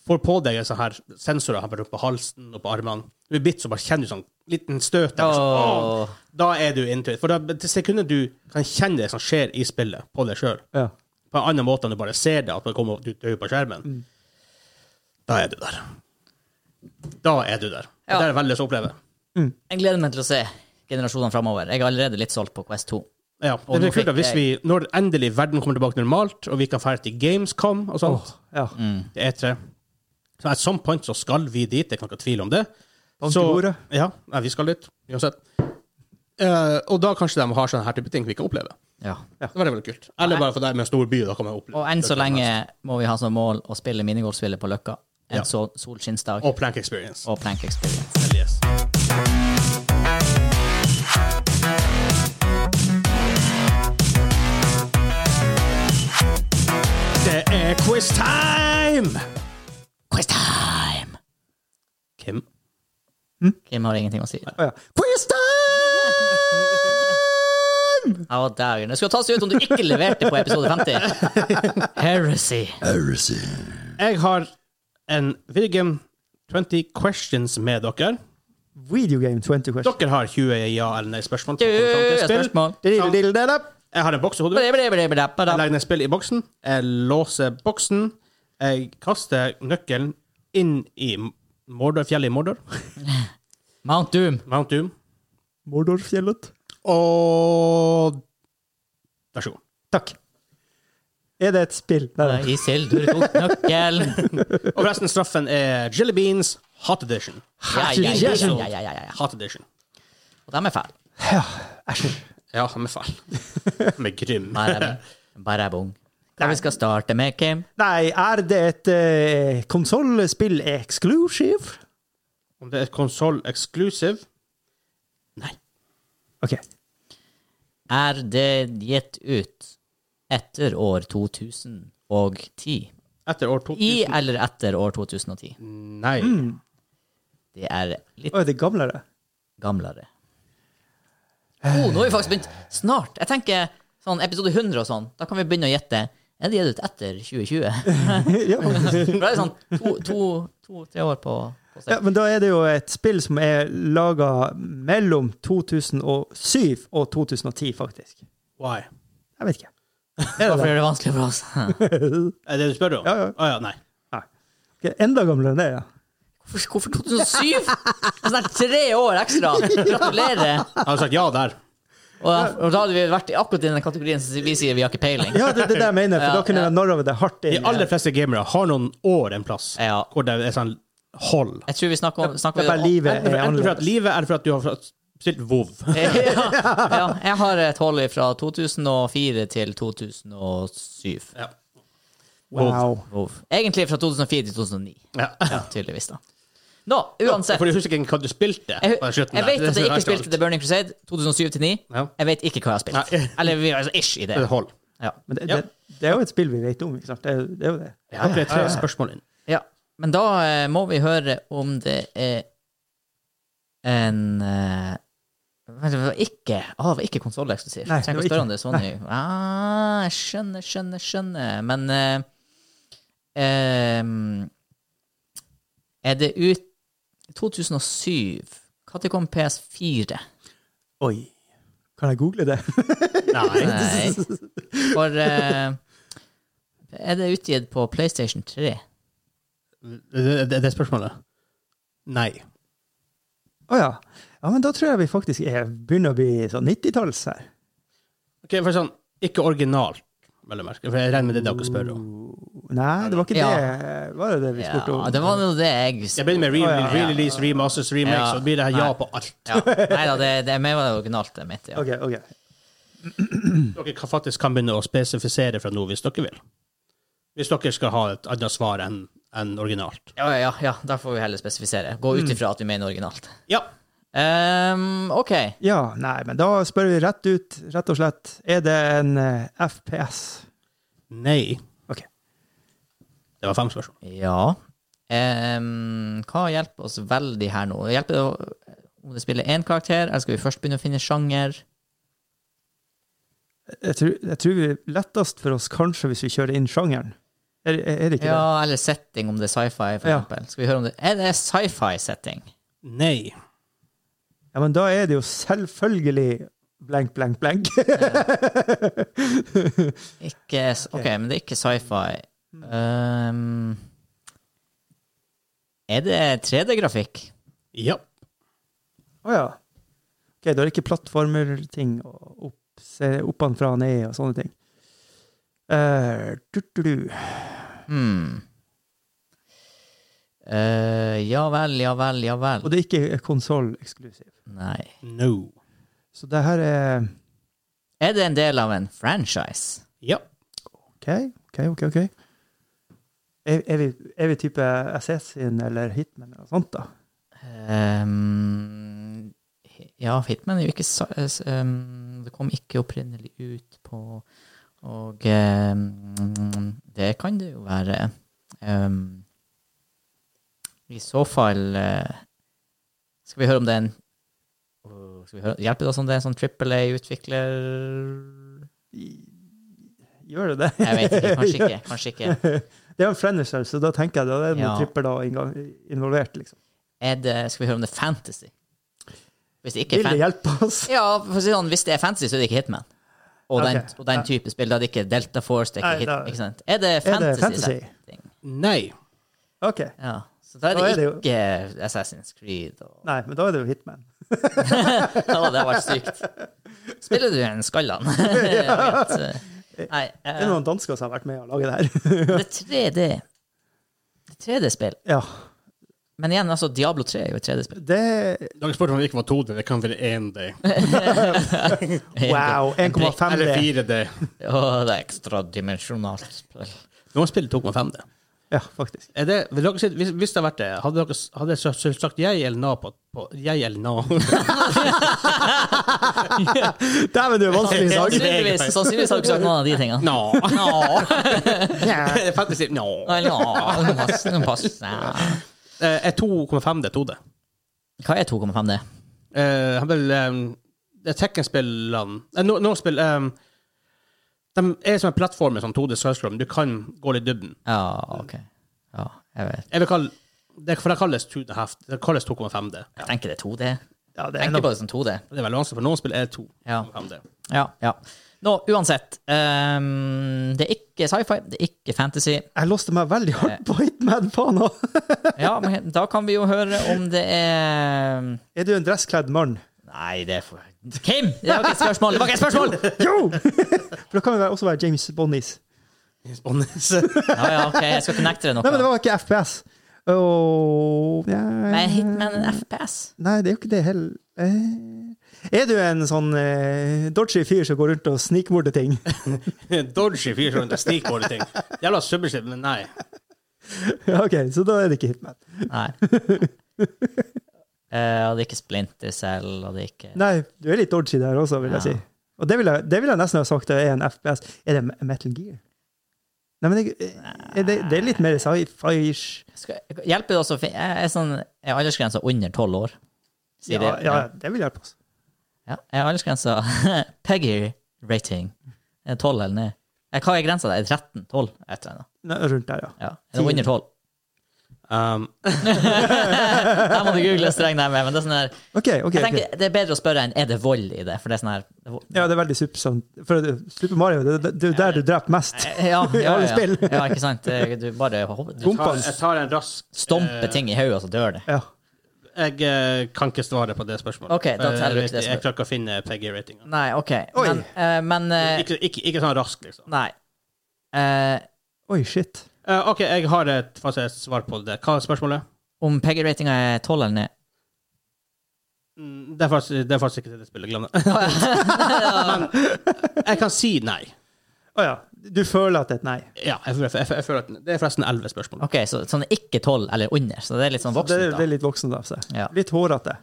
S1: får på deg sånne her sensorer her på halsen og på armene. Du blir bitt, så bare kjenner du sånn liten støt. eller sånn, åh,
S3: Åh.
S1: da er du into it. For da, til sekundet du kan kjenne det som skjer i spillet, på deg sjøl,
S2: Ja.
S1: på en annen måte enn du bare ser det, at det kommer du dør på skjermen, da er du der. Da er du der.
S3: Ja.
S1: Det er veldig så å oppleve.
S3: Jeg gleder meg til å se generasjonene framover. Jeg er allerede litt solgt på Quest 2.
S1: Ja, det
S3: Og
S1: blir
S3: nå
S1: kult
S3: fikk
S1: at hvis vi, når endelig verden kommer tilbake normalt, og vi kan dra til Gamescom og sånt,
S2: ja.
S1: det er E tre Så at some point så skal vi dit, det kan ikke være tvil om det.
S2: Bank i bordet.
S1: ja, nei, vi skal dit, uansett. Eh, og da kanskje de har sånne her type ting vi kan oppleve.
S3: Ja.
S1: Det var veldig kult. Eller bare for deg med en stor by, da kan man oppleve
S3: Og enn så lenge må vi ha som mål å spille minigolfspillet på Løkka. En
S1: Ja.
S3: så solskinnsdag
S1: Og Plank Experience.
S3: og plank experience.
S1: Hell yes. Det er quiz time!
S3: Quiz time!
S1: Kim?
S3: Kim har ingenting å si.
S2: Å, ja. Quiz time!
S3: Å, dæven. Det skulle tas ut om du ikke leverte på episode 50. Heresy.
S1: Jeg har en Virgin 20 questions med dere.
S2: Video game 20 question.
S1: Dere har 20 ja- eller nei-spørsmål.
S3: Du,
S1: til å komme fram til et spill.
S3: spørsmål.
S1: Jeg har en boks i hodet. Jeg
S3: Blablabla.
S1: legger ned spill i boksen. Jeg låser boksen. Jeg kaster nøkkelen inn i Mordor, fjellet i Mordor.
S3: Mount Doom.
S1: Mount Doom.
S2: Mordorfjellet.
S1: Og Vær så god.
S2: Takk. Er det et spill? Nei, nei.
S3: Isildur tok nøkkelen.
S1: Og forresten, straffen er Jelly Beans Hot Edition.
S3: Ja, ja, ja, ja, ja, ja, ja.
S1: Hot Edition.
S3: Og de er fæle.
S1: Ja, han er feil. Han er grym.
S3: Bare- Bare bong. Hva vi skal starte med, Kim?
S2: Nei, er det et uh, konsollspill exclusive?
S1: Om det er konsoll exclusive Nei.
S2: OK.
S3: Er det gitt ut etter år 2010?
S1: Etter år
S3: I
S1: 2000
S3: eller etter år 2010?
S1: Nei.
S2: Hmm.
S3: Det er litt
S2: Å, er det gamlere?
S3: gamlere. Oh, nå har vi faktisk begynt snart. Jeg tenker sånn episode 100 og sånn. Da kan vi begynne å gjette. Er det gitt ut etter 2020?
S2: ja.
S3: For Da er det sånn to-tre to, to, tre år på, på seg.
S2: ja, men da er det jo et spill som er laga mellom 2007 og 2010, faktisk.
S1: Why?
S2: Jeg vet ikke.
S3: Hvorfor gjør det vanskelig for oss?
S1: Er det det du spør om?
S2: Ja, ja.
S1: Å, ja nei.
S2: Nei. Ok, Enda gamlere enn det, ja.
S3: Hvorfor, hvorfor 2007? Det er Sånn der tre år ekstra. Gratulerer.
S1: Jeg hadde sagt ja der.
S3: Og, og da hadde vi vært i akkurat i den kategorien som vi sier vi har ikke peiling.
S2: Ja, det er det jeg mener, for
S3: Ja,
S2: da kunne
S3: ja.
S2: jeg narra det hardt
S1: De
S2: inn.
S1: aller fleste gamere har noen år en plass
S3: Ja.
S1: hvor det er sånn hold.
S3: Jeg tror vi snakker om,
S2: Det
S3: snakker
S2: er bare
S3: vi om
S2: livet
S1: Enten
S2: er
S1: enten for at
S2: annerledes.
S1: livet eller for at du har spilt WoW.
S3: ja, ja, jeg har et hold fra 2004 til 2007.
S1: Ja.
S2: Wow.
S3: Wow. Egentlig fra 2004 til 2009.
S1: Ja.
S3: Ja, tydeligvis, da. Nå, uansett.
S1: For jeg husker ikke hva du spilte.
S3: Jeg,
S1: på den slutten
S3: jeg
S1: der.
S3: vet at jeg ikke spilte The
S1: det.
S3: Burning Crusade 2007 til 9.
S1: Ja.
S3: Jeg vet ikke hva jeg har spilt.
S1: Nei.
S3: Eller vi er altså ish i det.
S1: er et Hold.
S3: Ja.
S2: Men det,
S1: Ja.
S2: det, det er jo et spill vi vet om, ikke sant? Det, er- det er jo det.
S1: Ja, det er tre spørsmål inn.
S3: ja. Men da eh, må vi høre om det er en eh, men det var ikke, ah, det var ikke konsolleksklusiv.
S2: Nei,
S3: Trenger
S2: det var
S3: ikke å spørre om det er Sony. Ah, jeg skjønner, skjønner, skjønner. Men eh, em, Er det ut 2007 Når kom PS4?
S2: Oi. Kan jeg google det?
S1: Nei.
S3: Nei. For eh, Er det utgitt på PlayStation 3?
S1: Det, det, det er spørsmålet. Nei.
S2: Å ja. Ja, men da tror jeg vi faktisk er, begynner å bli sånn 90-talls her.
S1: Ok, for sånn, Ikke originalt, vel å merke. For jeg regner med det er dere spør om.
S2: Nei, det var ikke
S3: Ja.
S2: det Var det det vi
S3: Ja,
S2: spurte om?
S3: det var jo det jeg
S1: Jeg begynner med re
S2: Å, ja.
S1: release, remasters, remakes,
S3: Ja.
S1: og så blir det her ja
S3: Nei.
S1: på alt.
S3: ja. Nei da, det, det er mer originalt det mitt. Ja.
S2: Ok, ok.
S1: Dere kan faktisk kan begynne å spesifisere fra nå hvis dere vil. Hvis dere skal ha et annet svar enn enn originalt.
S3: Ja, ja, ja, da får vi heller spesifisere.
S2: Mm.
S3: Gå ut ifra at vi mener originalt.
S1: Ja.
S3: Ehm, OK.
S2: Ja, nei, men da spør vi rett ut, rett og slett. Er det en eh, FPS?
S1: Nei.
S2: Ok.
S1: Det var fem spørsmål.
S3: Ja. Ehm, hva hjelper oss veldig her nå? Hjelper det å- om det spiller én karakter, eller skal vi først begynne å finne sjanger?
S2: Jeg tror, jeg tror det er lettest for oss kanskje hvis vi kjører inn sjangeren. Er, er er det ikke det?
S3: Ja, eller setting, om det er sci-fi, for
S2: Ja.
S3: eksempel. Skal vi høre om det Er det sci-fi-setting?
S1: Nei.
S2: Ja, men da er det jo selvfølgelig blank, blank, blank.
S3: Ikke s- OK, men det er ikke sci-fi.
S2: Mm.
S3: Ehm, er det 3D-grafikk?
S1: Ja.
S2: Å ja. Ok, da er det ikke plattformer-ting og opp, se oppanfra og ned og sånne ting. Eh, du, du, du.
S3: Hmm. Eh, ja vel, ja vel, ja vel.
S2: Og det er ikke konsoll-eksklusiv.
S3: Nei.
S1: No.
S2: Så det her er
S3: Er det en del av en franchise?
S1: Ja.
S2: OK, OK, OK. ok. Er, er, vi, er vi type Assassin eller Hitman eller noe sånt, da?
S3: Ehm, ja, Hitman er jo ikke sa- s- ehm, Det kom ikke opprinnelig ut på Og ehm, det kan det jo være. Ehm, I så fall eh, Skal vi høre om det er en Åh, skal vi høre, Hjelper det oss om det er en sånn Triple A-utvikler?
S2: Gjør det det?
S3: Jeg vet ikke. Kanskje ikke. Kanskje ikke.
S2: Det er jo en frennesel, så da tenker jeg da er det noen
S3: Ja.
S2: tripper da innga- involvert, liksom.
S3: Er det, skal vi høre om det er fantasy? Hvis det ikke er
S2: Vil det
S3: fantasy
S2: hjelpe oss?
S3: Ja, for å si det sånn, hvis det er fantasy, så er det ikke Hitman. Og den,
S2: Ok.
S3: og den type spill. Da er det ikke Delta Force, det er
S2: Nei,
S3: ikke
S2: da-
S3: Hitman. Ikke sant? Er det
S2: Er det
S3: fantasy?
S2: fantasy?
S3: setting?
S1: Nei.
S2: OK.
S3: Ja. Så da er
S2: Da
S3: det,
S2: er det
S3: ikke Assassin's Creed. Og...
S2: Nei, men da er det jo Hitman.
S3: Å, det har vært sykt. Spiller du en Skallan? Nei. eh,
S2: Det er noen dansker som har vært med å lage det her.
S3: det er 3D. Det er 3D-spill.
S2: ja.
S3: Men igjen, altså, Diablo 3 er jo et 3D-spill.
S2: Det
S1: Dere spurte om det ikke var 2D, det kan være 1D.
S2: Wow. 1,5
S1: Eller
S2: D.
S1: 4D.
S3: Å, det er ekstradimensjonalt spill.
S1: Noen spiller 2,5D.
S2: Ja, faktisk.
S1: Er det, vil dere si, hvis, hvis det hadde vært det, hadde dere s- hadde dere s- sagt jeg eller na på, på Jeg eller na?
S2: Dæven, du er vanskelig i dag.
S3: Sannsynligvis, sannsynligvis har du ikke sagt noen av de tingene.
S1: Nå.
S3: Nå.
S2: Ja.
S1: Det er faktisk nå.
S3: Nei, nå, nå pass- nå pass- nei.
S1: Eh, Er 2,5D 2D?
S3: Hva er 2,5D?
S1: Eh, han vil ehm, Det er Tekken-spillene eh, Noen no spill ehm, De er som en plattform med sånn 2D Sørstrøm. Du kan gå litt i dybden.
S3: Ja, OK. Ja, jeg vet.
S1: Jeg vil kalle det, for det kalles 2 and a half. Det kalles 2,5D.
S3: Jeg tenker det er 2D.
S2: Ja, det
S3: Jeg
S2: er
S3: tenker
S2: noe.
S3: på det som 2D.
S1: Det er veldig vanskelig, for noen spill er 2,5D.
S3: Ja, ja. Nå, uansett. ehm, det er ikke sci-fi, det er ikke fantasy.
S2: Jeg låste meg veldig hardt på Hitman, faen òg.
S3: Ja, men da kan vi jo høre om det er
S2: Er du en dresskledd mann?
S3: Nei, det er for Kim! Det var ikke et spørsmål! Det var ikke et spørsmål!
S2: Jo! For da kan vi være- også være James Bonnies.
S3: Ja, ja, OK, jeg skal ikke nekte deg
S2: Nei, men det
S3: noe.
S2: var ikke FPS. Åh, ja.
S3: Men Hitman er FPS.
S2: Nei, det er jo ikke det heller. Eh, Er du en sånn eh, dodgy fyr som går rundt og snikmorder ting?
S1: Dodgy fyr som snikborder ting. Jævla subbershit, men nei.
S2: Ja, ok, så da er det ikke Hitman.
S3: Nei. Eh, og det er ikke Splinter Cell, og det er ikke
S2: Nei, du er litt dodgy der også, vil jeg
S3: Ja.
S2: si. Og det vil jeg, det vil jeg nesten ha sagt er en FPS. Er det Metal Gear? Nei, men det, er det, det er litt mer sci-fi-ish.
S3: Skal- Hjelper det også å finne Er, er, sånn, er aldersgrensa under tolv år? sier
S2: ja,
S3: det.
S2: ja, det vil hjelpe oss.
S3: Ja, jeg har aldersgrensa Peggy rating. Er det 12 eller ned? Eh, Hva er grensa der? Er det 13? 12? Et eller annet.
S2: Nei, Rundt der, ja.
S3: Ja. Er det under 12?
S1: Um,
S3: Her må du google streng der med, men det er sånn her
S2: Ok, ok.
S3: Jeg
S2: ok.
S3: tenker det er bedre å spørre enn er det vold i det, for det er sånn her
S2: Ja, det er veldig supersomt. For det- Super Mario, det det- det er jo der du dreper mest.
S3: Eh, ja, ja, ja,
S2: Alle
S3: ja.
S2: spill.
S3: ja, ikke sant? Det- Du bare hov- du
S2: Bom.
S1: tar, jeg tar en rask eh,
S3: stomper ting i hodet, og så dør det.
S2: Ja.
S1: Jeg eh, kan ikke svare på det spørsmålet.
S3: Ok, da
S1: Eh,
S3: teller du
S1: jeg
S3: ikke det
S1: vet- Jeg klarer ikke å finne PG-ratinga.
S3: Nei, OK.
S2: Oi.
S3: Men, eh, men eh,
S1: Ikke, ikke, ikke sånn raskt, liksom.
S3: Nei. Eh,
S2: Oi, shit.
S1: Eh, OK, jeg har et faktisk svar på det. Hva er spørsmålet?
S3: om Peggy-ratinga er 12 eller ned
S1: Mm, Det er faktisk, det er faktisk ikke det spillet. Glem det. Men jeg kan si nei.
S2: Å ja. Du føler at det er et nei.
S1: Ja, jeg, føler- jeg, jeg føler at Det er forresten elleve spørsmål.
S3: OK, så sånn ikke 12 eller under, så det er litt sånn
S2: Så det,
S3: voksent,
S2: er- det
S3: da.
S2: er litt voksen av seg.
S3: Ja.
S2: Litt hårete.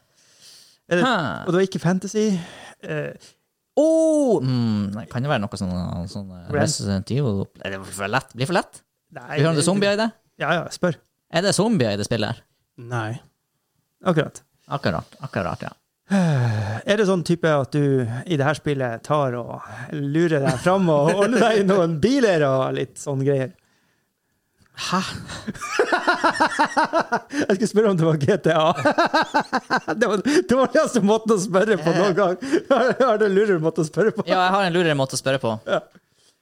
S2: Er det-
S3: Hæ.
S2: Og det var ikke fantasy. Eh,
S3: Oh, mm, det kan jo være noe sånn, sånn eh,
S2: Red.
S3: Resident Evil Er det for lett? Blir for lett?
S2: nei
S3: Vi hører om det er zombier i det?
S2: Ja, ja, spør.
S3: Er det zombier i det spillet her?
S1: Nei.
S2: Akkurat.
S3: Akkurat. akkurat, ja.
S2: Er det sånn type at du i det her spillet tar og lurer deg fram og holder deg i noen biler og litt sånne greier? Hæ? Jeg skulle spørre om det var GTA. Det var den dårligste måten å spørre på noen gang. Jeg har den lurere måten å spørre på.
S3: ja, jeg har en lurere måte å spørre på.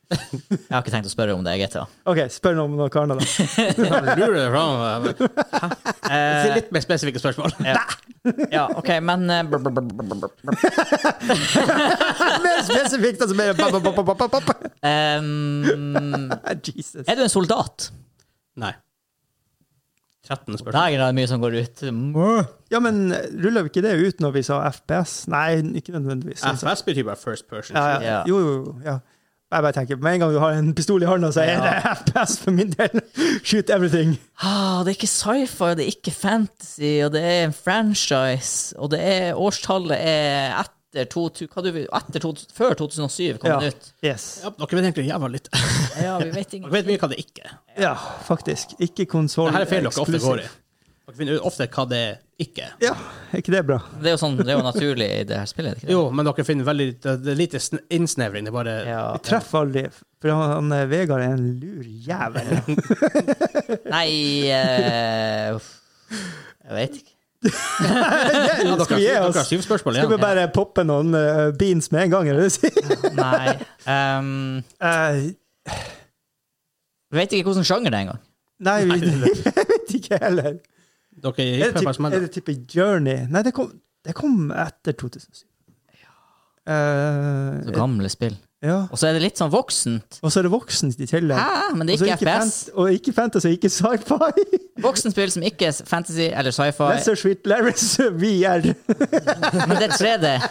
S3: Jeg har ikke tenkt å spørre om det er GTA.
S2: OK, spør noe om noe annet, da.
S1: eh,
S2: Eh.
S1: Si litt mer spesifikke spørsmål.
S3: Ja, Eh, ja OK, men eh, brr, brr, brr, brr, brr, brr.
S2: Mer spesifikt, altså mer ba, ba, ba, ba, ba, ba, ba.
S3: Ehm,
S2: Jesus.
S3: Er du en soldat?
S1: Nei. 13 spørsmål.
S3: Dagen er det mye som går ut.
S2: Ja, men ruller vi ikke det ut når vi sa FPS? Nei, ikke nødvendigvis.
S1: FS betyr bare first person.
S2: Ja, ja.
S3: Ja.
S2: Jo, jo, jo, ja. Jeg bare tenker, Med en gang du har en pistol i hånda, så er det FPS for min del. Shoot everything.
S3: Ah, det er ikke sci-fi, det er ikke fantasy, og det er en franchise, og det er årstallet er etter 2000, hva du vil, etter 2000, før 2007 kom
S2: Ja.
S3: den ut.
S2: Yes.
S1: Ja, dere vet egentlig jævla litt. Dere
S3: Ja, vi vet ikke.
S1: vet mye hva det ikke er.
S2: Ja, faktisk. Ikke konsoll.
S1: Det her er feil dere ofte går i. Dere finner ut ofte hva det ikke er.
S2: Ja, er ikke det bra?
S3: Det er jo sånn, det er jo naturlig i det her spillet, er det ikke det?
S1: Jo, men dere finner veldig Det det er lite sn- innsnevring. Det er bare
S3: Ja.
S2: Vi treffer aldri, for han, han Vegard er en lur jævel.
S3: Nei, eh, uff. jeg vet ikke.
S1: Ja, dere,
S2: Skal vi gi
S1: dere har
S2: oss?
S1: syv spørsmål
S2: Skal vi
S1: igjen.
S2: bare poppe noen eh, beans med en gang? Eller?
S3: Nei. ehm,
S2: Eh,
S3: jeg vet ikke hvilken sjanger det er engang.
S2: nei, vi, jeg vet ikke heller.
S1: Dere
S2: Er
S1: gikk
S2: det,
S1: på
S2: typ, er
S1: spørsmål.
S2: det type Journey? Nei, det kom, det kom etter 2007.
S3: Så
S2: Eh,
S3: gamle spill.
S2: ja.
S3: Og så er det litt sånn voksent.
S2: Og så er det voksent i tillegg.
S3: Hæ? Men Ah, det
S2: Og så
S3: er Altså, ikke FPS.
S2: fant- Og ikke fantasy, ikke sci-fi.
S3: Voksenspill som ikke er fantasy eller sci-fi.
S2: Lesser Sweet Larrys VR.
S3: Men det er 3D.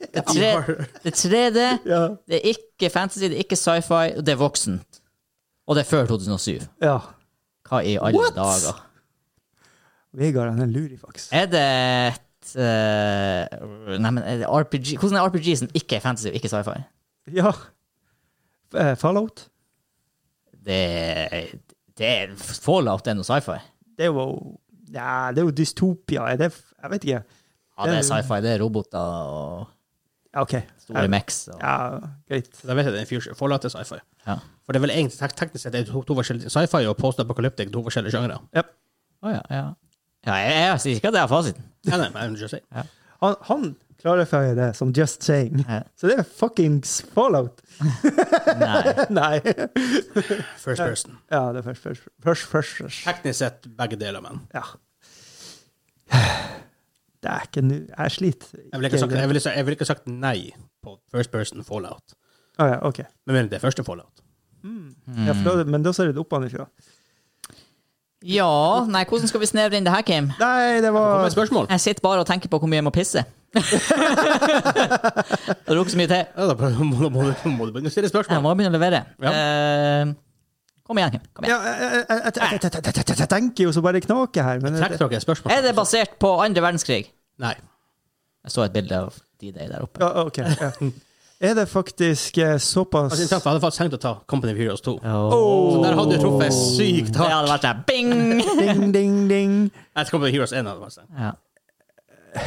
S3: Det er 3D. Det er 3D.
S2: Ja.
S3: Det er ikke fantasy, det er ikke sci-fi, og det er voksent. Og det er før 2007.
S2: ja.
S3: Hva i alle
S2: What?
S3: dager?
S2: Vegard han er en lurifaks.
S3: Er det et eh, Nei, men er det RPG? Hvordan er RPG som ikke er fantasy og ikke sci-fi?
S2: Ja. Eh, Fallout.
S3: Det, det er Fallout er noe sci-fi.
S2: Det er jo ja, det er jo dystopia. Er det, f- jeg vet ikke.
S3: Ja, det er sci-fi. Det er roboter og
S2: Ja, OK.
S3: store mechs. og-
S2: Ja, greit.
S1: Da vet jeg det er en future. Forlate sci-fi.
S3: Ja.
S1: For det er vel egentlig tek- teknisk sett det er to, to forskjellige sci-fi og post-apokalyptic to forskjellige sjangre.
S2: Ja.
S3: Å ja, ja. ja jeg, jeg sier ikke at det er fasiten.
S1: Nei, nei, men just saying.
S2: Han, han klarifierer det som just saying.
S3: Ja.
S2: Så det er fuckings Fallout.
S3: Nei.
S2: Nei.
S1: First person.
S2: Ja, det er først, først, først, først, først.
S1: Teknisk sett begge deler, men.
S2: Ja. Det er ikke nå Jeg sliter.
S1: Jeg ville ikke sagt, jeg ville, sa- jeg ville ikke sagt nei på first person fallout.
S2: Å ja, OK.
S1: Men mener det er første fallout. Mm.
S2: Ja, for da, men da ser det opp ovenfra.
S3: Ja, nei, hvordan skal vi snevre inn det her, Kim?
S2: Nei, det
S1: Kom
S2: var
S1: med et spørsmål.
S3: Jeg sitter bare og tenker på hvor mye jeg må pisse. det er jo ikke så mye til.
S1: Ja, da må, må, må, du- må du begynne å stille
S3: Jeg
S1: spørsmål.
S3: må begynne å levere.
S1: Ja.
S3: Eh, kom igjen, Kim. Kom igjen.
S2: ja, jeg, jeg, jeg, jeg, jeg, jeg, jeg tenker jo så bare knaker her, men
S1: Trekk
S2: det,
S1: dere et spørsmål.
S3: Er det basert på andre verdenskrig?
S1: Nei.
S3: Jeg så et bilde av D-Day der oppe.
S2: ja, ok, ja. Er det faktisk eh, såpass
S1: Altså, jeg traff- jeg hadde faktisk tenkt å ta Company of Heroes 2.
S2: Åh,
S1: Så der hadde du truffet sykt
S3: Det
S1: hardt.
S3: hadde vært der. Bing!
S2: Ding, ding, ding.
S1: Jeg tror Company of Heroes 1 hadde vært stengt.
S3: Ja.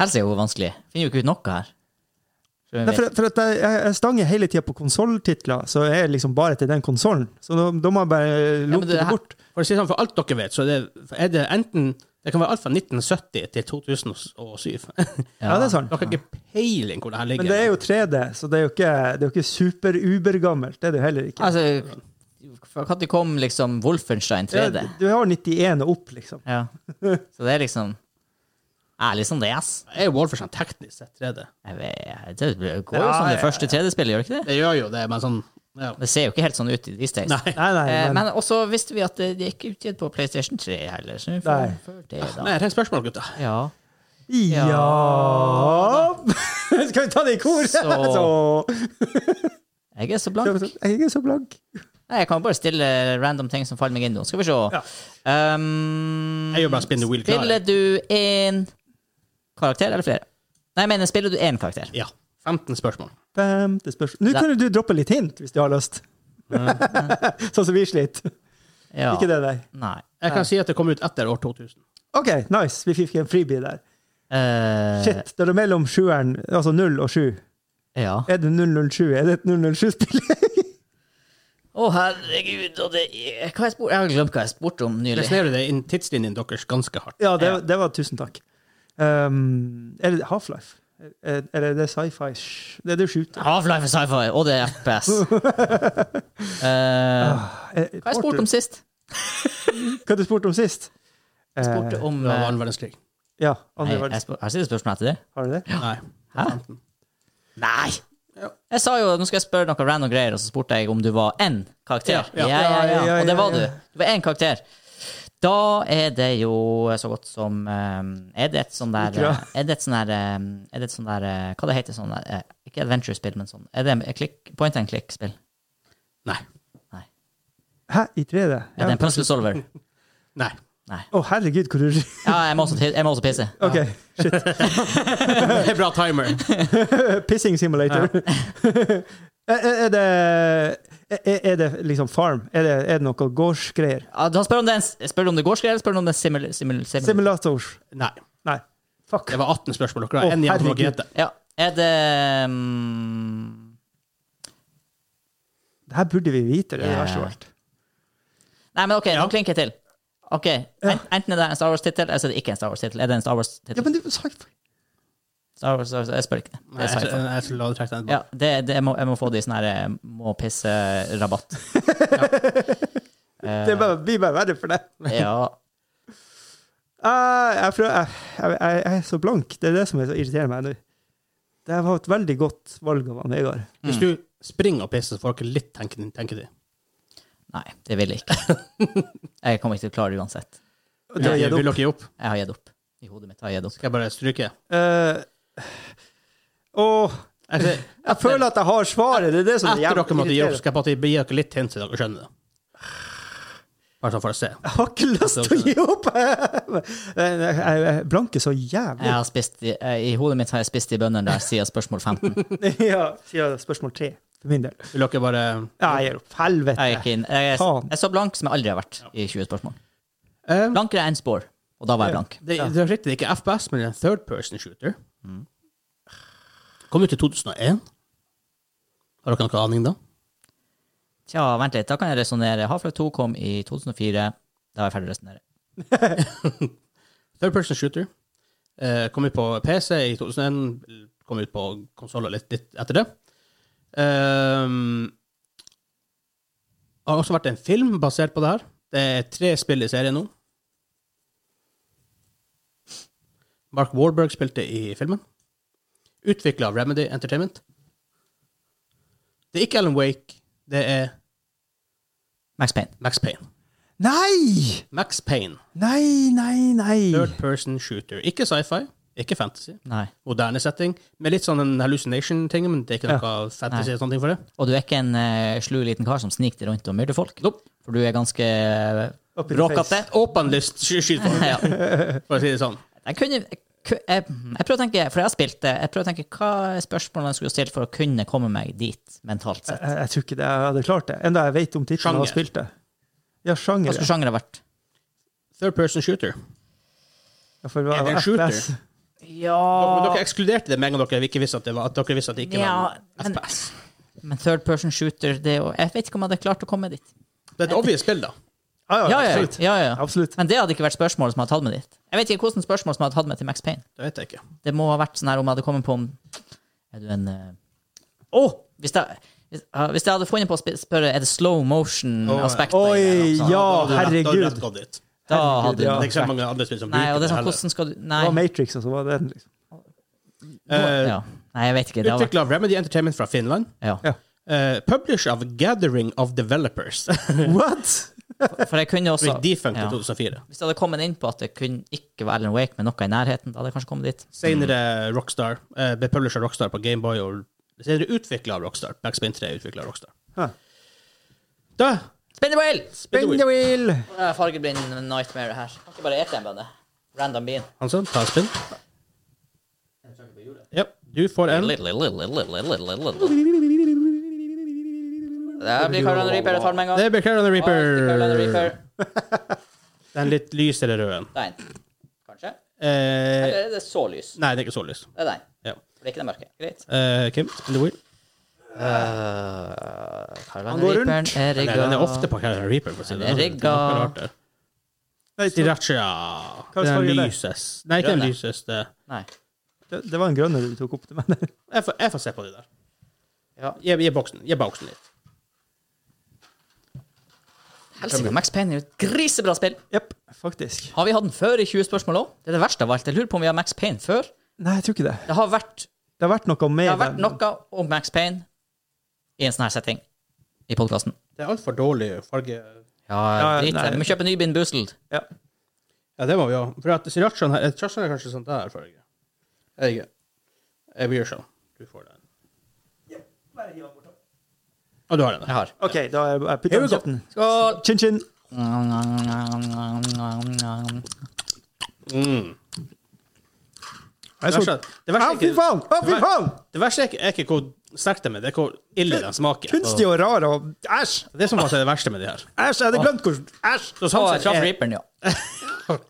S3: Helse er jo vanskelig. Finner jo ikke ut noe her. Tror jeg
S2: Nei,
S3: vet.
S2: for, for at jeg, jeg jeg stanger hele tida på konsolltitler, så er jeg liksom bare til den konsollen. Så da, da må jeg bare
S3: men
S2: lukke
S3: det
S2: det,
S3: her-
S2: bort.
S1: For å si det sånn, for alt dere vet, så er det, er det enten Det kan være alt fra 1970 til 2007.
S2: Ja, det er sant.
S1: Dere har ikke peiling hvor det her ligger.
S2: Men det er jo 3D, så det er jo ikke, det er jo ikke super-ubergammelt. Det er det jo heller ikke.
S3: Altså, når kom liksom Wolfenstein
S2: Ja,
S3: 3D?
S2: Du har 91 og opp, liksom.
S3: Ja. Så det er liksom Ærlig som det, ass.
S1: er jo Wolfersen teknisk sett 3D.
S3: Jeg vet, det går jo
S2: Ja,
S3: som det
S2: jeg-
S3: første 3D-spillet, gjør det ikke det?
S1: Det gjør jo det, men sånn ja.
S3: Det ser jo ikke helt sånn ut i these days.
S1: Nei.
S2: Nei, nei,
S3: Eh,
S2: men,
S3: men også visste vi at det, det er ikke utgitt på PlayStation 3 heller. Så vi får,
S2: Nei.
S3: får det, da.
S1: Nei, jeg trenger spørsmål, gutta.
S3: Ja.
S2: Ja Skal vi ta det i kor?
S3: Så-
S2: Så-
S3: Jeg er så blank.
S2: Jeg er så blank.
S3: Nei, jeg kan bare stille random ting som faller meg inn nå. Skal vi se. Um,
S1: Jeg gjør bare spin the wheel klar.
S3: Spiller du én karakter eller flere? Nei, jeg mener, spiller du én karakter?
S1: Ja. 15 spørsmål.
S2: Femte spørsmål Nå kunne du droppe litt hint, hvis du har lyst. sånn som vi sliter.
S3: Mm. Ja.
S2: Ikke det der.
S3: Nei.
S1: Jeg kan si at det kom ut etter år 2000.
S2: OK, nice. Vi fikk en freebie der.
S3: Eh,
S2: Shit, det er mellom sjueren, altså null og sju.
S3: Ja. Å,
S2: Er det 007? Er det et 007-spill?
S3: herregud, og det er hva jeg, spor... jeg har glemt hva jeg spurte om
S1: Det
S3: nylig.
S1: snever det inn tidslinjen deres ganske hardt.
S2: ja, det,
S3: Ja.
S2: det var tusen takk. Um, er det Half-Life? Er, er det- det er sci-fi? Sh- Det er det shooter.
S3: Half-Life og sci-fi, og det er FPS.
S2: Ah,
S3: Eh,
S2: Er-
S3: hva jeg spurte om sist?
S2: Hva du spurte om sist?
S3: Jeg spurte
S2: Eh,
S3: om
S1: Det var
S3: eh,
S1: annen verdenskrig.
S2: ja,
S3: Nei,
S2: andre
S3: jeg
S2: verdenskrig.
S3: spør, har jeg stilt spørsmål etter det?
S2: Har du det?
S1: Nei.
S3: Hæ?
S1: 15.
S3: Nei!
S1: Ja.
S3: Jeg sa jo nå skal jeg spørre noe random greier, og så spurte jeg om du var én karakter.
S1: Ja, ja.
S2: Ja, ja,
S3: Og det
S2: ja,
S3: var du.
S2: ja.
S3: Du var én karakter. Da er det jo så godt som eh, Er det et sånn der
S2: Ikke bra.
S3: Er det et sånn der eh, Er det et sånn der eh, Hva det heter sånn der eh, Ikke adventure-spill, men sånn Er det en klikk, point and click-spill?
S1: Nei.
S3: Nei.
S2: Hæ, i 3D?
S3: Er det en puzzle solver?
S1: Nei.
S3: Nei.
S2: Å, herregud, hvor du
S3: Ja, jeg må også, ti- jeg må også pisse.
S2: OK, shit.
S1: Det er bra timer.
S2: Pissing simulator. er, er- er det er, er det liksom farm? Er det, er det noe gårdsgreier?
S3: Ja, da spør, om det er en, s- spør du om det går skrevet, eller spør du om det er simul... simul, simul,
S2: Simulators?
S1: Nei.
S2: Nei. Fuck.
S1: Det var 18 spørsmål. Dere
S2: Å,
S1: har én igjen til å
S2: herregud.
S1: gjette.
S3: ja. Er det mm,
S2: Det her burde vi vite. Det er
S3: Ja.
S2: verst av alt.
S3: Nei, men ok,
S1: Ja.
S3: nå klinker jeg til. Ok, en- Enten er det en Star Wars-tittel, eller så er det ikke en Star Wars-tittel. Er det en Star
S2: Ja,
S3: Wars-tittel?
S2: men du, sci-fi.
S3: Star Wars, Star Wars, jeg spør ikke. det.
S1: Nei,
S3: Det er
S1: jeg,
S3: sci-fi.
S1: jeg, jeg skulle la det trekke den
S3: Ja, det, det, jeg, må, jeg må få de sånne her eh, må pisse-rabatt.
S2: Det bare, blir bare verre for det.
S3: Eh, Ja.
S2: Ah, jeg, prøver, jeg, jeg, jeg jeg er så blank. Det er det som er så irriterer meg nå. Det var et veldig godt valg av han Vegard.
S1: Hvis du springer og pisser, så får dere litt tenke, tenke de.
S3: Nei, det vil jeg ikke. Jeg kommer ikke til å klare det uansett.
S2: Og det har gitt
S1: vil dere
S2: opp.
S1: gi opp?
S3: Jeg har gitt opp. I hodet mitt har jeg gitt opp.
S1: Skal jeg bare stryke?
S2: Eh, åh,
S1: Altså,
S2: jeg føler at jeg har svaret. Det er det som er
S1: etter
S2: jævlig
S1: dere måtte gi opp,
S2: irriterende.
S1: skal jeg bare gi dere litt hint til dere skjønner det. Bare sånn for å se.
S2: Jeg har ikke lyst til å gi opp! Jeg- jeg- jeg- jeg Blanke så
S3: Jeg
S2: jævlig.
S3: har spist, i, eh, I hodet mitt har jeg spist de bøndene der siden spørsmål 15.
S2: Ja, sier spørsmål tre, for min del.
S1: Vil dere bare
S2: Ja, jeg gir opp.
S3: Jeg
S2: Helvete.
S3: gikk inn. Jeg, er-
S2: Faen.
S3: jeg er så blank som jeg aldri har vært i 20 spørsmål.
S1: Eh,
S3: Blankere enn Spore, og da var jeg blank.
S1: det, det er riktig, det er ikke FPS, men det er en third person shooter.
S2: Mm.
S1: Kom ut i 2001. Har dere noen aning da?
S3: Tja, vent litt, da kan jeg resonnere. Half-Life 2 kom i 2004. Da var jeg ferdig å resonnere.
S1: Third person shooter. Eh, kom ut på PC i 2001. Kom ut på konsoller litt, litt etter det. Ehm, har også vært en film basert på det her. Det er tre spill i serien nå. Mark Warburg spilte i filmen. Utvikla av Remedy Entertainment. Det er ikke Alan Wake, det er
S3: Max Payne.
S1: Max Payne.
S2: Nei!
S1: Max Payne,
S2: Nei, nei, nei!
S1: third person shooter. Ikke sci-fi, ikke fantasy.
S3: Nei.
S1: moderne setting. Med litt sånn en hallucination-ting, men det er ikke noe fantasy og sånne ting for det.
S3: Og du er ikke en eh, slu liten kar som sniker rundt og myrder folk?
S1: Nope.
S3: For du er ganske eh,
S2: Up in the
S3: bråkete.
S1: Åpenlyst sky- skytfolk,
S3: ja.
S1: for å si det sånn.
S3: Jeg kunne ku- jeg, jeg prøver å tenke, for jeg har spilt det, jeg prøver å tenke hva er spørsmålene jeg skulle stilt for å kunne komme meg dit mentalt sett?
S2: Jeg, jeg tror ikke det jeg hadde klart det. Enda jeg vet om tittelen og har
S1: Sjanger.
S2: spilt det. Ja, sjanger.
S3: Hva skulle sjangeren vært?
S1: Third person shooter.
S2: Ja, for det var
S1: Er det en
S2: FPS.
S1: Dere,
S3: Ja
S1: dere ekskluderte det med en gang dere ikke visste at det, var, at dere visste at det ikke
S3: Ja,
S1: var
S3: men-
S1: en FPS.
S3: Men third person shooter, det er jo Jeg vet ikke om jeg hadde klart å komme dit.
S1: Det er et obvious spill, da.
S2: Ja,
S3: Ja, ja,
S2: absolutt.
S3: ja, ja.
S2: absolutt.
S3: Men det hadde ikke vært spørsmålet som hadde tatt meg dit. Jeg vet ikke hvordan spørsmål som hadde tatt meg til Max Payne.
S1: Det vet jeg ikke.
S3: Det må ha vært sånn her om jeg hadde kommet på om Er du en eh, Å! hvis, jeg, hvis, ja, hvis jeg hadde funnet på å sp- spørre er det slow
S1: Å,
S3: motion-aspekt
S2: oi, ja.
S1: Da hadde du rett- da hadde du
S2: herregud.
S1: rett gått dit.
S3: Da
S2: Herregud,
S3: hadde
S2: ja.
S1: Det er ikke så mange andre spill som
S3: Nei, og
S1: bruker
S3: det er sånn,
S1: heller.
S3: hvordan skal du Nei.
S2: Det var Matrix, og så var det den. Liksom.
S1: Eh,
S3: ja. nei, jeg vet ikke. Det har vært
S1: Utvikla av Remedy Entertainment fra Finland.
S3: ja.
S2: Ja.
S1: Uh, Publisher av Gathering of Developers.
S2: What?!
S3: For jeg kunne også
S1: Rick Defunk i
S3: ja.
S1: 2004.
S3: Hvis jeg hadde kommet inn på at det kunne ikke være Alan Wake, men noe i nærheten, da hadde jeg kanskje kommet dit. Mm.
S1: Senere Rockstar. eh, ble publisher av Rockstar på Gameboy og senere utvikla av Rockstar. Backspin 3 utvikla av Rockstar.
S2: Hæ.
S1: Da
S3: Spinner wheel!
S2: Spin the wheel!
S3: Uh, fargeblind nightmare her. Kan ikke bare ete en bønne. Random bean.
S1: Hansson, ta en spinn. Ja, du får en.
S3: Det blir Carolina Reaper jeg tar med en gang.
S1: Det blir Carolina
S3: Carolina
S1: Reaper.
S3: Reaper.
S1: Den litt lysere røde.
S3: Den. Kanskje?
S1: Eh,
S3: Eller er det så lys?
S1: nei, det er ikke så lys.
S3: Det er den.
S1: Ja.
S3: For det er ikke den mørke. Greit.
S1: Eh, Kim, spinn the wheel.
S3: Carolina
S2: går rundt.
S3: Reaperen er
S1: Nei,
S3: rigga.
S1: den er ofte på Carolina Reaper. For å si
S3: Den
S1: det.
S3: er
S1: sånn.
S3: rigga.
S1: Det er noe rart der.
S2: Nei, det,
S1: Sriracha.
S2: Hva slags
S1: Den
S2: farge er det?
S1: lyses. Nei, ikke den
S3: Grønne.
S1: lyseste.
S3: Nei.
S2: det var en grønner du tok opp til meg.
S1: Jeg får, jeg får se på det der.
S3: Ja.
S1: Gi, gi, boksen, gi boksen litt.
S3: Helsike, Max Payne er jo et grisebra spill.
S2: Jepp, faktisk.
S3: Har vi hatt den før i 20 spørsmål òg? Det er det verste av alt. Jeg lurer på om vi har Max Payne før.
S2: Nei, jeg tror ikke det.
S3: Det har vært,
S2: Det har vært noe med
S3: det har vært
S2: den.
S3: noe om Max Payne i en sånn her setting i podkasten.
S1: Det er altfor dårlig farge.
S3: Ja,
S2: Ja,
S3: drit i det.
S2: nei.
S3: Vi må kjøpe ny Bin Boozled.
S2: Ja.
S1: Ja, det må vi ha. For at srirachaen her, srirachaen er kanskje sånn der farge. Jeg vet ikke. Jeg blir sånn. Du får den. Og du har den der.
S3: Jeg har.
S2: OK, da er jeg
S1: Here
S2: putter
S1: we
S2: den
S1: go.
S2: kjeften.
S3: Skål!
S2: Chin-chin.
S1: Mm.
S2: Jeg
S1: Det
S2: så-
S1: verste er- det verste er
S2: Å, Ah, fy
S1: ikke-
S2: faen! Å, fy faen!
S1: det verste er ikke, er ikke hvor sterk de er, det er hvor ille de smaker.
S2: Kunstig og rar og Æsj!
S1: Det er som faktisk er det verste med de her.
S2: Æsj, jeg hadde glemt hvordan Æsj!
S1: Så
S3: Ta
S1: sånn sett,
S3: Traff
S1: eh,
S3: Reaperen, ja.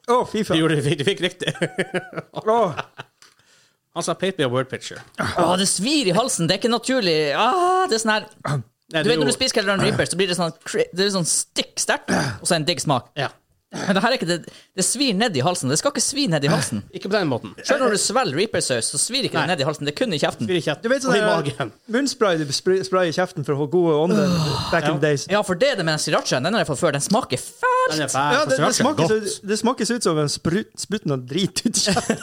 S2: Å, fy
S1: du
S2: faen.
S1: gjorde det du fikk, du fikk riktig.
S2: Å,
S1: Han sa paint me a word picture.
S3: Å, det svir i halsen. Det er ikke naturlig. Ah, det er sånn her
S1: Nei,
S3: Du vet når du
S1: gjorde-
S3: spiser Kelleran Reaper, så blir det sånn, cri- det er sånn stikk sterkt, og så en digg smak.
S1: Ja.
S3: Men det her er ikke det Det svir ned i halsen. Det skal ikke svi ned i halsen.
S1: Ikke på den måten.
S3: Selv når du svelger reapersaus, så svir ikke det ned i halsen. Det er kun i kjeften.
S1: Fyr i kjeften
S2: Du vet sånn
S1: og i
S2: der,
S1: magen.
S2: munnspray du spray, sprayer i kjeften for å få gode ånder back in the days.
S3: Ja, for det er det med den srirachaen. Den har jeg fått før. Den smaker
S1: Den er fæl, for
S2: Ja,
S3: fælt.
S2: det, det,
S1: sriracha er
S2: smakes,
S1: godt.
S2: ut- det smakes ut som en sprut, sprut noe drit ut i kjeften.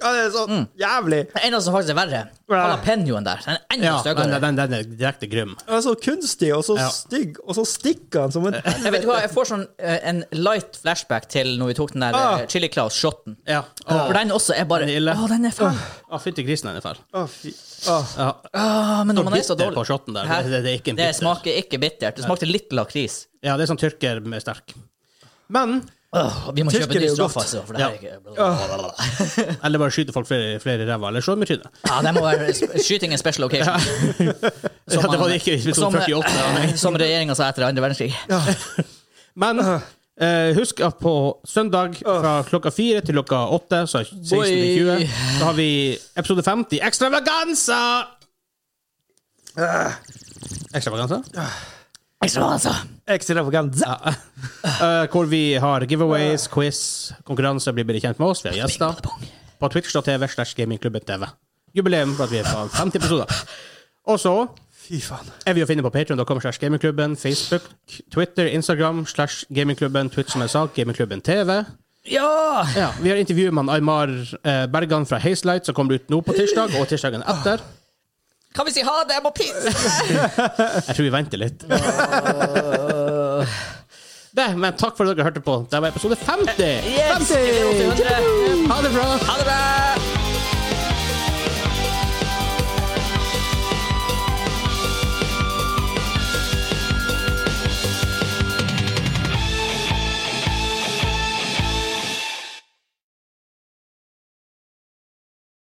S2: ja, det er sånn jævlig.
S3: Den eneste som faktisk er verre, jalapeñoen der. Den er enda
S1: Ja, den,
S3: styggere.
S1: den, den er direkte grym.
S2: Han er så kunstig og så
S1: Ja.
S2: stygg, og så stikker han som en
S3: Jeg vet ikke hva, jeg får sånn eh, en light flashback til når vi tok den der
S2: Ah.
S3: eh, Chili Claus-shoten.
S1: Ja.
S3: For den også er bare
S1: Den er
S3: Å,
S1: ille.
S3: den er fæl.
S1: Å, fytti grisen, den er fæl.
S2: Å, fy. Å,
S1: Ja.
S3: Ah, men når man er så
S1: Bitter
S3: dårlig
S1: på shotten der.
S3: Hæ?
S1: Det, det, det er ikke en
S3: Det
S1: bitter.
S3: smaker ikke bittert. Det smakte litt lakris.
S1: Ja, det er sånn tyrker med sterk. Men
S3: Åh, vi må
S2: Tyrker
S3: kjøpe
S2: er
S3: ny
S2: jo
S3: straff,
S2: godt.
S3: altså. For det her er ikke
S1: Eller bare skyte folk flere, flere i ræva, eller slå dem i trynet.
S3: Ja, det må være sp- skyting in special occasion.
S1: Ja, det var det ikke i episode
S3: som, eh,
S1: 48, ja, nei.
S3: som regjeringa sa etter andre verdenskrig.
S1: Men eh, husk at på søndag fra klokka fire til klokka åtte, så er 16 til 20,
S3: Boy.
S1: så har vi episode 50, Ekstravaganza! Ekstravaganza?
S3: Ekstra, altså.
S2: Ekstravaganza.
S1: Ja. Eh, hvor vi har giveaways, quiz, konkurranse, blir bedre kjent med oss, vi har gjester. På twitch.tv slash gamingklubben TV. Jubileum for at vi er på 50 episoder. Og så
S2: Fy faen.
S1: er vi å finne på patreon.com slash gamingklubben, Facebook, Twitter, Instagram slash gamingklubben, Twitch som jeg sa, gamingklubben TV.
S3: Ja!
S1: Ja, vi har intervju med han Aymar eh, Bergan fra Hazelight, som kommer ut nå på tirsdag, og tirsdagen etter.
S3: Kan vi si ha det? Jeg må pisse!
S1: Jeg tror vi venter litt. Det, men takk for at dere hørte på. Det var episode 50!
S3: Yes!
S2: 50!
S3: Ha
S1: Ha det bra!
S3: det bra!